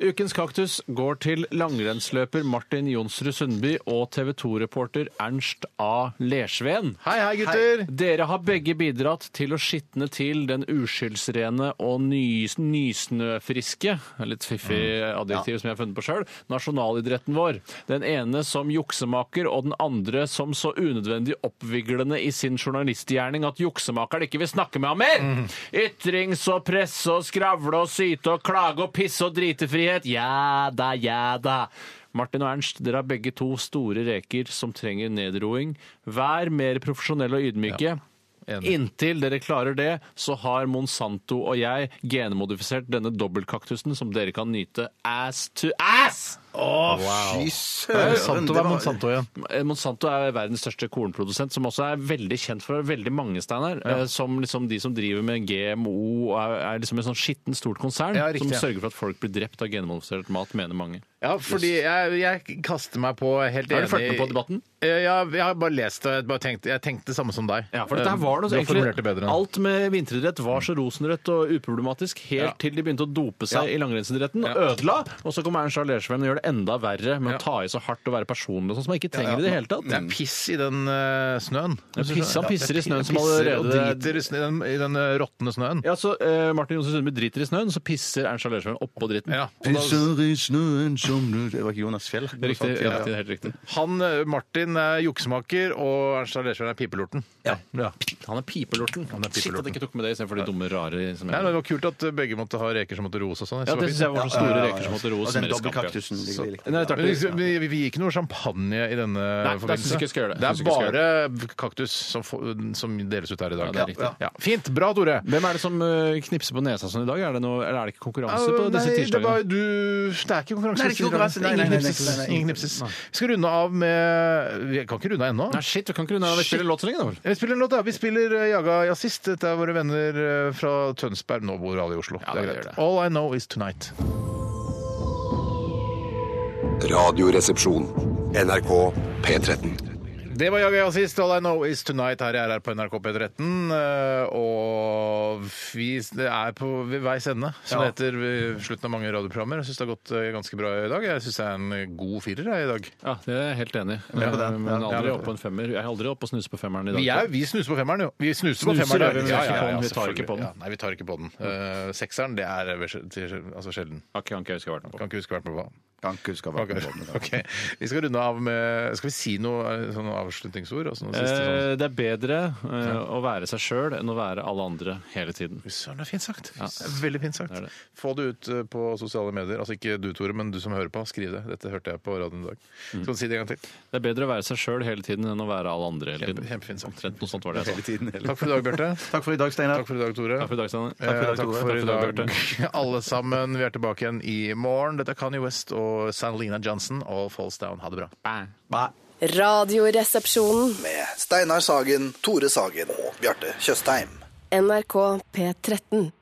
B: Ukens kaktus går til langrennsløper Martin Jonsrud Sundby og TV 2-reporter Ernst A. Lersveen.
A: Hei, hei, gutter!
B: Dere har begge bidratt til å skitne til den uskyldsrene og nys nysnøfriske, litt fiffig adjektiv som jeg har funnet på sjøl, nasjonalidretten vår. Den ene som juksemaker, og den andre som så unødvendig oppviglende i sin journalistgjerning at juksemakeren ikke vil snakke med ham mer! Ytrings og presse og skravle og syte og klage og pisse og dritefrihet. Ja da, ja da. Martin og Ernst, dere har begge to store reker som trenger nedroing. Vær mer profesjonelle og ydmyke. Inntil dere klarer det, så har Monsanto og jeg genmodifisert denne dobbeltkaktusen som dere kan nyte ass to ass!
D: Fy
A: Hva
D: søren!
A: er Monsanto, hva er Monsanto igjen?
B: Eh, Monsanto er verdens største kornprodusent, som også er veldig kjent for veldig mange steiner. eh, Som liksom de som driver med GMO, og er, er liksom en sånn skitten stort konsern
A: Ja, riktig,
B: som
A: ja.
B: sørger for at folk blir drept av genmodifisert mat, mener mange.
A: Ja, fordi jeg, jeg kaster meg på helt
B: Har
A: enig
B: du fulgt med
A: i-
B: på debatten?
A: Eh, Ja, jeg har bare lest det. Jeg, bare tenkte, jeg tenkte det samme som deg.
B: Ja, for dette her var noe
A: Eh, Du har formulert det bedre.
B: egentlig, Alt med vinteridrett var så rosenrødt og uproblematisk helt
A: Ja.
B: til de begynte å dope seg
A: Ja.
B: i langrennsidretten.
A: Ja.
B: Ødela. Og så kom Ernst Jarl Lersveen og gjør det enda verre med å ta i så hardt og være personlig og sånn, som han ikke trenger i det hele tatt.
A: Det er piss i den eh, snøen.
B: Ja, Mm. piss- han pisser i snøen som
A: Pisser og
B: allerede-
A: driter i, snø, i den, i den eh, råtne snøen.
B: Ja, så eh, Martin Johnsen Sundby driter i snøen, så pisser Ernst Jarl Lersveen oppå dritten.
A: Ja.
B: Og da-
D: i snøen som du Det var ikke Jonas Fjell?
B: Det er Riktig,
D: Noe sånt,
B: ja, det er helt riktig.
A: Han, eh, Martin, er juksemaker, og Ernst Lersveen er pipelorten. Ja.
B: Han er pipelorten. Shit at jeg ikke tok med det istedenfor de dumme, rare som
A: Nei, men
B: jeg
A: det var kult at begge måtte ha reker som måtte roes og sånn.
B: Ja, det syns jeg var så
D: Ja,
B: store
D: ja, ja.
B: reker som måtte roes
D: Og den
B: mer i skapet.
D: dobbeltkaktusen. det likte jeg.
B: Nei, det er
A: Men
B: artig.
A: liksom, vi, vi gir ikke noe champagne i denne
B: Nei, det synes jeg ikke jeg skal gjøre det.
A: Det
B: Jeg
A: er
B: synes ikke jeg
A: bare kaktus som, få- som deles ut her i dag.
B: Ja, det er riktig.
A: Ja. Fint. Bra, Tore.
B: Hvem er det som eh, knipser på nesa sånn i dag? Er det, noe, eller er det ikke konkurranse på
A: Nei,
B: disse
A: det er,
B: tirsdagene?
A: bare, du, det er ikke konkurranse.
D: Nei, det er ikke konkurranse. Nei, nei,
A: Ingen
D: nei,
A: knipses.
D: nei, nei, nei.
A: Ingen knipses. Vi skal runde av med Vi kan ikke runde av ennå.
B: Nei, shit, du kan ikke runde av å spille låt så lenge, da vel?
A: Vi spiller en låt, da. Vi spiller eh, Jaga Jazzist. Dette er våre venner eh, fra Tønsberg. Nå bor alle i Oslo.
B: Ja,
A: det
B: det
A: er
B: gjør
A: greit.
B: det.
A: All I know is tonight.
E: Radioresepsjon. NRK P13.
A: Det var Jaga Jazzist. All I know is tonight her i RR på NRK P13. eh, Og vi er på ved veis ende, som det heter ved slutten av mange radioprogrammer. Jeg syns det har gått eh, ganske bra i dag. Jeg syns det er en eh, god firer jeg, i dag.
B: Ja, det er jeg helt enig i. Men aldri opp på en femmer. Jeg er aldri oppe og snuser på femmeren i dag.
A: Vi, er, vi snuser på femmeren, jo. Vi snuser på
B: Snuser,
A: femmeren.
B: ja, vi snuser på den. Vi tar
A: selvfølgelig.
B: ikke på den.
A: Ja, nei, vi tar ikke på den. Eh, sekseren, det er vel sj- til- altså sjelden.
B: Har ikke- har ikke jeg huska vært noe på.
A: Kan ikke huske hvert på hva.
D: Kan ikke huske hva det var.
A: Ok. Vi skal runde av med Skal vi si noe eh, sånne avslutningsord? Altså noe siste, sånn?
B: Eh, Det er bedre eh, å være seg sjøl enn å være alle andre hele tiden.
A: Fy Søren, det er fint sagt. Det er Veldig fint sagt.
B: Det er det.
A: Få det ut eh, på sosiale medier. Altså ikke du, Tore, men du som hører på. Skriv det. Dette hørte jeg på radioen i dag.
B: Mm.
A: Skal du si det en gang til?
B: Det er bedre å være seg sjøl hele tiden enn å være alle andre hele tiden.
A: Kjempefint sagt.
B: Omtrent noe sånt var det jeg sa.
A: Takk for i dag, Bjarte.
D: Takk for i dag, Steinar.
A: Takk for i dag, Tore.
B: Takk for i dag, Steinar.
A: Eh,
D: dag,
A: Takk
D: Tore.
A: for i
B: Takk for i dag,
A: dag, alle sammen. Vi er tilbake igjen i morgen. Dette er Kanye West og Sanalina Johnson og Falls Down. Ha det bra.
D: Bye.
H: Radioresepsjonen.
I: Med Steinar Sagen, Tore Sagen og Bjarte Tjøstheim.
H: NRK P13.